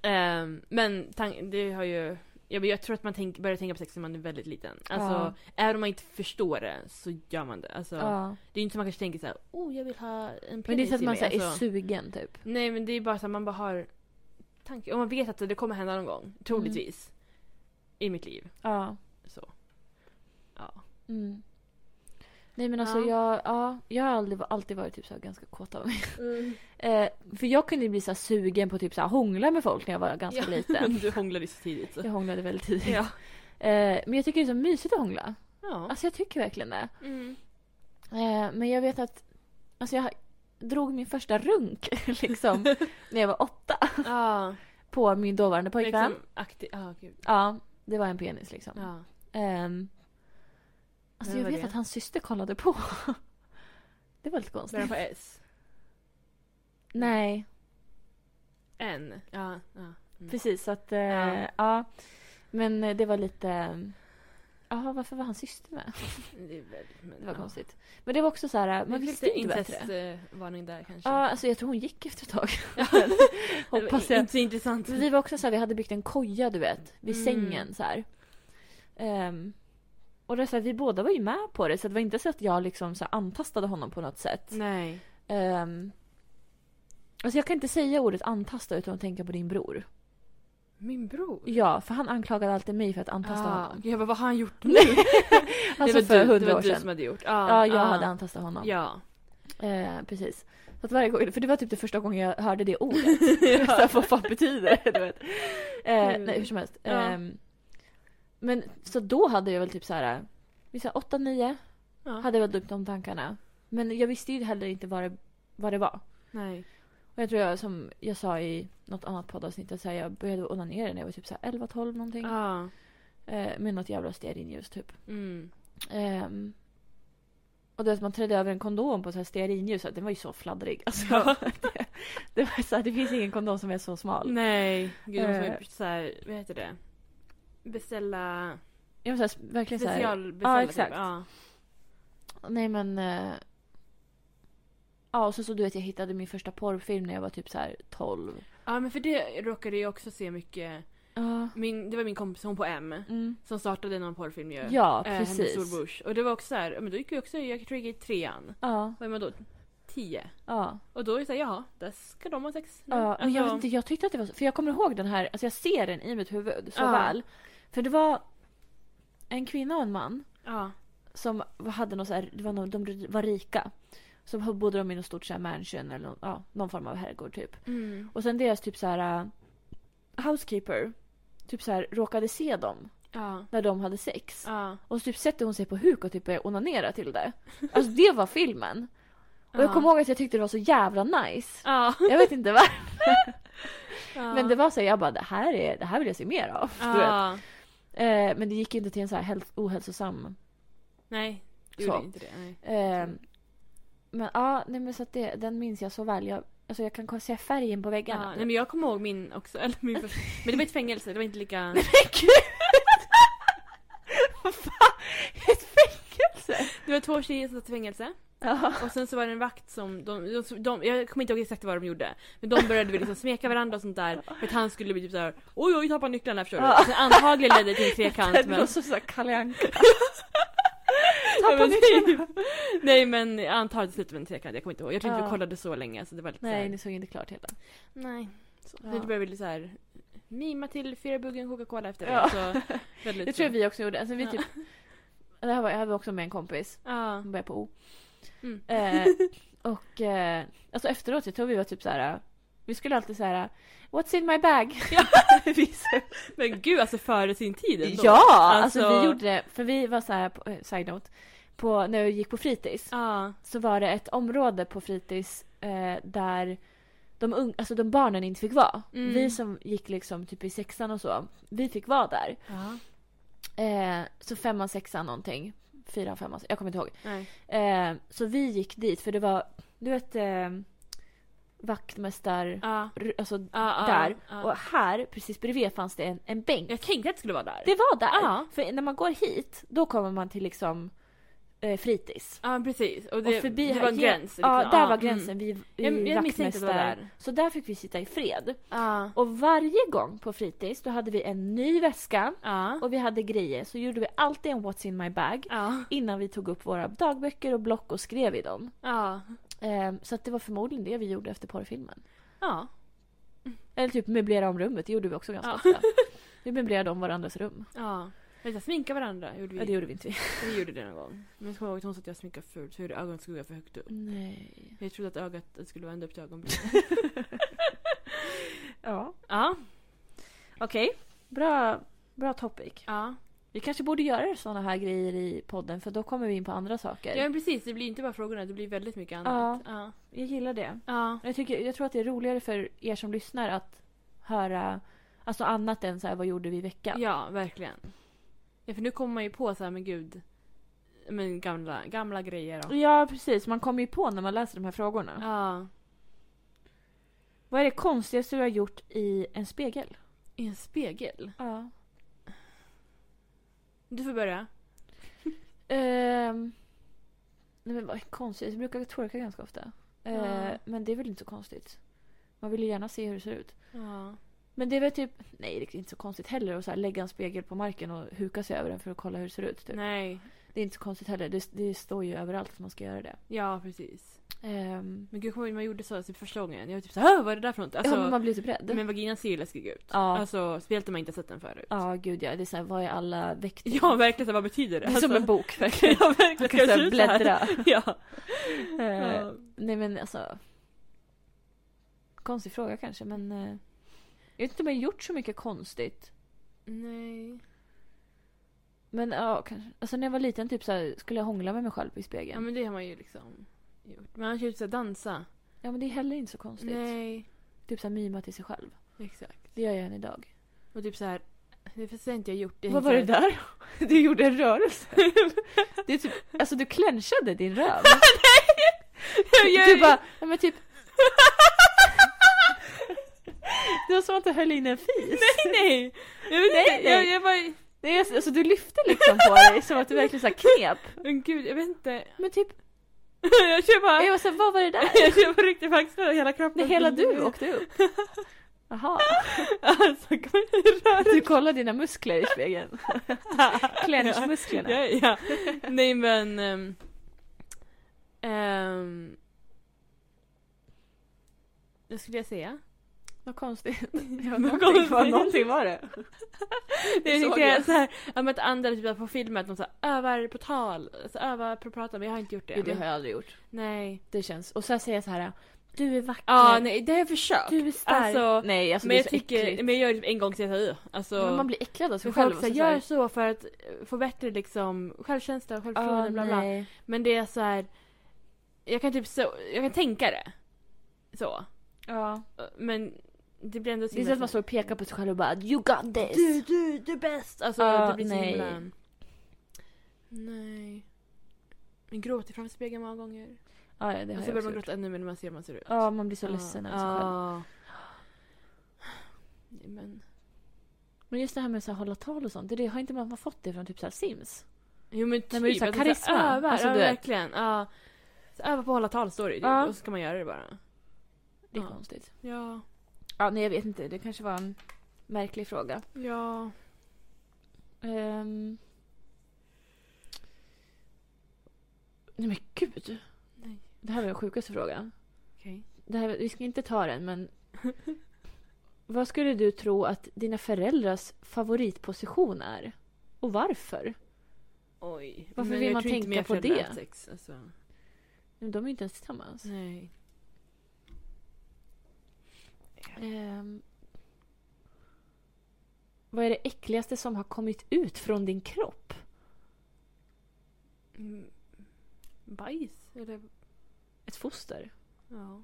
[SPEAKER 2] Ehm, men tan- det har ju... Jag, jag tror att man tänk, börjar tänka på sex när man är väldigt liten. Alltså,
[SPEAKER 1] Ja.
[SPEAKER 2] även om man inte förstår det så gör man det. Alltså,
[SPEAKER 1] Ja.
[SPEAKER 2] Det är ju inte som man kanske tänker så här, oh jag vill ha en penis
[SPEAKER 1] Men det är så att
[SPEAKER 2] i
[SPEAKER 1] man
[SPEAKER 2] mig."
[SPEAKER 1] så här, är
[SPEAKER 2] Alltså-
[SPEAKER 1] sugen typ.
[SPEAKER 2] Nej men det är bara så att man bara har tankar. Och man vet att det kommer hända någon
[SPEAKER 1] Mm.
[SPEAKER 2] gång. Troligtvis. I mitt liv.
[SPEAKER 1] Ja.
[SPEAKER 2] Så. Ja.
[SPEAKER 1] Mm. Nej men alltså
[SPEAKER 2] Ja.
[SPEAKER 1] jag, ja, jag har aldrig, alltid varit typ så här ganska kåt av mig. Eh, för jag kunde ju bli så här sugen på typ så här hångla med folk när jag var ganska liten.
[SPEAKER 2] du hånglade ju så tidigt. Så.
[SPEAKER 1] Jag hånglade väldigt tidigt.
[SPEAKER 2] Ja.
[SPEAKER 1] Eh, men jag tycker det är så mysigt att hångla.
[SPEAKER 2] ja.
[SPEAKER 1] Alltså jag tycker verkligen det.
[SPEAKER 2] Mm.
[SPEAKER 1] Eh, men jag vet att, alltså jag drog min första runk liksom när jag var åtta
[SPEAKER 2] Ja.
[SPEAKER 1] på min dåvarande pojkvän.
[SPEAKER 2] Liksom aktiv. Ja, gud.
[SPEAKER 1] Ja, det var en penis liksom.
[SPEAKER 2] Ja.
[SPEAKER 1] Ehm, alltså
[SPEAKER 2] Vem
[SPEAKER 1] jag
[SPEAKER 2] var
[SPEAKER 1] vet
[SPEAKER 2] det?
[SPEAKER 1] att hans syster kollade på. Det var lite konstigt.
[SPEAKER 2] Börjar på S.
[SPEAKER 1] Nej,
[SPEAKER 2] N. Ja. ja. Mm.
[SPEAKER 1] precis. Så att, eh,
[SPEAKER 2] Ja.
[SPEAKER 1] ja. Men eh, det var lite... Jaha, varför var hans syster med?
[SPEAKER 2] Det är väldigt, men,
[SPEAKER 1] Det var
[SPEAKER 2] ja.
[SPEAKER 1] konstigt. Men det var också så här, man
[SPEAKER 2] Det är
[SPEAKER 1] visste
[SPEAKER 2] lite
[SPEAKER 1] inte bättre.
[SPEAKER 2] incestvarning där kanske.
[SPEAKER 1] Ja, alltså jag tror hon gick efter ett tag.
[SPEAKER 2] Det var
[SPEAKER 1] Hoppas
[SPEAKER 2] in-
[SPEAKER 1] jag.
[SPEAKER 2] Inte så intressant.
[SPEAKER 1] Men vi var också så här, vi hade byggt en koja du vet, vid
[SPEAKER 2] Mm.
[SPEAKER 1] sängen så här. Ehm, och det är så här, vi båda var ju med på det så det var inte så att jag liksom så här, antastade honom på något sätt.
[SPEAKER 2] Nej.
[SPEAKER 1] Um, alltså jag kan inte säga ordet antasta utan att tänka på din bror.
[SPEAKER 2] Min bror.
[SPEAKER 1] Ja, för han anklagade alltid mig för att antasta
[SPEAKER 2] Ah,
[SPEAKER 1] honom.
[SPEAKER 2] jag bara, vad har han gjort nu?
[SPEAKER 1] Nej,
[SPEAKER 2] det
[SPEAKER 1] alltså
[SPEAKER 2] var
[SPEAKER 1] för
[SPEAKER 2] du, det
[SPEAKER 1] hundra
[SPEAKER 2] var
[SPEAKER 1] år
[SPEAKER 2] du
[SPEAKER 1] sedan.
[SPEAKER 2] som hade gjort. Ah,
[SPEAKER 1] Ja, jag
[SPEAKER 2] ah.
[SPEAKER 1] hade antastat honom.
[SPEAKER 2] Ja.
[SPEAKER 1] Eh, precis. Så att varje gång, för det var typ det första gången jag hörde det ordet. så här, vad fan betyder det? Du vet. Eh,
[SPEAKER 2] Gud.
[SPEAKER 1] nej, hur som helst.
[SPEAKER 2] Ja.
[SPEAKER 1] Ehm, men så då hade jag väl typ så här, vi sa 8-9,
[SPEAKER 2] ja.
[SPEAKER 1] hade jag väl upp de tankarna. Men jag visste ju heller inte vad det, vad det var.
[SPEAKER 2] Nej.
[SPEAKER 1] Och jag tror jag, som jag sa i något annat poddavsnitt, att så här, jag började onanera när jag var typ 11-12 någonting.
[SPEAKER 2] Ja.
[SPEAKER 1] Eh, med något jävla stearinljus typ.
[SPEAKER 2] Mm.
[SPEAKER 1] Ehm, och då att man trädde över en kondom på så här stearinljus, att den var ju så fladdrig. Alltså, det, det, var så här, det finns ingen kondom som är så smal.
[SPEAKER 2] Nej. Gud,
[SPEAKER 1] Eh.
[SPEAKER 2] måste man ju så här, vad heter det? Beställa...
[SPEAKER 1] Jag var så här, verkligen så här,
[SPEAKER 2] Specialbeställa
[SPEAKER 1] Ja, exakt.
[SPEAKER 2] Typ. Ja.
[SPEAKER 1] Nej men... eh, ja, och så, så du vet jag hittade min första porrfilm när jag var typ så här 12.
[SPEAKER 2] ja, men för det råkade jag också se mycket.
[SPEAKER 1] Ja.
[SPEAKER 2] Min, det var min kompis, hon på M,
[SPEAKER 1] Mm.
[SPEAKER 2] som startade någon porrfilm ju.
[SPEAKER 1] Ja,
[SPEAKER 2] Eh, Hennes
[SPEAKER 1] precis.
[SPEAKER 2] Storbush. Och det var också så här, ja, men då gick vi också, jag tror jag gick i trean.
[SPEAKER 1] Ja.
[SPEAKER 2] Vad är man då? tio.
[SPEAKER 1] Ja.
[SPEAKER 2] Och då är det såhär, jaha, där ska de ha sex nu.
[SPEAKER 1] Ja, men jag, vet
[SPEAKER 2] Alltså,
[SPEAKER 1] inte, jag tyckte att det var så, för jag kommer ihåg den här, alltså jag ser den i mitt huvud så
[SPEAKER 2] Ja.
[SPEAKER 1] väl. För det var en kvinna och en man
[SPEAKER 2] ja.
[SPEAKER 1] som hade något så här, det var någon, de var rika. Så bodde de i något stort så här mansion eller någon, ja, någon form av herrgård typ.
[SPEAKER 2] Mm.
[SPEAKER 1] Och sen deras typ så här äh, housekeeper typ så här råkade se dem
[SPEAKER 2] ja.
[SPEAKER 1] när de hade sex.
[SPEAKER 2] Ja.
[SPEAKER 1] Och så typ sätter hon sig på huk och typ börjar onanera till det. Alltså det var filmen. Och jag
[SPEAKER 2] Ja.
[SPEAKER 1] kommer ihåg att jag tyckte det var så jävla nice.
[SPEAKER 2] Ja.
[SPEAKER 1] Jag vet inte varför.
[SPEAKER 2] ja.
[SPEAKER 1] Men det var så här, jag bara det här, är, det här vill jag se mer av. Du vet.
[SPEAKER 2] Ja.
[SPEAKER 1] Eh, men det gick inte till en så här häls- ohälsosam.
[SPEAKER 2] Nej, du
[SPEAKER 1] Så.
[SPEAKER 2] gjorde inte det. Nej.
[SPEAKER 1] Eh,
[SPEAKER 2] Mm.
[SPEAKER 1] men ja, nej, men så att det, den minns jag så väl. Jag, alltså jag kan se färgen på
[SPEAKER 2] Ja,
[SPEAKER 1] väggarna.
[SPEAKER 2] nej men jag kommer ihåg min också. Eller min första. Men det var ett fängelse, det var inte lika...
[SPEAKER 1] Vad fan? Ett fängelse?
[SPEAKER 2] Det var två tjejer som satt i fängelse.
[SPEAKER 1] Ja.
[SPEAKER 2] Och sen så var det en vakt som, de, de, de, jag kommer inte ihåg exakt vad de gjorde. Men de började väl liksom smeka varandra och sånt där. För att han skulle bli typ såhär oj oj tappa nycklarna förstår du.
[SPEAKER 1] Ja.
[SPEAKER 2] Sen antagligen ledde det till en trekant
[SPEAKER 1] Det
[SPEAKER 2] men.
[SPEAKER 1] låter som Kalle Anka.
[SPEAKER 2] Ja,
[SPEAKER 1] Tappa
[SPEAKER 2] men
[SPEAKER 1] nycklarna.
[SPEAKER 2] typ. Nej men jag antar att det slutade med en trekant, jag kommer inte ihåg. Jag tror inte
[SPEAKER 1] Ja.
[SPEAKER 2] vi kollade så länge så det var lite
[SPEAKER 1] Nej,
[SPEAKER 2] såhär.
[SPEAKER 1] ni såg inte klart hela.
[SPEAKER 2] Nej. Så,
[SPEAKER 1] Ja.
[SPEAKER 2] Det började bli såhär mima till fyra buggen Coca-Cola efter det.
[SPEAKER 1] Ja.
[SPEAKER 2] Så, väldigt
[SPEAKER 1] Det tror jag
[SPEAKER 2] så.
[SPEAKER 1] vi också gjorde. Alltså, vi
[SPEAKER 2] Ja.
[SPEAKER 1] typ, det här var, jag hade också med en kompis.
[SPEAKER 2] Ja.
[SPEAKER 1] Hon började på O.
[SPEAKER 2] Mm.
[SPEAKER 1] Eh, och eh, alltså efteråt, jag tror vi var typ så här. Vi skulle alltid så här. What's in my bag? Vi så-
[SPEAKER 2] Men gud alltså före sin tid ändå.
[SPEAKER 1] ja, alltså,
[SPEAKER 2] Alltså-
[SPEAKER 1] vi gjorde det. För vi var så här, på, eh, side note. På, när vi gick på fritids
[SPEAKER 2] Ja.
[SPEAKER 1] så var det ett område på fritids eh, där de, un- alltså, de barnen inte fick vara.
[SPEAKER 2] Mm.
[SPEAKER 1] Vi som gick liksom typ i sexan och så, vi fick vara där.
[SPEAKER 2] ja.
[SPEAKER 1] Eh, så femman, sexan någonting. Fyran, femman, jag kommer inte ihåg.
[SPEAKER 2] Nej.
[SPEAKER 1] Eh, så vi gick dit för det var, du vet, eh, vaktmästar...
[SPEAKER 2] Ja.
[SPEAKER 1] r- Alltså
[SPEAKER 2] Ja, ja,
[SPEAKER 1] där.
[SPEAKER 2] ja.
[SPEAKER 1] Och här, precis bredvid, fanns det en, en bänk.
[SPEAKER 2] Jag tänkte att det skulle vara där.
[SPEAKER 1] Det var där!
[SPEAKER 2] Ja.
[SPEAKER 1] För när man går hit, då kommer man till liksom eh, fritids.
[SPEAKER 2] Ja precis. Och
[SPEAKER 1] Och
[SPEAKER 2] det,
[SPEAKER 1] förbi
[SPEAKER 2] det
[SPEAKER 1] här-
[SPEAKER 2] var en gräns. liksom.
[SPEAKER 1] Ja, där var
[SPEAKER 2] mm.
[SPEAKER 1] gränsen vid,
[SPEAKER 2] Jag- jag
[SPEAKER 1] vid
[SPEAKER 2] misstänkte att det var
[SPEAKER 1] vaktmästare.
[SPEAKER 2] där.
[SPEAKER 1] Så där fick vi sitta i fred.
[SPEAKER 2] Ja.
[SPEAKER 1] Och varje gång på fritids, då hade vi en ny väska
[SPEAKER 2] Ja.
[SPEAKER 1] och vi hade grejer. Så gjorde vi alltid en What's in my bag.
[SPEAKER 2] Ja.
[SPEAKER 1] innan vi tog upp våra dagböcker och block och skrev i dem.
[SPEAKER 2] Ja.
[SPEAKER 1] Ehm, så att det var förmodligen det vi gjorde efter porrfilmen.
[SPEAKER 2] Ja.
[SPEAKER 1] Eller typ möblera om rummet, det gjorde vi också ganska
[SPEAKER 2] Ja.
[SPEAKER 1] ofta. Vi möblerade om varandras rum.
[SPEAKER 2] ja. Men så sminka varandra gjorde vi.
[SPEAKER 1] Ja, det gjorde vi inte.
[SPEAKER 2] Vi gjorde det någon gång. Men jag kommer ihåg att hon sa att jag sminkade fult så jag gjorde ögonskugga för högt upp.
[SPEAKER 1] Nej.
[SPEAKER 2] Jag trodde att ögat det skulle vara ända upp till ögonbrynet.
[SPEAKER 1] Ja.
[SPEAKER 2] ja. Okej.
[SPEAKER 1] Bra, bra topic.
[SPEAKER 2] Ja.
[SPEAKER 1] Vi kanske borde göra sådana här grejer i podden för då kommer vi in på andra saker.
[SPEAKER 2] ja men precis, det blir inte bara frågorna det blir väldigt mycket annat. Ja.
[SPEAKER 1] Jag gillar det.
[SPEAKER 2] Ja.
[SPEAKER 1] Jag, tycker, jag tror att det är roligare för er som lyssnar att höra alltså annat än så här, vad gjorde vi i
[SPEAKER 2] Ja,
[SPEAKER 1] veckan?
[SPEAKER 2] verkligen. Ja, för nu kommer man ju på så här men gud. Men gamla, gamla grejer och...
[SPEAKER 1] Ja, precis. Man kommer ju på när man läser de här frågorna.
[SPEAKER 2] Ja.
[SPEAKER 1] Vad är det konstigaste du har gjort i en spegel?
[SPEAKER 2] I en spegel.
[SPEAKER 1] Ja.
[SPEAKER 2] Du får börja.
[SPEAKER 1] Ehm, nej men vad är konstigt? Jag brukar twerka ganska ofta. Ehm,
[SPEAKER 2] Ja.
[SPEAKER 1] Men det är väl inte så konstigt. Man vill ju gärna se hur det ser ut.
[SPEAKER 2] Ja.
[SPEAKER 1] Men det är väl typ, nej det är inte så konstigt heller att så här lägga en spegel på marken och huka sig över den för att kolla hur det ser ut. Typ.
[SPEAKER 2] Nej.
[SPEAKER 1] Det är inte så konstigt heller. Det, det står ju överallt att man ska göra det.
[SPEAKER 2] Ja, precis.
[SPEAKER 1] Ehm,
[SPEAKER 2] Men gud, kommer du ihåg när man gjorde så typ första gången? Jag var typ såhär, "Åh, vad är det där för något? Alltså,
[SPEAKER 1] ja, men man blir typ
[SPEAKER 2] men,
[SPEAKER 1] rädd.
[SPEAKER 2] vaginan ser ju läskig ut.
[SPEAKER 1] Ja.
[SPEAKER 2] Alltså, speciellt om man inte har sett den förut.
[SPEAKER 1] Ja, gud ja. Det är så här, vad är alla väkter?
[SPEAKER 2] Ja, verkligen. så här, Vad betyder
[SPEAKER 1] det
[SPEAKER 2] det? Alltså,
[SPEAKER 1] är som en bok verkligen.
[SPEAKER 2] ja, verkligen.
[SPEAKER 1] Man
[SPEAKER 2] Ska
[SPEAKER 1] kan
[SPEAKER 2] jag
[SPEAKER 1] så
[SPEAKER 2] se
[SPEAKER 1] här
[SPEAKER 2] ut så här?
[SPEAKER 1] bläddra.
[SPEAKER 2] Ja.
[SPEAKER 1] Ehm,
[SPEAKER 2] Ja.
[SPEAKER 1] Nej men alltså. Konstig fråga kanske men. eh, Jag vet inte om jag har gjort så mycket konstigt.
[SPEAKER 2] Nej.
[SPEAKER 1] Men ja, kanske. Alltså när jag var liten typ så här, skulle jag hångla med mig själv i spegeln.
[SPEAKER 2] Ja, men det har man ju liksom gjort. Men annars är det typ såhär dansa.
[SPEAKER 1] det är heller inte så konstigt.
[SPEAKER 2] Nej.
[SPEAKER 1] Typ så här, mima till sig själv.
[SPEAKER 2] Exakt.
[SPEAKER 1] Det gör jag än idag.
[SPEAKER 2] Och typ såhär, det förstår jag inte jag gjort. Jag
[SPEAKER 1] Vad
[SPEAKER 2] tänkte
[SPEAKER 1] var det
[SPEAKER 2] så här-
[SPEAKER 1] där? Du gjorde en rörelse. Det är typ, alltså du clenchade din röv.
[SPEAKER 2] Jag
[SPEAKER 1] Du
[SPEAKER 2] gör-
[SPEAKER 1] bara, ja, men typ. Det var som att du höll in en fis.
[SPEAKER 2] Nej, nej! Jag vet
[SPEAKER 1] Nej,
[SPEAKER 2] inte.
[SPEAKER 1] nej.
[SPEAKER 2] Jag, jag bara...
[SPEAKER 1] Nej, alltså du lyfte liksom på dig som att du verkligen så här knep.
[SPEAKER 2] Men gud, jag vet inte.
[SPEAKER 1] Men typ,
[SPEAKER 2] jag kör bara...
[SPEAKER 1] jag var så här, vad var det där?
[SPEAKER 2] Jag kör på riktigt faktiskt hela kroppen.
[SPEAKER 1] Nej, hela du åkte upp. Jaha.
[SPEAKER 2] Alltså, kom igen, rör
[SPEAKER 1] Du kollar dina muskler i spegeln. Clenchmusklerna.
[SPEAKER 2] Ja, ja. Nej men... ehm, ehm, Det skulle jag säga.
[SPEAKER 1] Vad konstigt. Ja,
[SPEAKER 2] Vad
[SPEAKER 1] någonting, var,
[SPEAKER 2] konstigt.
[SPEAKER 1] någonting var det.
[SPEAKER 2] Det jag
[SPEAKER 1] såg
[SPEAKER 2] tycker jag
[SPEAKER 1] jag.
[SPEAKER 2] så här, ja, men att andra typ på filmer att de så här, övar på tal, alltså, övar på att prata men jag har inte gjort det.
[SPEAKER 1] Jo, det
[SPEAKER 2] än.
[SPEAKER 1] har jag aldrig gjort.
[SPEAKER 2] Nej.
[SPEAKER 1] Det känns. Och sen säger jag så här. Du är vacker.
[SPEAKER 2] Ja, nej, det har jag försökt.
[SPEAKER 1] Du är stark.
[SPEAKER 2] Alltså,
[SPEAKER 1] nej, alltså
[SPEAKER 2] men
[SPEAKER 1] det är
[SPEAKER 2] jag
[SPEAKER 1] så
[SPEAKER 2] tycker,
[SPEAKER 1] äckligt.
[SPEAKER 2] men jag gör det typ en gång till jag tar i. Alltså,
[SPEAKER 1] Men man blir äcklad av sig
[SPEAKER 2] för
[SPEAKER 1] själv. och
[SPEAKER 2] folk så här,
[SPEAKER 1] så här-
[SPEAKER 2] gör så för att eh, få bättre liksom självkänsla och självförtroende
[SPEAKER 1] Ja,
[SPEAKER 2] bla bla.
[SPEAKER 1] nej.
[SPEAKER 2] Men det är så här. Jag kan typ så, jag kan tänka det. Så.
[SPEAKER 1] Ja.
[SPEAKER 2] Men det blir ändå så
[SPEAKER 1] Det är så att man står och pekar på sig själv och bara You got this!
[SPEAKER 2] Du, du, du är bäst! Alltså
[SPEAKER 1] Ja,
[SPEAKER 2] det blir så
[SPEAKER 1] nej.
[SPEAKER 2] himla... Nej. Man gråter framför spegeln många gånger.
[SPEAKER 1] Ja, ja, det
[SPEAKER 2] Och
[SPEAKER 1] har
[SPEAKER 2] så
[SPEAKER 1] jag
[SPEAKER 2] börjar
[SPEAKER 1] också
[SPEAKER 2] man
[SPEAKER 1] gjort.
[SPEAKER 2] gråta ännu mer när man ser hur man ser ut.
[SPEAKER 1] Ja, man blir så ledsen
[SPEAKER 2] Ja.
[SPEAKER 1] över sig själv.
[SPEAKER 2] Ja. Nej, men...
[SPEAKER 1] Men just det här med att hålla tal och sånt, det, det har inte man fått det från typ så här Sims?
[SPEAKER 2] Jo men typ.
[SPEAKER 1] men det är så här
[SPEAKER 2] att man så här
[SPEAKER 1] karisma.
[SPEAKER 2] Övar,
[SPEAKER 1] Alltså,
[SPEAKER 2] ja,
[SPEAKER 1] du vet.
[SPEAKER 2] verkligen. Ja. Så öva på att hålla tal står det ju.
[SPEAKER 1] Ja.
[SPEAKER 2] Och så ska man göra det bara.
[SPEAKER 1] Det är
[SPEAKER 2] Ja.
[SPEAKER 1] konstigt.
[SPEAKER 2] Ja.
[SPEAKER 1] Ja, nej jag vet inte, det kanske var en märklig fråga.
[SPEAKER 2] Ja.
[SPEAKER 1] Ehm. Nej men gud!
[SPEAKER 2] Nej.
[SPEAKER 1] Det här var den sjukaste frågan.
[SPEAKER 2] Okej.
[SPEAKER 1] Det här, vi ska inte ta den men... Vad skulle du tro att dina föräldrars favoritposition är? Och varför?
[SPEAKER 2] Oj.
[SPEAKER 1] Varför
[SPEAKER 2] Men
[SPEAKER 1] vill
[SPEAKER 2] jag
[SPEAKER 1] man
[SPEAKER 2] tror inte
[SPEAKER 1] tänka
[SPEAKER 2] mina
[SPEAKER 1] på
[SPEAKER 2] föräldrar
[SPEAKER 1] det?
[SPEAKER 2] har haft Sex, alltså.
[SPEAKER 1] Men De är ju inte ens tillsammans.
[SPEAKER 2] Nej.
[SPEAKER 1] Ehm. Vad är det äckligaste som har kommit ut från din kropp?
[SPEAKER 2] Mm. Bajs? Eller?
[SPEAKER 1] Ett foster?
[SPEAKER 2] Ja.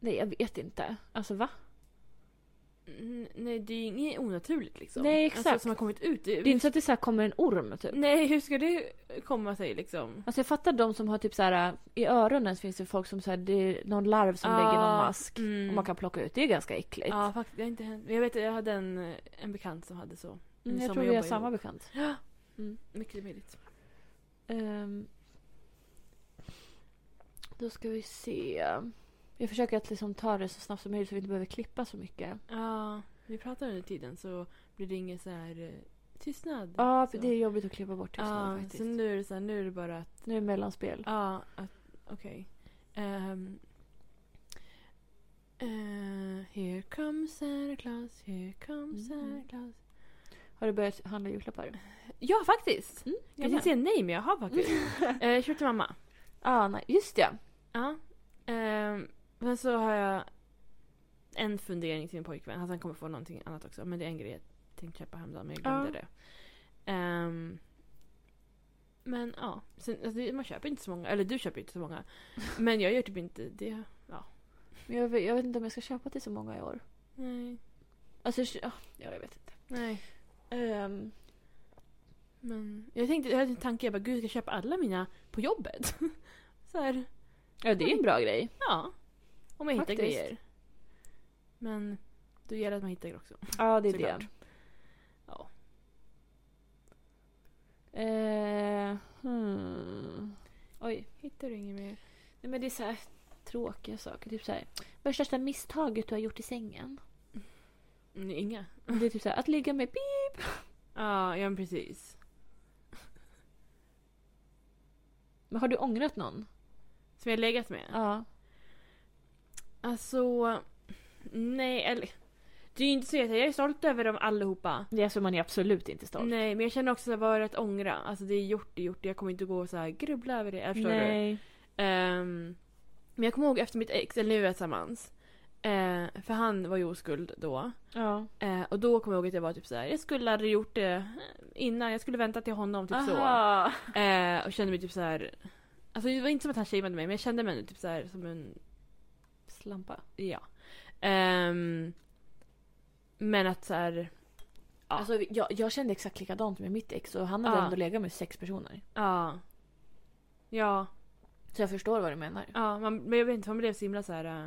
[SPEAKER 1] Nej, jag vet inte. Alltså va?
[SPEAKER 2] Mm, Nej, det är ju inget onaturligt liksom.
[SPEAKER 1] Nej,
[SPEAKER 2] Alltså,
[SPEAKER 1] exakt.
[SPEAKER 2] som har kommit ut. Det,
[SPEAKER 1] Det är inte så att det så här kommer en orm typ.
[SPEAKER 2] Nej, hur ska det komma sig liksom?
[SPEAKER 1] Alltså jag fattar de som har typ så här i öronen så finns det folk som så här, det är någon larv som lägger någon
[SPEAKER 2] Ah,
[SPEAKER 1] mask
[SPEAKER 2] mm.
[SPEAKER 1] och man kan plocka ut. Det är ganska äckligt.
[SPEAKER 2] Ja, faktiskt. Det har inte hänt. Men Jag vet, jag hade en, en bekant som hade så.
[SPEAKER 1] Mm, jag
[SPEAKER 2] som
[SPEAKER 1] tror vi har
[SPEAKER 2] jobbar
[SPEAKER 1] samma
[SPEAKER 2] ihop.
[SPEAKER 1] bekant.
[SPEAKER 2] Mycket möjligt.
[SPEAKER 1] Ehm. Då ska vi se. Jag försöker att liksom ta det så snabbt som möjligt så vi inte behöver klippa så mycket.
[SPEAKER 2] Ja, vi pratar under tiden så blir det ingen så här eh, tystnad.
[SPEAKER 1] Ja,
[SPEAKER 2] så.
[SPEAKER 1] för det är jobbigt att klippa bort tystnaden
[SPEAKER 2] Ja,
[SPEAKER 1] faktiskt.
[SPEAKER 2] så nu är det så här, nu är det bara att,
[SPEAKER 1] Nu är det mellanspel.
[SPEAKER 2] ja, att okej. Ehm, eh, here comes Santa Claus, here comes
[SPEAKER 1] Mm.
[SPEAKER 2] Santa Claus.
[SPEAKER 1] Har du börjat handla julklappar?
[SPEAKER 2] Ja, faktiskt!
[SPEAKER 1] Mm,
[SPEAKER 2] Jag tänkte säga nej, men jag har faktiskt. eh, jag köpte mamma.
[SPEAKER 1] ah, nej, just ja.
[SPEAKER 2] Ja. Ehm, men så har jag en fundering till min pojkvän. Alltså, han kommer få någonting annat också. Men det är en grej jag tänkte köpa häromdagen, men jag glömde det. Ehm, men ja, Sen, alltså, det- man köper inte så många. Eller du köper inte så många. Men jag gör typ inte det.
[SPEAKER 1] Men jag, vet- jag vet inte om jag ska köpa till så många i år.
[SPEAKER 2] Nej.
[SPEAKER 1] Alltså, ja, jag vet inte.
[SPEAKER 2] Nej.
[SPEAKER 1] Ehm,
[SPEAKER 2] Men jag tänkte, jag hade en tanke, jag bara gud ska jag köpa alla mina på jobbet? så här,
[SPEAKER 1] ja, det är en bra grej.
[SPEAKER 2] ja. Om jag
[SPEAKER 1] Faktiskt.
[SPEAKER 2] hittar grejer. Men då gäller det att man hittar grejer också.
[SPEAKER 1] Ja, det är
[SPEAKER 2] Såklart.
[SPEAKER 1] det.
[SPEAKER 2] Ja.
[SPEAKER 1] Eh, hmm. Oj.
[SPEAKER 2] Hittar du inget mer?
[SPEAKER 1] Nej, men det är så här tråkiga saker. Typ så här. Vad är största misstaget du har gjort i sängen?
[SPEAKER 2] Mm, Inga.
[SPEAKER 1] Det är typ så här, att ligga med bi-
[SPEAKER 2] Ja, ja men precis.
[SPEAKER 1] Men har du ångrat någon?
[SPEAKER 2] Som jag legat med?
[SPEAKER 1] Ja.
[SPEAKER 2] Alltså, nej eller. Det är ju inte så att jag är stolt över dem allihopa.
[SPEAKER 1] Det är så man är absolut inte stolt.
[SPEAKER 2] Nej, men jag känner också att vara att ångra. Alltså det är gjort, det är gjort. Jag kommer inte gå och så här grubbla över det. Jag förstår du?
[SPEAKER 1] Nej.
[SPEAKER 2] Ehm, men jag kommer ihåg efter mitt ex, eller nu är vi tillsammans. Eh, för han var ju oskuld då.
[SPEAKER 1] Ja.
[SPEAKER 2] Eh, och då kommer jag ihåg att jag var typ så här. jag skulle aldrig gjort det innan. Jag skulle vänta till honom, typ så.
[SPEAKER 1] Aha.
[SPEAKER 2] Eh, och kände mig typ så här. Alltså det var inte som att han shameade mig men jag kände mig typ så här som en...
[SPEAKER 1] Slampa.
[SPEAKER 2] Ja. Ehm, men att så här... Ja.
[SPEAKER 1] Alltså, jag, jag kände exakt likadant med mitt ex och han hade
[SPEAKER 2] Ja.
[SPEAKER 1] ändå legat med sex personer.
[SPEAKER 2] Ja. Ja.
[SPEAKER 1] Så jag förstår vad du menar.
[SPEAKER 2] ja man, men jag vet inte, man blev så himla så här... eh.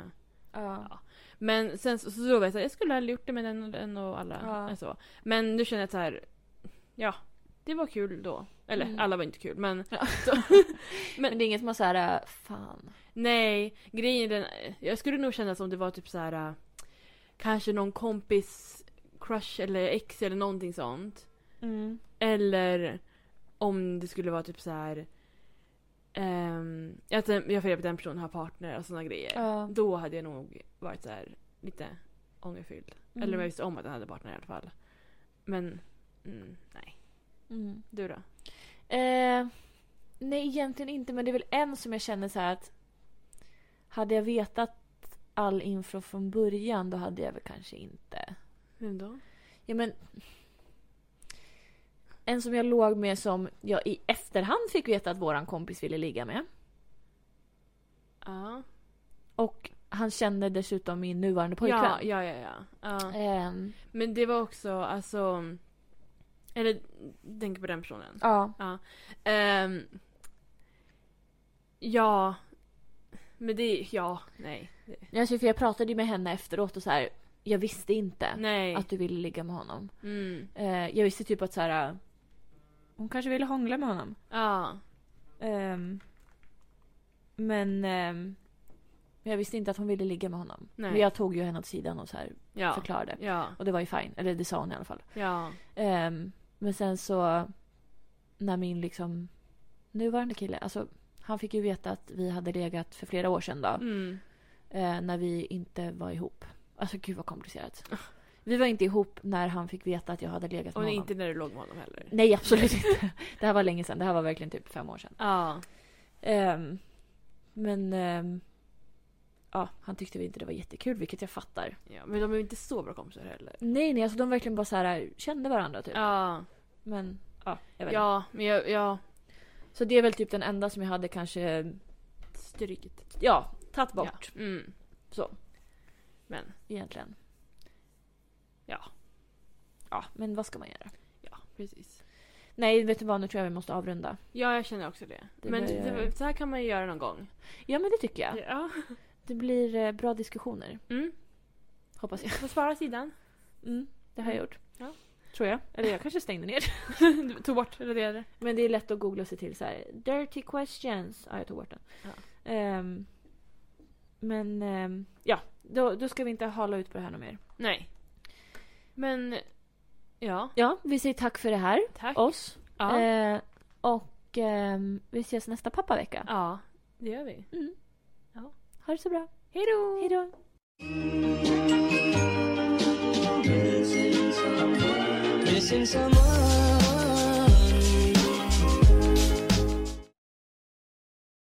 [SPEAKER 1] Ja.
[SPEAKER 2] Men sen så, så då var jag så här, jag skulle aldrig gjort det med den och den och alla.
[SPEAKER 1] Ja.
[SPEAKER 2] eller Så. Men nu känner jag att så här... Ja. Det var kul då. Eller
[SPEAKER 1] Mm.
[SPEAKER 2] alla var inte kul men...
[SPEAKER 1] Men det är inget som man såhär, äh, fan.
[SPEAKER 2] Nej, grejen är den, eh, jag skulle nog känna som det var typ så här. äh, kanske någon kompis crush eller ex eller någonting
[SPEAKER 1] Mm,
[SPEAKER 2] sånt. Eller om det skulle vara typ så här ehm, att den- jag får hjälpa den personen har partner och sådana grejer.
[SPEAKER 1] Ja.
[SPEAKER 2] Då hade jag nog varit så här lite ångerfylld. Eller om jag
[SPEAKER 1] Mm.
[SPEAKER 2] visste om att den hade partner i alla fall. Men mm, nej.
[SPEAKER 1] Mm.
[SPEAKER 2] Du då?
[SPEAKER 1] Eh, nej, egentligen inte. Men det är väl en som jag känner så här att... Hade jag vetat all info från början då hade jag väl kanske inte...
[SPEAKER 2] Vem då?
[SPEAKER 1] Ja, men... En som jag låg med som jag i efterhand fick veta att våran kompis ville ligga med.
[SPEAKER 2] Ja.
[SPEAKER 1] Och han kände dessutom min nuvarande pojkvän.
[SPEAKER 2] Ja, ja, ja, ja. ja.
[SPEAKER 1] Ehm,
[SPEAKER 2] Men det var också alltså... Eller tänk på den personen.
[SPEAKER 1] ja.
[SPEAKER 2] Ehm, ja. Men det, ja, nej.
[SPEAKER 1] Alltså, för jag pratade ju med henne efteråt och så här. Jag visste inte
[SPEAKER 2] Nej.
[SPEAKER 1] att du ville ligga med honom.
[SPEAKER 2] Mm.
[SPEAKER 1] Eh, jag visste typ att så här. Hon kanske ville hångla med honom.
[SPEAKER 2] Ja.
[SPEAKER 1] Ehm, men ehm, jag visste inte att hon ville ligga med honom.
[SPEAKER 2] Nej.
[SPEAKER 1] Men jag tog ju henne åt sidan och så här
[SPEAKER 2] Ja.
[SPEAKER 1] förklarade.
[SPEAKER 2] Ja.
[SPEAKER 1] Och det var ju fine. Eller det sa hon i alla fall.
[SPEAKER 2] Ja.
[SPEAKER 1] Ehm, men sen så när min liksom nuvarande kille, alltså han fick ju veta att vi hade legat för flera år sedan då.
[SPEAKER 2] Mm.
[SPEAKER 1] Eh, när vi inte var ihop. Alltså gud vad komplicerat. Vi var inte ihop när han fick veta att jag hade legat
[SPEAKER 2] Ah. Och
[SPEAKER 1] med honom.
[SPEAKER 2] inte när du låg med honom heller.
[SPEAKER 1] Nej absolut inte. Det här var länge sedan. Det här var verkligen typ fem år sedan.
[SPEAKER 2] Ja.
[SPEAKER 1] Ehm, men ehm, ja, han tyckte vi inte det var jättekul, vilket jag fattar.
[SPEAKER 2] ja. Men de är ju inte så bra kompisar heller.
[SPEAKER 1] Nej, nej, alltså de verkligen bara så här kände varandra typ.
[SPEAKER 2] Ja.
[SPEAKER 1] Men ja, jag vet
[SPEAKER 2] Ja, men jag, ja.
[SPEAKER 1] inte. Så det är väl typ den enda som jag hade kanske,
[SPEAKER 2] Stryket.
[SPEAKER 1] ja, tagit bort.
[SPEAKER 2] Ja. Mm.
[SPEAKER 1] Så,
[SPEAKER 2] Men,
[SPEAKER 1] egentligen.
[SPEAKER 2] ja.
[SPEAKER 1] Ja, men vad ska man göra?
[SPEAKER 2] Ja, precis.
[SPEAKER 1] Nej, vet du vad, nu tror jag vi måste avrunda.
[SPEAKER 2] Ja, jag känner också det.
[SPEAKER 1] Det
[SPEAKER 2] men
[SPEAKER 1] börjar-
[SPEAKER 2] det, så här kan man ju göra någon gång.
[SPEAKER 1] Ja, men det tycker jag.
[SPEAKER 2] Ja.
[SPEAKER 1] Det blir eh, bra diskussioner,
[SPEAKER 2] Mm.
[SPEAKER 1] hoppas jag.
[SPEAKER 2] På spara sidan.
[SPEAKER 1] Mm, det har jag gjort.
[SPEAKER 2] Ja.
[SPEAKER 1] Tror jag. Eller jag kanske stängde ner.
[SPEAKER 2] Du Tog bort, raderade.
[SPEAKER 1] Men det är lätt att googla sig till så här. Dirty questions. Ja, jag tog bort den.
[SPEAKER 2] Ja.
[SPEAKER 1] Ehm, men ehm, ja, då, då ska vi inte hala ut på det här något mer.
[SPEAKER 2] Nej. Men, ja.
[SPEAKER 1] Ja, vi säger tack för det här.
[SPEAKER 2] Tack.
[SPEAKER 1] Oss.
[SPEAKER 2] ja.
[SPEAKER 1] Eh, och ehm, vi ses nästa pappavecka.
[SPEAKER 2] ja, det gör vi.
[SPEAKER 1] Mm.
[SPEAKER 2] Ja.
[SPEAKER 1] Ha det så bra.
[SPEAKER 2] Hej då!
[SPEAKER 1] Hej då.
[SPEAKER 3] Missing someone.